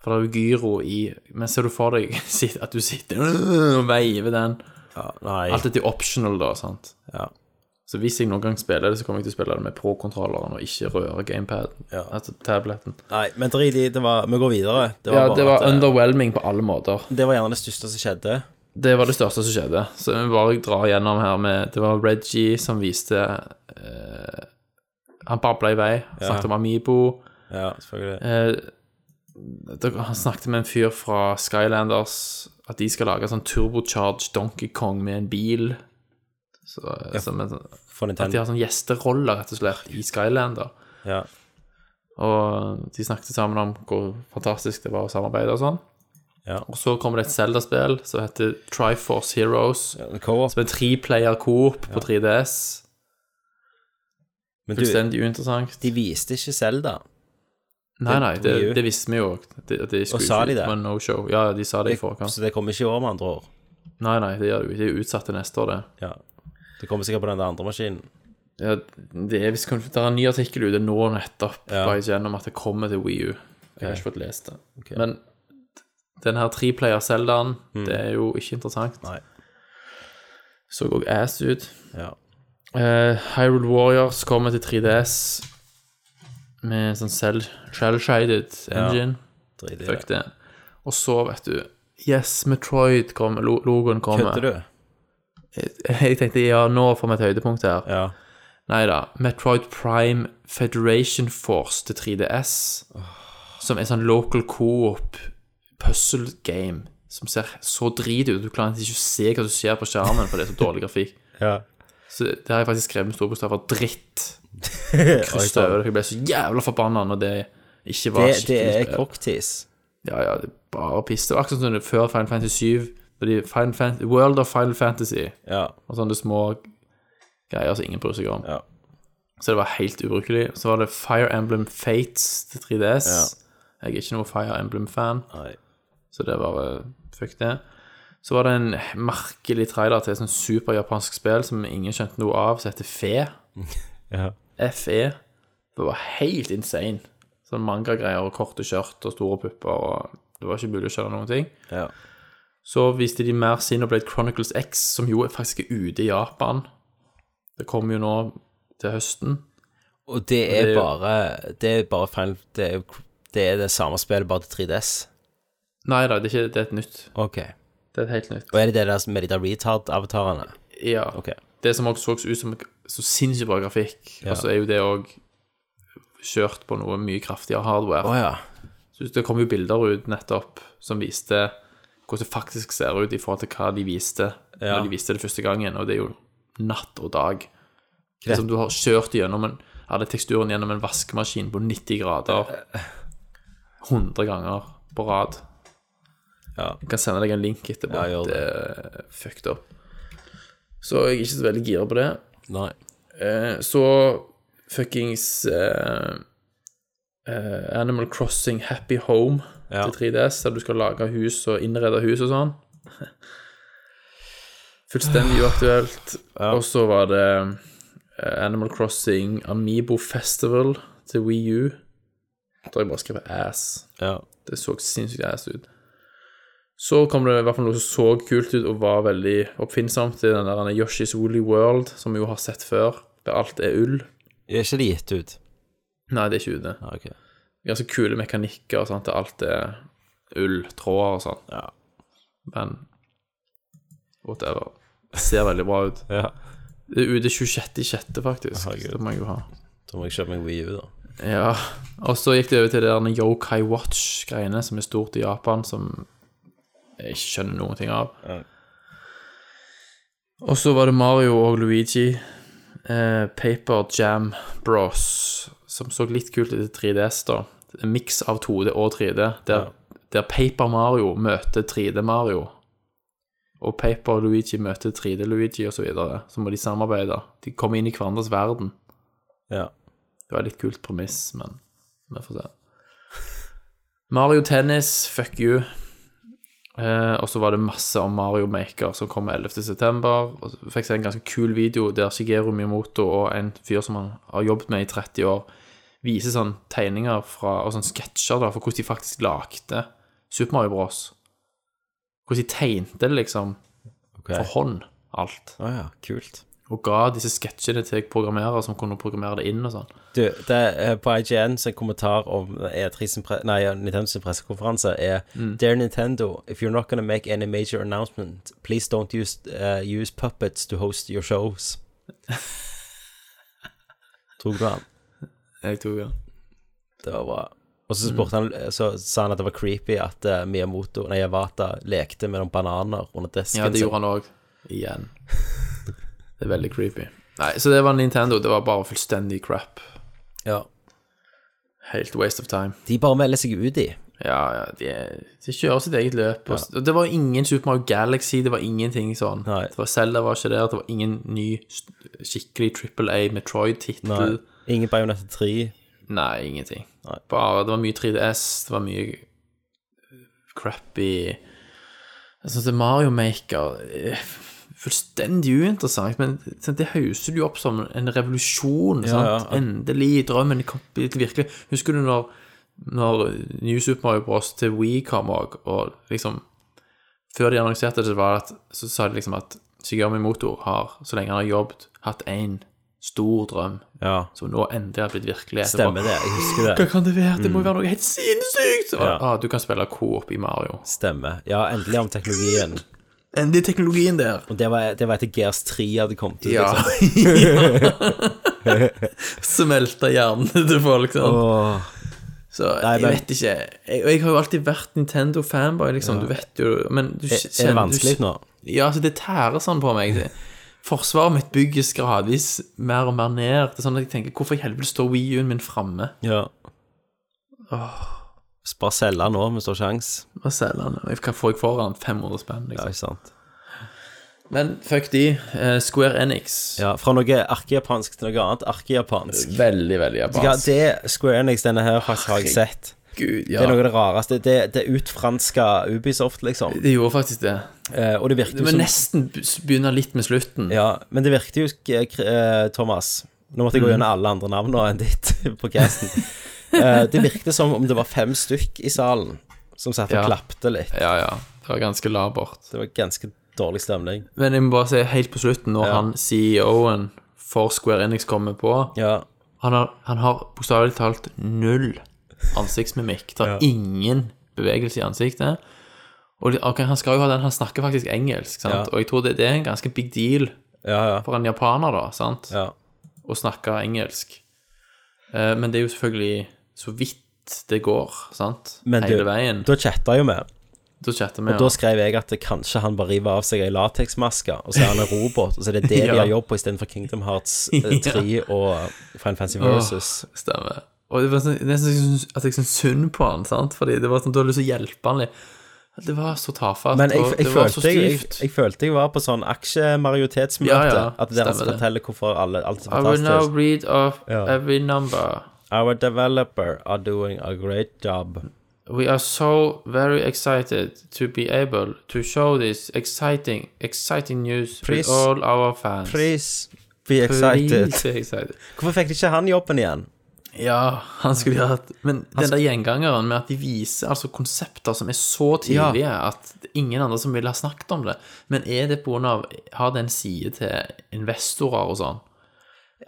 For det er jo gyro i Men ser du for deg sit- at du sitter og veiver den?
ja, Nei.
Alt dette er optional, da, sant?
Ja.
Så hvis jeg noen gang spiller det, så kommer jeg til å spille det med pro-kontrolleren og ikke røre gamepaden. Altså tableten.
nei men drit i det. var- Vi går videre. Det
Ja,
var, bare
det var
at, eh,
underwhelming på alle måter.
det var gjerne det største som skjedde.
Det var det største som skjedde. Så vi bare drar gjennom her med Det var Reggie som viste eh, Han babla i vei. Snakket om Amibo.
Ja, selvfølgelig.
Eh, da- han snakket med en fyr fra Skylanders at de skal lage en sånn turbocharged Donkey Kong med en bil. Så, som en, sånn-
For
at de
Nintendo.
har sånn gjesteroller, rett og slett, i Skylander.
Ja.
Og de snakket sammen om hvor fantastisk det var å samarbeide og sånn.
Ja.
Og så kommer det et Zelda-spill som heter Triforce Heroes.
Co-op.
Som er treplayer coop på 3DS.
Men du,
Fullstendig uinteressant.
de viste ikke Zelda.
nei, nei, det,
Wii U.
det visste vi jo. at de- at de skulle
sa
ikke
de
ut
det?
på en No-show. Ja, de sa det i forkant.
Så det kommer ikke i år, med andre ord.
Nei, nei, det gjør det jo ikke. Det er jo utsatt til neste år, det.
Ja. Det kommer sikkert på den der andre maskinen.
Ja, det er visst Det er en ny artikkel ute nå nettopp
Ja.
bare gjennom at det kommer til Wii U. Jeg har ikke fått lest det. Men den her treplayer-Seldaen, det er jo ikke interessant.
Nei.
Så òg ass ut.
Ja.
Eh, Hyrule Warriors kommer til 3DS med en sånn selv- shell-shaded engine.
Drit i
Fuck
det.
det. Og så, vet du Yes, Metroid kommer. lo- Logoen kommer.
Kødder du?
Jeg tenkte ja, nå får vi et høydepunkt her.
Ja.
Nei da. Metroid Prime Federation Force til 3DS. Som er sånn local co-op puzzle game som ser så drit ut. Du klarer ikke å se hva som skjer på skjermen, for det er så dårlig grafikk.
Ja.
Så det har jeg faktisk skrevet med store bokstaver 'dritt'
Oi,
kryss
sant.
over. det, for Jeg ble så jævla forbanna når det ikke var
det, det
skikkelig
er
spill.
cocktease.
Ja, ja, det er bare piss. Det var akkurat som det før sånn Final Fantasy 7. på de Final Fan- World of Final Fantasy
Ja.
og sånne små greier som ingen bryr seg om.
Ja.
Så det var helt ubrukelig. Så var det Fire Emblem Fates til 3DS. Jeg er ikke noe Fire Emblem-fan,
Nei.
så det var eh, Fuck det. Så var det en merkelig trailer til et sånt superjapansk spill som ingen skjønte noe av, som heter Fe.
Ja.
FE. Det var helt insane. Sånn manga-greier og korte skjørt og store pupper og Det var ikke mulig å skjønne noen ting.
Ja.
Så viste de mer Xenoblade Chronicles X, som jo faktisk er ute i Japan. Det kommer jo nå til høsten.
Og det er
Det er jo-
bare Det er bare Final Det er, jo- det, er det samme spillet, bare til 3DS.
Nei da, det er, ikke, det er et nytt.
Ok.
Det er et helt nytt.
Og er det det der med de der retard-avatarene?
Ja.
Ok.
Det som også så ut som så sinnssykt bra grafikk,
Ja.
og så er jo det òg kjørt på noe mye kraftigere
Å
hardware.
ja.
Så det kom jo bilder ut nettopp som viste hvordan det faktisk ser ut i forhold til hva de viste
Ja.
når de viste det første gangen, og det er jo natt og dag. Det er som du har kjørt gjennom en, hadde teksturen gjennom en vaskemaskin på 90 grader 100 ganger på rad.
Ja.
Jeg kan sende deg en link etterpå.
Ja, gjør det.
det er fucked up. Så jeg er ikke så veldig gira på det.
Nei.
Eh, Så fuckings eh, eh, Animal Crossing Happy Home
Ja.
til 3DS, der du skal lage hus og innrede hus og sånn. Fullstendig uaktuelt. Og så var det eh, Animal Crossing Amiibo Festival til Wii U. Der jeg bare skrev ass.
Ja.
Det så sinnssykt ass ut. Så kom det i hvert fall noe som så kult ut og var veldig oppfinnsomt. Det er den der Yoshi's Woolly World, som vi jo har sett før, der alt er ull.
Er ikke det gitt ut?
Nei, det er ikke det.
Ja, ok.
Ganske kule mekanikker og sånt, der alt er ull, tråder og sånn.
Ja.
Men whatever. Det Ser veldig bra ut.
Ja.
Det er ute 26.6., faktisk.
Herregud.
Det må jeg jo ha.
Da må jeg kjøpe meg Wii U, da.
Ja, og så gikk det over til det der Yokai Watch-greiene, som er stort i Japan, som jeg ikke skjønner noen ting av. Og så var det Mario og Luigi, eh, Paper Jam Bros, som så litt kult ut i 3DS, da. En miks av 2D og 3D, der, der Paper Mario møter 3D Mario. Og Paper Luigi møter 3D Luigi, og så videre. Så må de samarbeide. De kommer inn i hverandres verden.
Ja.
Det var et litt kult premiss, men vi får se. Mario Tennis, fuck you. Eh, og så var det masse om Mario Maker som kom 11.9. Og så fikk jeg se en ganske kul video der Shigeru Miyamoto og en fyr som han har jobbet med i 30 år, viser sånn tegninger fra, og sånn sketsjer da, for hvordan de faktisk lagde Super Mario Bros. Hvordan de tegnte det, liksom,
Ok.
for hånd, alt.
Å ja, kult.
Og ga disse sketsjene til programmerere som kunne programmere det inn og sånn.
Du, det er på IGN sin kommentar om E3 sin pre nei, Nintendo sin pressekonferanse er Dear Nintendo, if you're not gonna make any major announcement, please don't use, uh, use puppets to host your shows. Tok du han?
Jeg tok den.
Det var bra. Og så spurte han, eh, så sa han at det var creepy at eh, Miyamoto, nei, Yawata lekte med noen bananer under desken.
Ja, det gjorde han òg. Igjen. Det er veldig creepy. Nei, så det var Nintendo. Det var bare fullstendig crap.
Ja.
Helt waste of time.
De bare melder seg ut i.
Ja, ja, de, de kjører sitt eget løp. Og, og det var ingen Super Mario Galaxy, det var ingenting sånn.
Nei.
Det var Zelda var ikke der, det var ingen ny st- skikkelig Triple A Metroid-tittel. Nei.
Ingen Bayonetta 3.
ingenting.
Nei.
Bare, Det var mye 3DS, det var mye crappy Jeg synes det Mario Maker er fullstendig uinteressant, men sant, det hauser du opp som en revolusjon. sant?
ja.
Endelig, drømmen kom til virkelig. Husker du når, når New Super Mario Bros. til Wii kom òg, og liksom Før de annonserte det, så, var det at, så sa de liksom at Shigeru Motor har, så lenge han har jobbet, hatt én stor drøm
Ja.
som nå endelig har blitt virkelighet. Det var-
Stemmer det, jeg husker det.
hva kan det være? Det må jo være noe helt sinnssykt! Og,
Ja.
ah, du kan spille coop i Mario.
Stemmer. Ja, endelig om teknologien.
Endelig teknologien der.
Og det var, det var etter Gears 3 hadde kommet ut.
Ja.
Liksom.
Smelta hjernene til folk. Sånn.
Åh,
Så
Nei, men-
jeg vet ikke. Jeg, og jeg har jo alltid vært Nintendo-fanboy, liksom. Du vet jo Men du
er, er det vanskelig nå?
Ja, altså, det tærer sånn på meg. Det, forsvaret mitt bygges gradvis mer og mer ned. Det er sånn at jeg tenker Hvorfor i helvete står Wii U-en min framme?
Ja. Så Bare selge nå, hvis du har sjans.
Hva selger han? Hva får jeg for han? 500 spenn,
Ja,
liksom.
ikke sant.
Men fuck de. eh, Square Enix.
Ja, fra noe arkejapansk til noe annet arkejapansk.
Veldig, veldig
Ja,
japansk.
det Square Enix, denne her, faktisk har jeg sett.
Gud,
Det
ja.
er noe av det rareste. Det, det er utfranska Ubisoft, liksom.
Det gjorde faktisk det.
Eh, og det virket
Det
jo
må
som
nesten begynne litt med slutten.
Ja, men det virket jo, eh, Kr- eh, Thomas Nå
Mhm.
måtte jeg gå gjennom alle andre navnene enn ditt på casten. Eh, det virket som om det var fem stykk i salen som satt og
Ja.
klapte litt.
Ja, ja. Det var ganske labert.
Det var ganske dårlig stemning.
Men jeg må bare si helt på slutten, når han CEO-en for Square Enix kommer på
Ja,
Han har, han har bokstavelig talt null ansiktsmimikk. Det er ingen bevegelse i ansiktet. Og det- ok, han skal jo ha den, han snakker faktisk engelsk, sant?
Ja.
og jeg tror det, det er en ganske big deal
ja, ja.
for en japaner, da, sant?
ja.
å snakke engelsk. Eh, men det er jo selvfølgelig så vidt det går, sant?
Men
Hele
du,
veien.
da chatta jo vi.
Da chatter vi,
Da
ja.
skrev jeg at kanskje han bare river av seg ei lateksmaske, og så er han en robot, og så er det det de
Ja.
har jobb på istedenfor Kingdom Hearts eh, 3 og Final Fantasy Versus.
Stemmer. Og det var sånn, nesten så jeg syns- at jeg syntes synd på han, sant? Fordi det var sånn, du hadde lyst til å hjelpe han litt. Det var så tafatt,
Men jeg,
og
jeg,
det var så
følte jeg, jeg,
stygt.
jeg følte jeg var på sånn aksjemajoritetsmøte.
Ja, ja,
at det er
stemmer
han som
det.
forteller hvorfor alle, alt er
I will now
fantastisk.
read off
Ja.
every number.
Our developer are doing a great job.
We are so very excited to be able to show this exciting, exciting news
Please.
with all our fans.
Please be excited.
Please be excited.
Hvorfor fikk ikke han jobben igjen?
Ja, han skulle jo hatt Men den
Altså-
der gjengangeren med at de viser altså konsepter som er så tidlige at det er ingen andre som ville ha snakket om det. Men er det pga. Har det en side til investorer og sånn?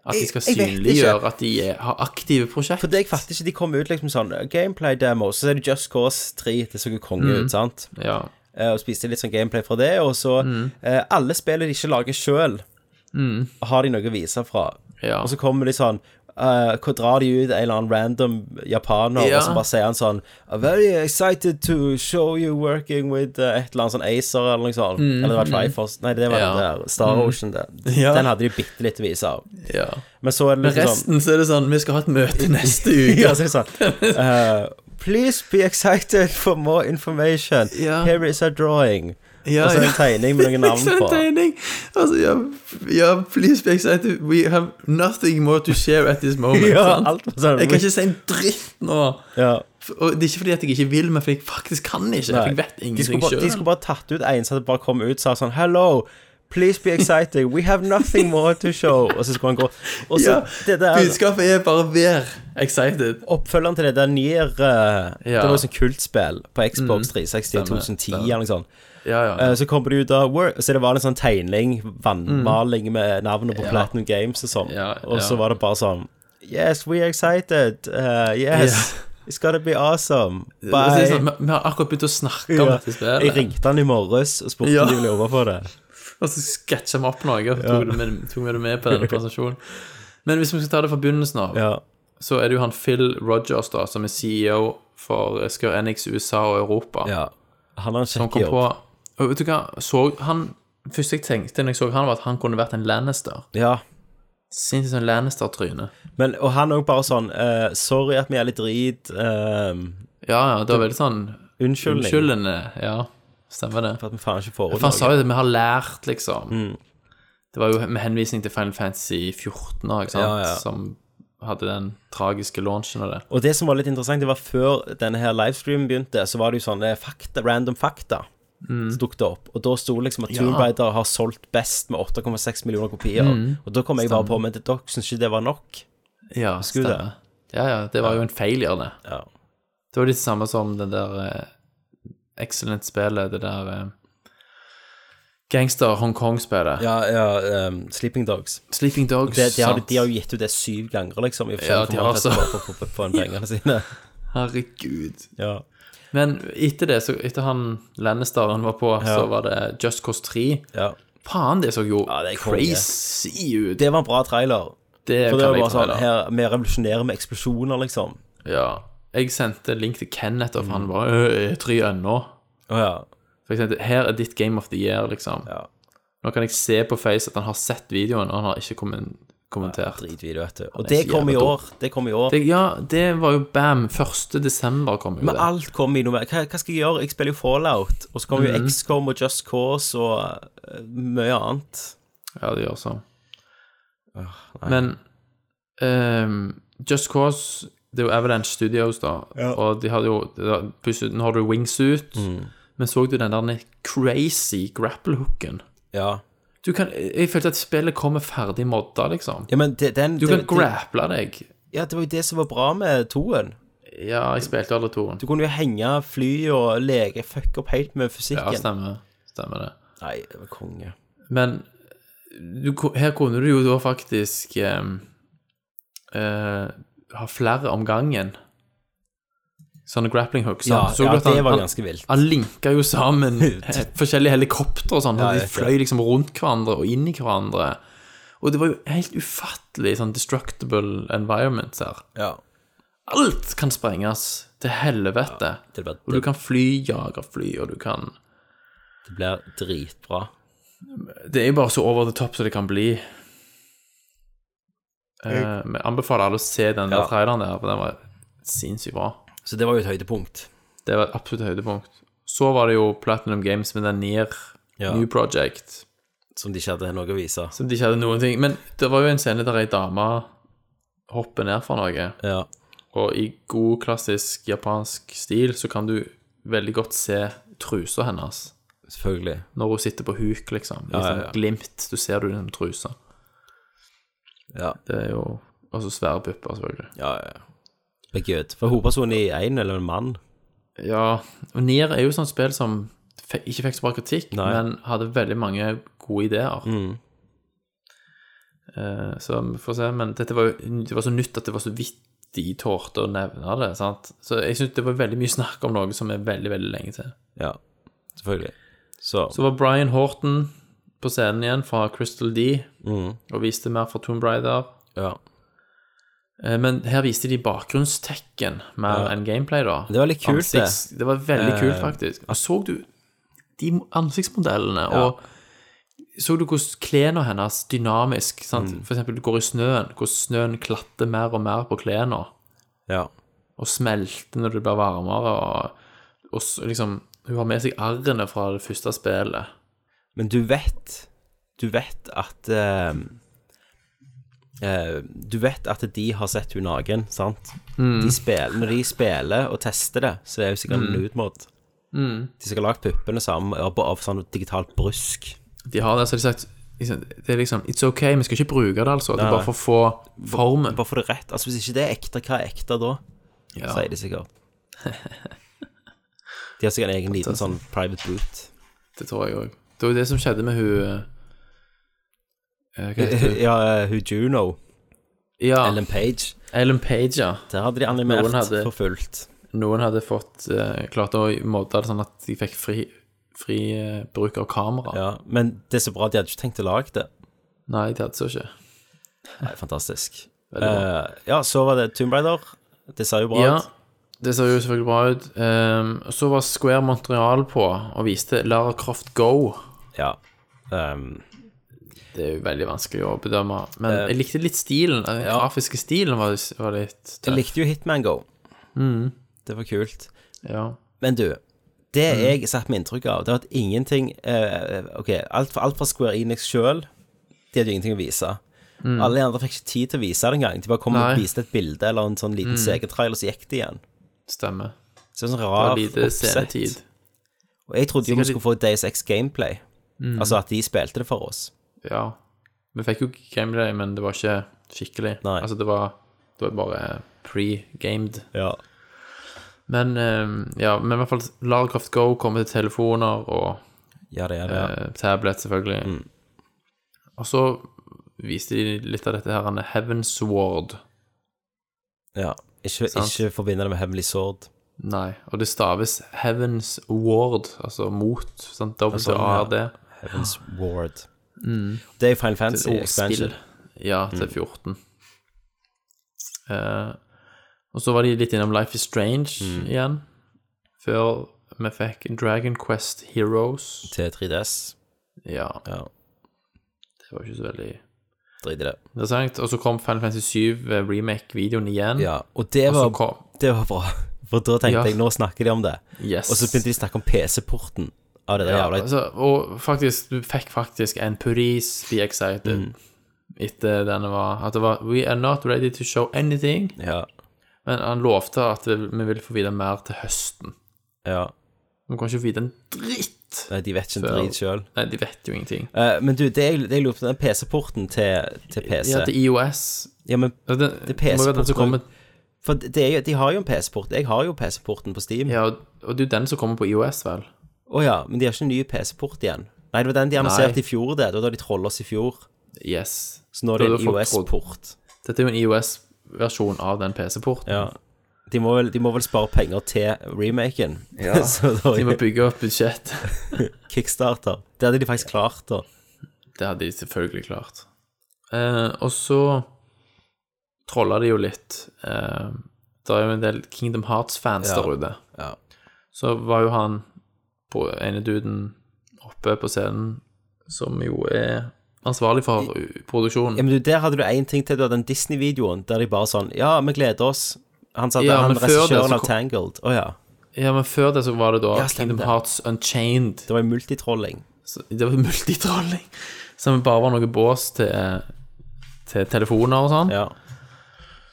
At de skal
Jeg- jeg vet ikke.
synliggjøre at de er, har aktive prosjekt?
For det jeg fatter ikke, de kom ut liksom sånn Gameplay demo, så er det Just Cause 3. Det så jo konge ut, sant?
Ja.
Eh, Og spiste litt sånn gameplay fra det, og så
Mm.
eh, Alle spillene de ikke lager sjøl, har de noe å vise fra.
Ja.
Og så kommer de sånn eh, Hvor drar de ut en eller annen random japaner,
Ja.
og så bare sier han sånn "I'm Very excited to show you working with eh, et eller annet sånn Acer, eller noe sånt. Eller det var Triforce Nei, det var
Mm. Ja. Mm.
den der. Star Ocean, det.
Ja.
Den hadde de bitte litt å vise av.
ja.
Men så er det liksom sånn
Resten så er det sånn Vi skal ha et møte neste uke.
ja, så er det sånn eh, Please be excited for more information.
Ja.
Here is a drawing.
Ja,
og så
ja.
en tegning med noen
Så
navn
en
på.
tegning. Altså, ja, ja, please be excited. We have nothing more to share at this moment.
Ja,
sant?
alt var sånn-
jeg kan ikke si en dritt nå.
Ja.
Og det er ikke fordi at jeg ikke vil, men fordi jeg faktisk kan ikke. For jeg vet
de, skulle
ingenting
bare, de
sjøl.
skulle bare tatt ut en som bare kom ut og sa sånn Hello, please be excited. We have nothing more to show. Og så skulle han gå. Og så
Ja,
det der
budskapet er bare vær excited.
Oppfølgeren til det der Nier eh, Det
Ja. Mm.
var jo sånn kultspill på Xbox 360 2010 eller noe sånt.
Ja, ja.
Eh, Så kommer det ut av Word, så det var en sånn tegning, vannmaling med navnet på Platinum Games og sånn.
Ja,
Og så
ja.
var det bare sånn Yes, we're excited. Uh, yes. It's gonna be awesome.
Og så er det
Bye.
sånn, vi- vi har akkurat begynt å snakke om
Ja.
dette
Jeg
spillet,
ringte han i morges og spurte
Ja.
om de ville jobbe på det.
og så sketsja vi opp noe. Og tok, det med, tok vi det med på denne presentasjonen. Men hvis vi skal ta det fra begynnelsen av,
Ja.
så er det jo han Phil Rogers, da, som er CEO for Square Enix USA og Europa.
ja. Han har
Han
en kjekk
Sånn kom
jobb.
på og Vet du hva, så han Første jeg tenkte når jeg så han, var at han kunne vært en Lannister.
Ja.
Sinnssykt sånn Lannister-tryne.
Men, og han òg bare sånn eh, Sorry at vi er litt drit. eh,
Ja, ja, det var veldig sånn
unnskyldning
Unnskyldende. Ja, stemmer det.
for at vi faen ikke får ut
For han sa
noe.
jo at vi har lært, liksom.
Mm.
Det var jo med henvisning til Final Fantasy 14, da, ikke sant,
Ja, ja.
som hadde den tragiske launchen av det.
Og det som var litt interessant, det var før denne her livestreamen begynte, så var det jo sånne fakta, random fakta
Mm.
som dukket opp. Og da sto det liksom at Tomb Raider har solgt best med 8,6 millioner kopier.
Mm.
Og da kom jeg bare på, men det- dere syns ikke det var nok?
Ja,
du det?
stemmer. Ja, ja, det var jo en failure, det.
Ja.
Det var litt samme som den der eh, excellent spillet, det der eh, gangster Hongkong-spillet.
Ja, ja um, Sleeping Dogs.
Sleeping Dogs,
Det, de, har,
sant?
de har jo gitt ut det syv ganger, liksom. I
Ja,
ja,
de
de
har
for,
så-
for, for, for, for pengene sine.
Herregud.
Ja.
Men etter det, så etter han Lannisteren var på, så var det Just Cause 3.
ja.
Faen, det så jo
det er konge.
crazy ut.
Det var en bra trailer.
Det
For det
kan
var
jeg
bare
ta
sånn,
da.
her, Vi revolusjonerer med eksplosjoner, liksom.
Ja. Jeg sendte link til Kenneth, og
Mm.
han bare «Øh, E3 ennå.
Å ja.
For eksempel, her er ditt Game of the Year, liksom.
Ja.
Nå kan jeg se på Face at han har sett videoen, og han har ikke kommen- kommentert.
Dritvideo, vet du. Og
er
det
så
kom i
jævla dum.
år. Det kom i år.
Det, ja, det var jo bam. 1. desember kom jo
Men
det.
alt kom i november. Hva, hva skal jeg gjøre? Jeg spiller jo Fallout, og så kommer jo XCOM og Just Cause og eh, mye annet.
Ja, det gjør sånn. Men ehm, Just Cause Det er jo Avalanche Studios, da. Og de hadde jo da- Plutselig nå har du wingsuit.
Mm.
Men så du den der crazy grapple-hooken?
Ja.
Du kan, jeg følte at spillet kommer ferdig modda, liksom.
ja men det, den
Du
det,
kan grapple deg.
det, Ja, det var jo det som var bra med toen.
Ja, jeg spilte alle toren.
Du kunne jo henge fly og leke fuck opp helt med
Ja,
fysikken.
stemmer. Stemmer det.
Nei, det var konge.
Men du, ko- her kunne du jo da faktisk ehm, eh, ha flere om gangen. Sånne grappling hooks.
Ja,
sant? Så
ja,
du at
det var
han,
ganske vilt.
Han, han linka jo sammen he, forskjellige helikoptre og sånn.
Ja,
og
jeg
de
vet
fløy liksom rundt hverandre og inn i hverandre. Og det var jo helt ufattelig sånn destructible environments her.
Ja.
Alt kan sprenges til helvete.
Det blir,
og du kan fly, jage fly, og du kan
det blir dritbra.
Det er jo bare så over the top som det kan bli. Eh, Men jeg anbefaler alle å se den der
Ja.
traileren der, for den var sinnssykt bra.
Så det var jo et høydepunkt.
Det var et absolutt høydepunkt. Så var det jo Platinum Games med den Nier
Ja.
New Project,
Som de ikke hadde noe å vise.
som de ikke hadde noen ting Men det var jo en scene der ei dame hopper ned fra noe,
Ja.
og i god klassisk japansk stil så kan du veldig godt se trusa hennes
Selvfølgelig.
når hun sitter på huk, liksom. I
Ja, ja,
sånn
ja.
glimt. Du ser du den trusa.
Ja.
Det er jo Og så svære pupper, selvfølgelig.
Ja, ja. ja. Det er good. For hovedpersonen i én eller en mann.
Ja, og Nier er jo sånn spill som fe- ikke fikk så bra kritikk,
Nei.
men hadde veldig mange gode ideer. Eh, så vi får se, men dette var jo det var så nytt at det var så vidt de tårte å nevne det. sant? Så jeg syns det var veldig mye snakk om noe som er veldig veldig lenge til.
Ja. Selvfølgelig. Så,
Så var Brian Horton på scenen igjen fra Crystal D og viste mer fra Tomb Raider.
ja.
Eh, Men her viste de bakgrunnstekken mer enn gameplay, da.
Det var litt kult, det. Eh.
det. Det var veldig kult, faktisk. Og så du de ansiktsmodellene, og så du hvordan klærne hennes dynamisk sant?
Mm.
For eksempel, du går i snøen, hvordan snøen klatter mer og mer på klærne,
Ja.
og smelter når det blir varmere, og, og s- liksom Hun har med seg arrene fra det første spillet.
Men du vet Du vet at eh, eh, Du vet at de har sett hun naken, sant?
Mm.
De spiller, når de spiller og tester det, så er jo sikkert en nude-mod.
Mm.
De skal ha lagd puppene sammen av, av sånn digitalt brusk.
De har det, så har de sagt liksom, Det er liksom It's ok, vi skal ikke bruke det, altså. Det er
Nei,
bare for å få formen.
Bare for det rett. Altså Hvis ikke det er ekte, hva er ekte da?
Ja.
Sier de sikkert. De har sikkert en egen liten sånn private boot.
Det tror jeg òg. Det var jo det som skjedde med hun eh, Hva heter hun?
Ja, eh, hun Juno,
Ja,
Ellen Page,
Ellen Page, ja.
der hadde de animert
Ah. Noen hadde-
for fullt.
Noen hadde fått eh, klart å modde det sånn at de fikk fri, fri eh, bruk av kamera.
Ja, Men det er så bra, de hadde ikke tenkt å lage det.
Nei, det hadde så ikke.
Nei, fantastisk.
Veldig bra.
Eh, ja, så var det Tomb Raider. Det ser jo bra
Ja,
ut.
det ser jo selvfølgelig bra ut. Ehm, så var Square Montreal på og viste Lara Croft Go.
Ja. Ehm,
Det er jo veldig vanskelig å bedømme. Men jeg likte litt stilen. Den grafiske stilen var, var litt
jeg
tøff.
likte jo Hitman Go. Mm. Det var kult.
Ja.
Men du, det jeg satt med inntrykk av, det var at ingenting eh, Ok, alt, fra- alt fra Square Enix sjøl, de hadde jo ingenting å vise. Alle de andre fikk ikke tid til å vise det engang. De bare kom og
Nei.
viste et bilde eller en sånn liten CG-trailer, så gikk det igjen.
Stemmer.
Så det var sånn
Det
rar
var lite
oppsett.
scenetid.
Og jeg trodde jo vi
Sikkert-
skulle få Days X gameplay. Altså at de spilte det for oss.
Ja. Vi fikk jo gameplay, men det var ikke skikkelig.
Nei.
Altså, det var, det var bare pre-gamed.
Ja.
Men eh, ja, men i hvert fall Lara Croft Go kommer til telefoner og
Ja, Mm. det er det.
eh, tablet, selvfølgelig. Og så viste de litt av dette her han er Heaven's Ward.
Ja. Ikke,
Sant.
ikke forbinde det med Heavenly Sword.
Nei, og det staves Heaven's Ward, altså mot. Sant?
Altså,
W-A-R-D.
Heaven's Ward.
Mm.
Det er jo Final Fantasy
til
Expansion. Mm.
spill. Ja, til 14. Eh, og så var de litt innom Life is Strange
Mm.
igjen, før vi fikk Dragon Quest Heroes.
Til 3DS.
Ja,
Ja.
det var ikke så veldig
Drit i det.
Det er sant. Og så kom Final Fantasy 7 remake-videoen igjen.
Ja, og det
Og så
var,
kom-
det var bra. For da tenkte
Ja.
jeg, nå snakker de om det.
Yes.
Og så begynte de å snakke om PC-porten av det der
Ja,
jævla
altså, og faktisk, du fikk faktisk en puris Be Excited
Mm.
etter denne var At det var We are not ready to show anything.
Ja,
Men han lovte at vi vil få vite mer til høsten.
ja.
Vi kan ikke vite en dritt.
Nei, de vet ikke en
Før-
drit sjøl.
Nei, de vet jo ingenting.
men du, det jeg, det jeg lurer på, den PC-porten til, til PC
Ja,
Ja,
til IOS
men
Det, det,
Det er
må jo være den
PC-porten.
som kommer
For det er jo, de har jo en PC-port. Jeg har jo PC-porten på Steam. Å ja.
Ja, og, og det er jo den som kommer på IOS, vel?
men de har ikke en ny PC-port igjen. Nei, det var den de annonserte i fjor, det. Det var da de trolla oss i fjor.
Yes.
Så nå er det
Da
en
har folk trodd-
IOS-port.
Dette er jo en IOS-versjon av den PC-porten.
Ja. De må, vel, de må vel spare penger til remaken. så da
De
er
må
det
bygge opp budsjett.
kickstarter. Det hadde de faktisk klart, da.
Det hadde de selvfølgelig klart. Eh, og så trolla de jo litt. Eh, det er jo en del Kingdom Hearts-fans
Ja.
der ute.
Ja.
Så var jo han på ene duden oppe på scenen, som jo er ansvarlig for u-
Ja,
produksjonen.
men du, Der hadde du én ting til. Du hadde den Disney-videoen der de bare sånn Ja, vi gleder oss. Han sa
Ja,
han
men før det
regissøren
så
av
kom-
Tangled. Å ja.
Ja, men før det så var det da
Ja, stemmer
Kingdom
det.
Hearts Unchained.
Det var jo multitrolling.
Så Det var multitrolling. Som bare var noe bås til, til telefoner og sånn.
Ja.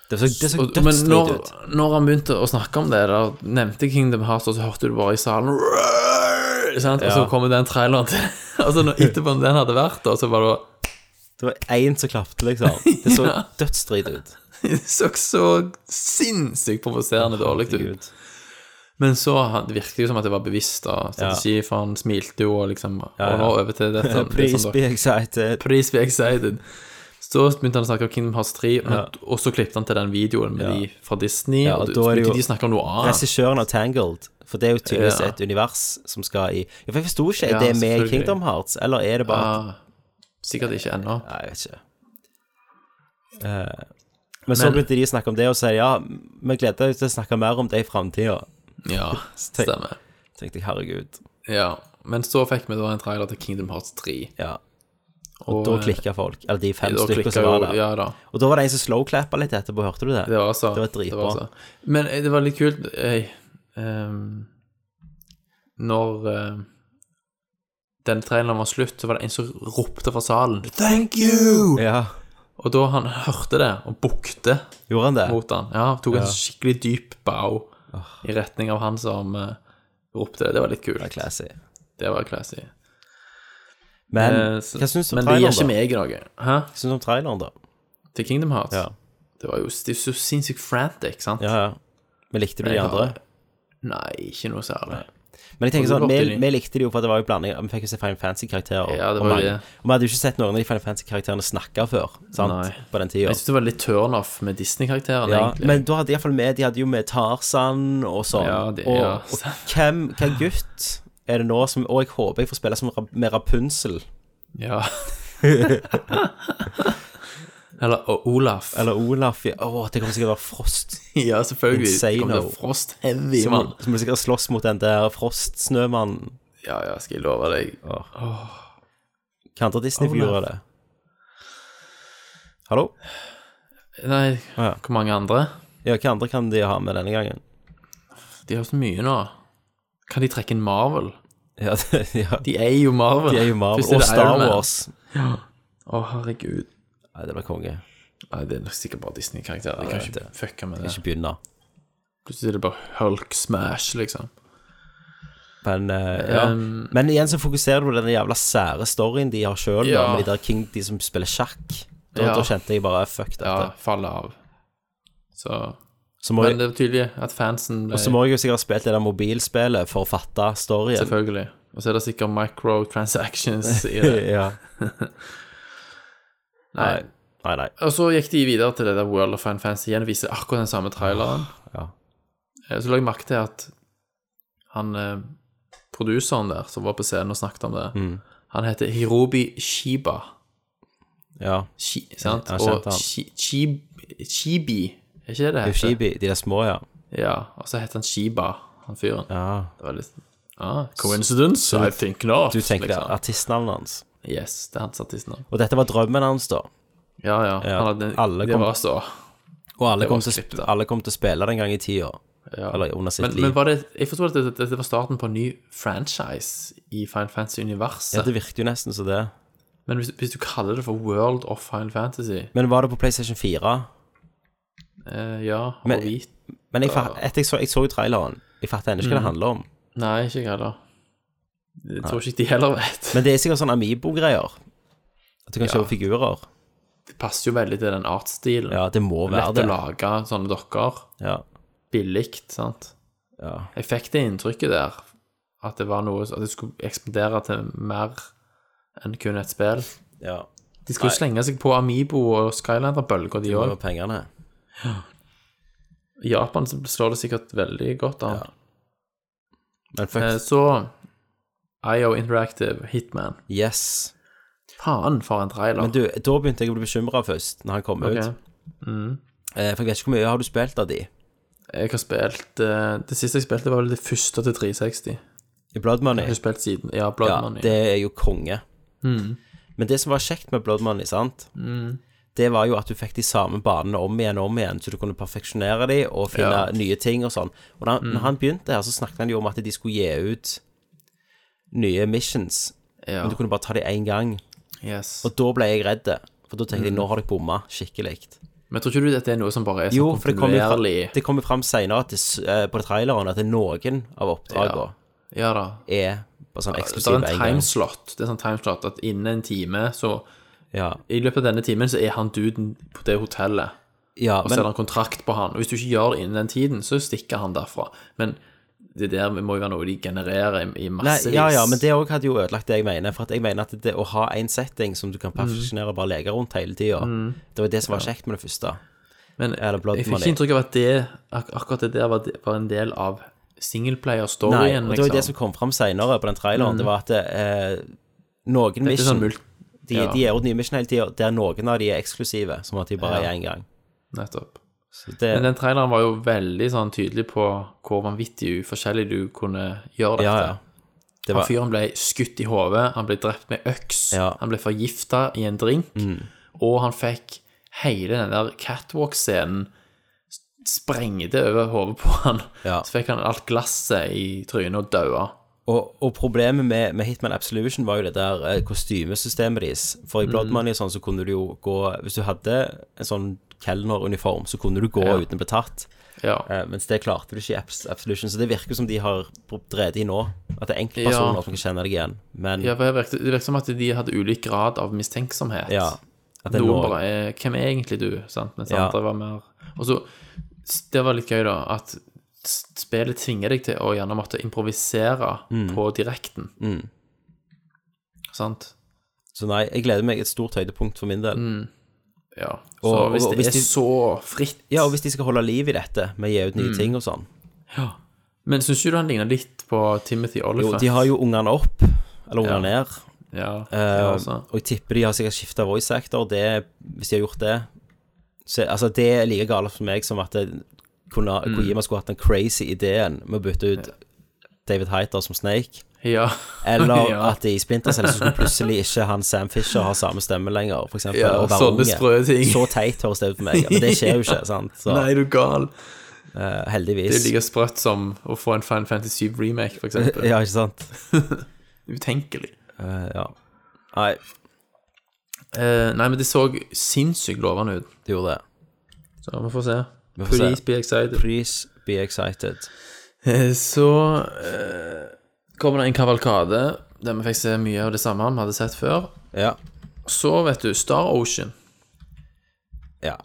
Det så, det så
Og- Men når,
dødsdrit ut.
når han begynte å snakke om det, da nevnte Kingdom Hearts, og så hørte du bare i salen «Roar!» sant? Og så
Ja.
kom den traileren til Og så når, etterpå når den hadde vært der, så var det
Det var én som klapte, liksom. Det så dødsdrit ut.
Det så så sinnssykt provoserende dårlig ut.
Herregud.
Men så han- det virket jo som at det var bevisst da, strategi, for han smilte jo og liksom Og nå over til dette. liksom, det som
Please
dere-
be excited.
Please be excited. Så begynte han å snakke om Kingdom Hearts 3, men, og så klippet han til den videoen med de fra Disney,
Ja,
og,
og
du-
da
så
er det
begynte
jo-
de å snakke om noe annet.
Regissøren av Tangled. For det er jo tydeligvis
Ah. Ja.
et univers som skal i Ja, for Jeg forsto ikke, er
Ja,
det med i
selvfølgelig.
Kingdom Hearts, eller er det bare
Ah, sikkert ikke ennå.
Nei, jeg vet ikke. Eh, men så begynte de å snakke om det og si ja, vi gleder oss til å snakke mer om det i framtida.
Ja, stemmer.
Tenkte jeg, herregud.
Ja. Men så fikk vi da en trailer til Kingdom Hearts 3.
Ja.
Og, eh,
Da klikka folk. Eller de fem
da
stykker
klikket
som var
jo-
der.
Ja da.
Og da var det en som slowclappa litt etterpå, hørte du det?
Det var altså
Det var dritbra.
altså- Men eh, det var litt kult eh, ehm, Når eh, den traileren var slutt, så var det en som ropte fra salen
Ja.
Og da han hørte det, og bukte
Gjorde han det?
mot han Ja, tok en skikkelig dyp bow i retning av han som eh, ropte det. Det var litt
Det er
kult.
classy.
Det var classy.
Men
Eh, så-
hva syns du
men
om
det gir ikke
traileren, da?
meg noe. Hæ?
Hva syns du om traileren, da?
Til Kingdom Hearts?
Ja.
Det var jo det er så sinnssykt frantic, sant?
Ja, ja. Men likte du de
Jeg
andre?
har- Nei, ikke noe særlig.
Men jeg tenker
Og
sånn,
du hoppet
vi,
inn i-
vi likte det jo, for det var jo blanding. Vi fikk jo se Final Fantasy-karakterer. og-
Ja, det
og
var jo
mange.
det.
Og vi hadde jo ikke sett noen av de Final Fantasy-karakterene snakke før, sant?
Nei.
På den
Jeg
tida.
synes det var litt turn-off med Disney-karakterene,
Ja,
egentlig.
men da hadde de iallfall med De hadde jo med Tarzan og sånn.
Ja, det-
og,
ja.
og hvem, hva gutt er det nå som Og jeg håper jeg får spille som, Ra- med Rapunsel
Ja. Eller og Olaf.
eller Olaf. i- Å, det kommer sikkert til å være Frost.
ja, selvfølgelig. Det Kom
Insano.
det Frost Heavy,
Som,
mann.
som vil sikkert slåss mot den der Frostsnømannen.
Ja, ja, skal jeg love deg.
Hva andre Disney-figurer er det? Hallo?
Nei,
Ja.
hvor mange andre?
Ja, hva andre kan de ha med denne gangen?
De har så mye nå. Kan de trekke inn Marvel?
Ja, det, ja.
De er jo Marvel.
De er jo Marvel.
Først er
Og
det
Star
Iron Man.
Wars.
Å, herregud.
Nei, det blir konge.
Nei, det er nok sikkert bare Disney-karakterer. Jeg kan
vet
ikke fucke med det.
Ikke begynne.
Plutselig er det bare Hulk Smash, liksom.
Men, eh, ja.
Um,
Men igjen så fokuserer du på den jævla sære storyen de har sjøl,
Ja.
med de der King, de som spiller sjakk. Da,
Ja.
da kjente jeg bare fuck dette.
Ja, faller av. Så
Så må
Men
jeg,
det er tydelig at fansen ble
så må jeg jo sikkert ha spilt det der mobilspillet for å fatte storyen.
Selvfølgelig. Og så er det sikkert microtransactions i det.
ja.
Nei.
Nei, nei.
Og så gikk de videre til det der World of Fine Fancy igjen, viser akkurat den samme traileren.
Ah, Ja.
Eh, Så la jeg merke til at han eh, produseren der, som var på scenen og snakket om det,
Mm.
han heter Hirobi Shiba.
Ja.
Shi, sant?
jeg
og
kjente han.
Shi, Chibi, Chibi, er ikke det det heter?
Ushibi, de der små, ja.
Ja, og så heter han Shiba, han fyren.
ja.
Det var litt... Ah, coincidence? I think not.
Du tenker det
liksom.
er artistnavnet hans.
Yes, det er hans artistnavn.
Og dette var drømmen hans, da.
Ja, ja.
Ja,
Han hadde,
alle
det
kom-
var så
Og alle
Det var
kom, til,
klippet.
alle kom til å spille det en gang i tida. Eller under sitt
Men,
liv.
men var det, jeg forsto at dette, dette var starten på en ny franchise i Final Fantasy-universet.
ja, det virker jo nesten som det.
Men hvis, hvis du kaller det for World of Final Fantasy
Men var det på PlayStation 4?
eh, Ja, og
Men-
hvit
Men jeg, fa- etter jeg så, jeg så jo traileren. Jeg fatter ennå ikke hva det handler om.
Nei, ikke jeg heller. Jeg tror ikke de heller vet.
Men det er sikkert sånn Amibo-greier. At du kan kjøpe figurer.
det passer jo veldig til den artsstilen.
Ja, det må være
Lett
det.
å lage sånne dokker.
Ja.
Billig, sant.
Ja.
Jeg fikk det inntrykket der, at det var noe At det skulle ekspandere til mer enn kun et spill.
ja.
De skulle jo slenge seg på Amibo og Skylander-bølger, de
Det
òg.
var pengene.
I Japan så slår det sikkert veldig godt an.
Men fuck
Eh, Så IO Interactive, Hitman.
Yes.
Faen, for en trailer.
Men du, da begynte jeg å bli bekymra først, når han kom
Ok.
ut. Eh, For jeg vet ikke hvor mye har du spilt av de?
Jeg har spilt eh, Det siste jeg spilte, var vel det første til 360.
I Blood Money?
Jeg har spilt siden Ja, Blood
ja,
Money. Mm.
det er jo konge. Men det som var kjekt med Blood Money, sant, det var jo at du fikk de samme banene om igjen og om igjen, så du kunne perfeksjonere de og finne
Ja. Mm.
nye ting og sånn. Og da når han begynte her, så snakket han jo om at de skulle gi ut nye missions,
ja.
men du kunne bare ta de én gang.
Yes.
Og da ble jeg redd, for da
Mm.
tenkte jeg nå har dere bomma skikkelig.
Men tror ikke du dette er noe som bare er sånn
Jo, for det kom jo fram,
kontinuerlig
det kom jo fram senere at det, s- eh, på traileren at det er noen av oppdragene
Ja da.
er på sånn
Det er
eksklusiv
en
en gang.
timeslot. Det er sånn timeslot at innen en time, så
Ja,
I løpet av denne timen så er han duden på det hotellet,
ja
og så er
men
det en kontrakt på han. Og hvis du ikke gjør det innen den tiden, så stikker han derfra. Men det der må jo være noe de genererer i, i massevis.
Nei, ja, ja, men det òg hadde jo ødelagt det jeg mener. For at jeg mener at det å ha en setting som du kan perfeksjonere og bare leke rundt hele tida,
Mm.
det var det som var kjekt med det første.
Men
Eller Blood
jeg fikk
Money.
ikke inntrykk av at det, ak akkurat det der var, var en del av
Nei,
singleplayer-storyen. liksom.
og det var jo det som kom fram seinere på den traileren, det var at eh, noen
Det Mm. er
mission
sånn mult...
de,
ja.
de er jo nye mission hele tida, der noen av de er eksklusive, som at de bare
Ja.
er én gang.
Nettopp.
Så det,
Men den traileren var jo veldig sånn tydelig på hvor vanvittig uforskjellig du kunne gjøre dette.
ja, ja. Det
Han
var,
fyren ble skutt i hodet, han ble drept med øks,
Ja. Mm.
han ble forgifta i en drink, og han fikk hele den der catwalk-scenen s- sprengte over hodet på han.
Ja.
Så fikk han alt glasset i trynet og daua.
og, og problemet med, med Hitman Absolution var jo det der eh, kostymesystemet deres.
Mm.
For i Blood Money og sånn, så kunne du jo gå Hvis du hadde en sånn kelneruniform, så kunne du gå
Ja.
uten å bli tatt.
Ja.
Eh, mens det klarte du ikke i Abs- Absolution, så det virker som de har drevet i nå. At det er
Ja.
enkeltpersoner som kan kjenne deg igjen. Men
Ja,
ja,
for det virket, det virket som at de hadde ulik grad av mistenksomhet.
at det er
Noen
noe
bare er Hvem er egentlig du? Sant? Mens
Ja.
andre var mer Og så s- Det var litt gøy, da, at s- spillet tvinger deg til å gjerne måtte improvisere
Mm.
på direkten. Sant?
Så nei, jeg gleder meg et stort høydepunkt for min del.
Mm. Ja. Så
Og-
hvis
og-
det
og hvis
er
de-
så fritt
Ja, og hvis de skal holde liv i dette med å gi ut nye
Mm.
ting og sånn
Men syns ikke du han ligner litt på Timothy
Jo,
Oliphant?
de har jo ungene opp, eller ungene ned.
Ja,
Eh,
ja, altså.
og jeg tipper de har sikkert skifta voice actor. Det, hvis de har gjort det så, Altså, det er like galt for meg som at det, kunne,
Mm.
Kojima skulle hatt den crazy ideen med å bytte ut David Heiter som Snake.
ja.
Eller
Ja.
at i Splinter Cell så skulle plutselig ikke han Sam Fisher ha samme stemme lenger, for eksempel.
Ja,
og være
sånne
unge.
sprø ting.
Så teit høres det ut for meg. Men det skjer jo ikke, sant. Så
Nei, du er gal.
eh,
Det er
heldigvis.
like sprøtt som å få en Final Fantasy 7 remake, for eksempel.
Ja, ikke sant.
Utenkelig.
Eh, ja. Nei,
Eh, nei, men det så sinnssykt lovende ut.
det gjorde det.
Så vi får se.
Vi får
Please
se.
be excited.
Please be excited.
Eh, Så eh, kommer det en kavalkade der vi fikk se mye av det samme vi hadde sett før.
Ja.
Så, vet du, Star Ocean.
ja.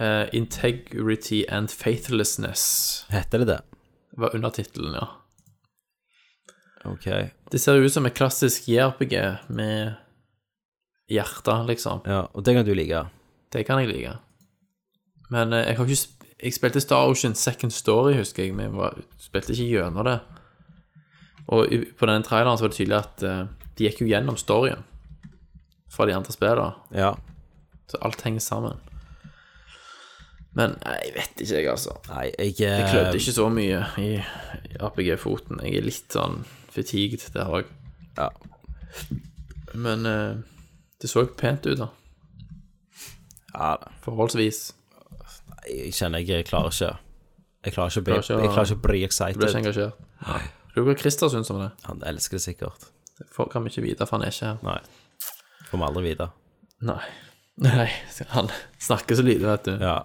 eh, Integrity and Faithlessness
Heter det det?
var undertittelen, ja.
Ok.
Det ser jo ut som et klassisk JRPG med hjerte, liksom.
Ja, og det kan du like.
Det kan jeg like. Men eh, jeg har ikke sp Jeg spilte Star Ocean Second Story, husker jeg, men jeg var, spilte ikke gjennom det. Og i, på den traileren så var det tydelig at eh, de gikk jo gjennom storyen fra de andre spillene.
Ja.
Så alt henger sammen. Men nei, jeg vet ikke, jeg, altså.
Nei, jeg eh,
Jeg klødde ikke så mye i, i APG-foten. Jeg er litt sånn fatigued der òg.
Ja.
Men eh, det så pent ut, da.
Ja, da.
Forholdsvis.
jeg kjenner jeg klarer ikke Jeg klarer ikke å bli,
Klarer ikke å-
jeg klarer ikke å bli
Du blir ikke
excited.
engasjert. Lurer på hva Christer syns om det.
Han elsker det sikkert.
Det får- kan vi ikke vite, for han er ikke her.
Nei. Får vi aldri vite.
Nei. Nei, han snakker så lite, vet du.
Ja.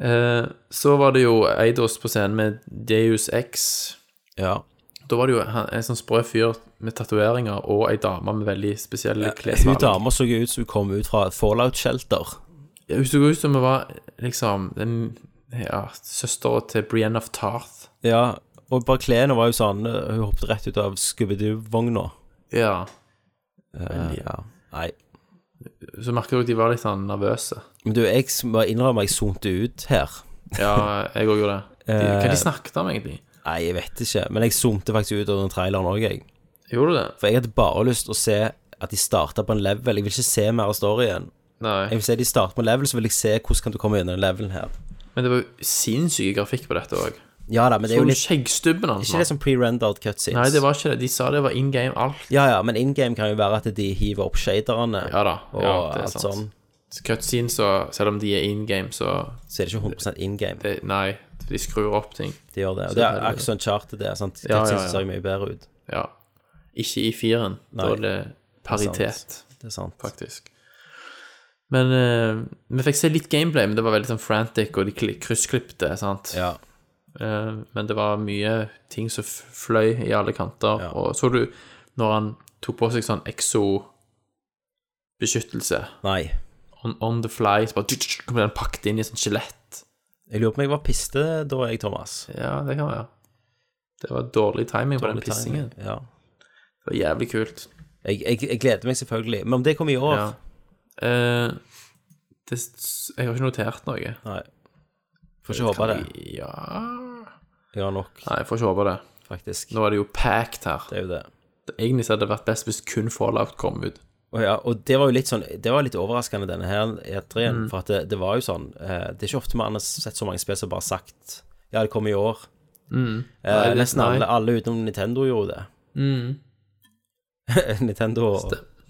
Eh, så var det jo Eidos på scenen med Deus X.
ja.
Da var det jo han- en sånn sprø fyr med tatoveringer og ei dame med veldig spesielle
Hun
klesvalg.
dama så jo ut som hun kom ut fra et fallout-shelter.
Ja, Hvis du går ut som hun var liksom den ja, søstera til Brienne of Tarth.
Ja. Og bare klærne var jo sånn eh, Hun hoppet rett ut av Scooby-Doo-vogna.
Ja.
Eh, ja. Nei.
Så merker du at de var litt sånn nervøse.
Men du, jeg må innrømme jeg zonte ut her.
Ja, Eh. jeg òg gjorde det. De, hva de snakket om, egentlig?
Nei, jeg vet ikke. Men jeg zonte faktisk ut av den traileren òg, jeg.
Gjorde du det?
For jeg hadde bare lyst til å se at de starta på en level. Jeg vil ikke se mer av storyen.
Nei.
Jeg vil se de starter på en level, så vil jeg se hvordan kan du komme gjennom den levelen her.
Men det var jo sinnssyk grafikk på dette òg.
Ja da, men det er jo litt
Skjeggstubben hans.
Ikke det
mann.
som pre-rendered cutscenes.
Nei, det var ikke det. De sa det var in game alt.
Ja ja, men in game kan jo være at de hiver opp shaderne
Ja da.
og
ja, det er
alt
sant.
sånn.
Cutscenes, så selv om de er in game, så
Så er det ikke 100 in game.
det, Nei, de skrur opp ting.
De gjør det. Og det er Axon Charter, det. sant? Det
Ja, ja, ja.
ser jo mye bedre ut.
Ja. Ikke i firen. Da
Nei,
er det paritet,
Det er sant.
faktisk. Men eh, vi fikk se litt gameplay, men det var veldig sånn frantic, og de kli- kryssklipte, sant.
Ja.
Eh, men det var mye ting som f- fløy i alle kanter.
Ja.
Og så du når han tok på seg sånn exo-beskyttelse
Nei.
on, on the fly, så bare tsk, tsk, kom den pakket inn i sånn skjelett.
Jeg lurer på om jeg var piste da, jeg, Thomas.
Ja, det kan være. Det var dårlig timing på
Dårlig
den pissingen.
timing. Ja.
Det var jævlig kult.
Jeg, jeg, jeg gleder meg selvfølgelig. Men om det kommer i år
Ja. Eh, det, s- jeg har ikke notert noe.
Nei. Får ikke håpe det.
Ja
Jeg har nok,
Nei, jeg får ikke håpe det.
faktisk.
Nå er det jo packed her.
Det er jo det.
Egentlig så hadde det vært best hvis kun Fallout kom ut.
Og, ja, og det var jo litt sånn Det var litt overraskende, denne her E3-en.
Mm.
For at det, det var jo sånn eh, Det er ikke ofte man har sett så mange spill som bare har sagt Ja, det kommer i år. Eh,
Mm. Nei, det-
nesten
nei. Mm.
alle, alle utenom Nintendo gjorde det. Nintendo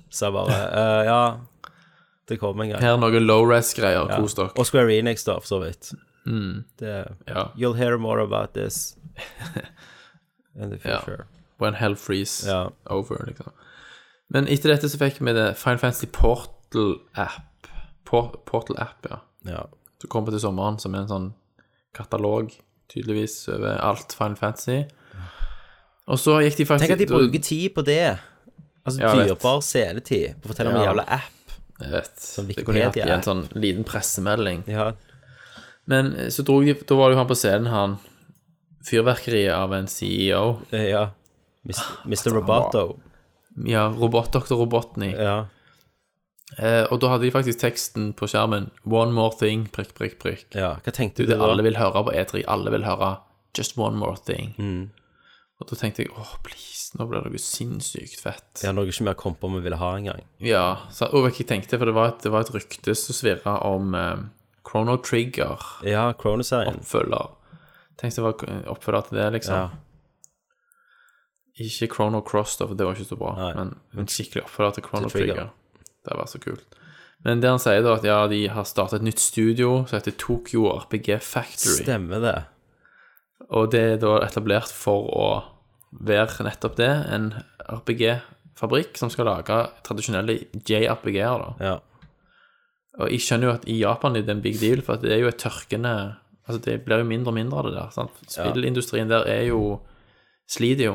sa bare eh, Ja, det kommer en gang.
Her er noen low-res-greier. Kos dere.
Og Square Enix, da, for så vidt.
Mm.
Det,
Ja.
You'll hear more about this in the
Ja.
future.
When hell freeze
Ja.
over, liksom. Men etter dette så fikk vi det Final Fantasy Portal-app. Por Portal-app, ja.
Ja.
som kommer til sommeren, som er en sånn katalog, tydeligvis, over alt Final Fantasy. Og så gikk de faktisk
Tenk at de bruker tid på det. Altså
Altså, Ja, jeg vet.
dyrebar seletid på å fortelle om en
Ja.
jævla app.
Jeg vet. Det kunne de
Wikipedia.
hatt i en sånn liten pressemelding.
Ja,
Men eh, så dro de Da var det jo han på scenen, han Fyrverkeriet av en E CEO.
eh, ja.
Ah,
Mis- Mr. Roboto.
Ja, robot, Dr. Robotnik.
Ja.
Eh, og da hadde de faktisk teksten på skjermen One more thing, prikk, prikk, prikk.
ja. Hva tenkte
Det
du
er det alle
da?
vil høre på E3. Alle vil høre Just one more thing.
Mm.
Og da tenkte jeg åh, please, nå blir det noe sinnssykt fett.
Ja, noe ikke mer kom på om vi ville ha engang.
Ja, så, og hva jeg tenkte, for det var et, det var et rykte som svirra om eh, Chrono Trigger,
Ja, Chrono-serien.
oppfølger. Tenkte det var oppfølger til det, liksom.
Ja.
Ikke Chrono Cross, da, for det var ikke så bra,
Nei.
men, men skikkelig oppfølger til Chrono
Til Trigger.
Trigger. Det var så kult. Men det han sier, da, at ja, de har starta et nytt studio som heter Tokyo RPG Factory.
Stemmer det.
Og det er da etablert for å være nettopp det, en RPG-fabrikk som skal lage tradisjonelle JRPG-er, da.
Ja.
Og jeg skjønner jo at i Japan er det en big deal, for at det er jo et tørkende Altså, det blir jo mindre og mindre av det der. sant? Spillindustrien der er jo Sliter jo.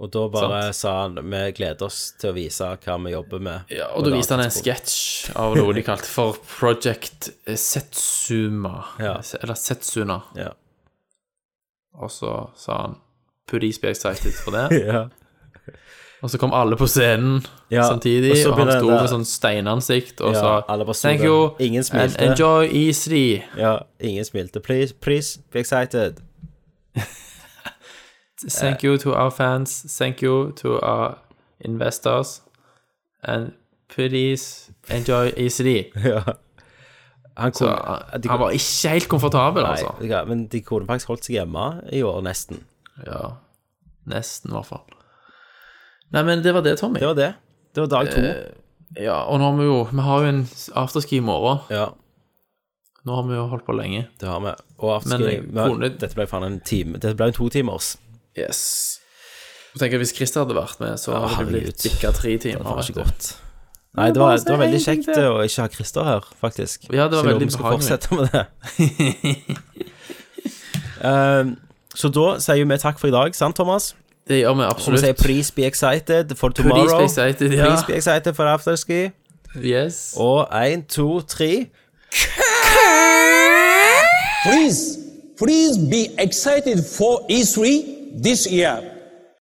Og da bare sa han vi gleder oss til å vise hva vi jobber med.
Ja, og da viste han en sketsj av noe de kalte for Project Setsuma.
Ja.
Eller Setsuna.
Ja.
Og så sa han Please be excited for det.
Ja.
Og så kom alle på scenen
Ja,
samtidig,
og så
og, han
begynner
sto
det-
med sånn steinansikt og
Ja, alle bare
sa
sto
Thank
der.
you,
Ingen
and
smilte.
enjoy E3.
ja. Ingen smilte. Please, please, be excited.
Thank you to our fans. Thank you to our investors. And please enjoy E3.
Han
Så
kunne,
han
de,
han var ikke helt komfortabel,
nei,
altså.
ja, men de kunne faktisk holdt seg hjemme i år, nesten.
Ja, nesten i hvert fall. Nei, men det var det, Tommy. Eh.
Det var det. Det var dag to.
Ja, og nå har vi jo Vi har jo en afterski i morgen.
Ja,
Nå har vi jo holdt på lenge.
det har vi. Og afterski
Men jeg
vi har-
kunne-
Dette ble faen en time. Dette ble en totimers.
Yes. Jeg tenker Hvis Christer hadde vært med, så
Ja,
hadde det blitt
herregud.
bikka tre timer.
Det var
vet
ikke
du.
godt. Nei, det var, det var veldig kjekt eh, å ikke ha Christer her, faktisk.
Ja, det var
Så jeg lurer
veldig
om vi skal
behagelig.
fortsette med det. Ehm, så da sier vi takk for i dag, sant, Thomas?
Det gjør vi
Og vi
absolutt.
sier please be excited for tomorrow.
Please be excited, ja.
Please be excited for afterski.
Yes.
Og én, to, tre.
Please, please be excited for E3 E this year.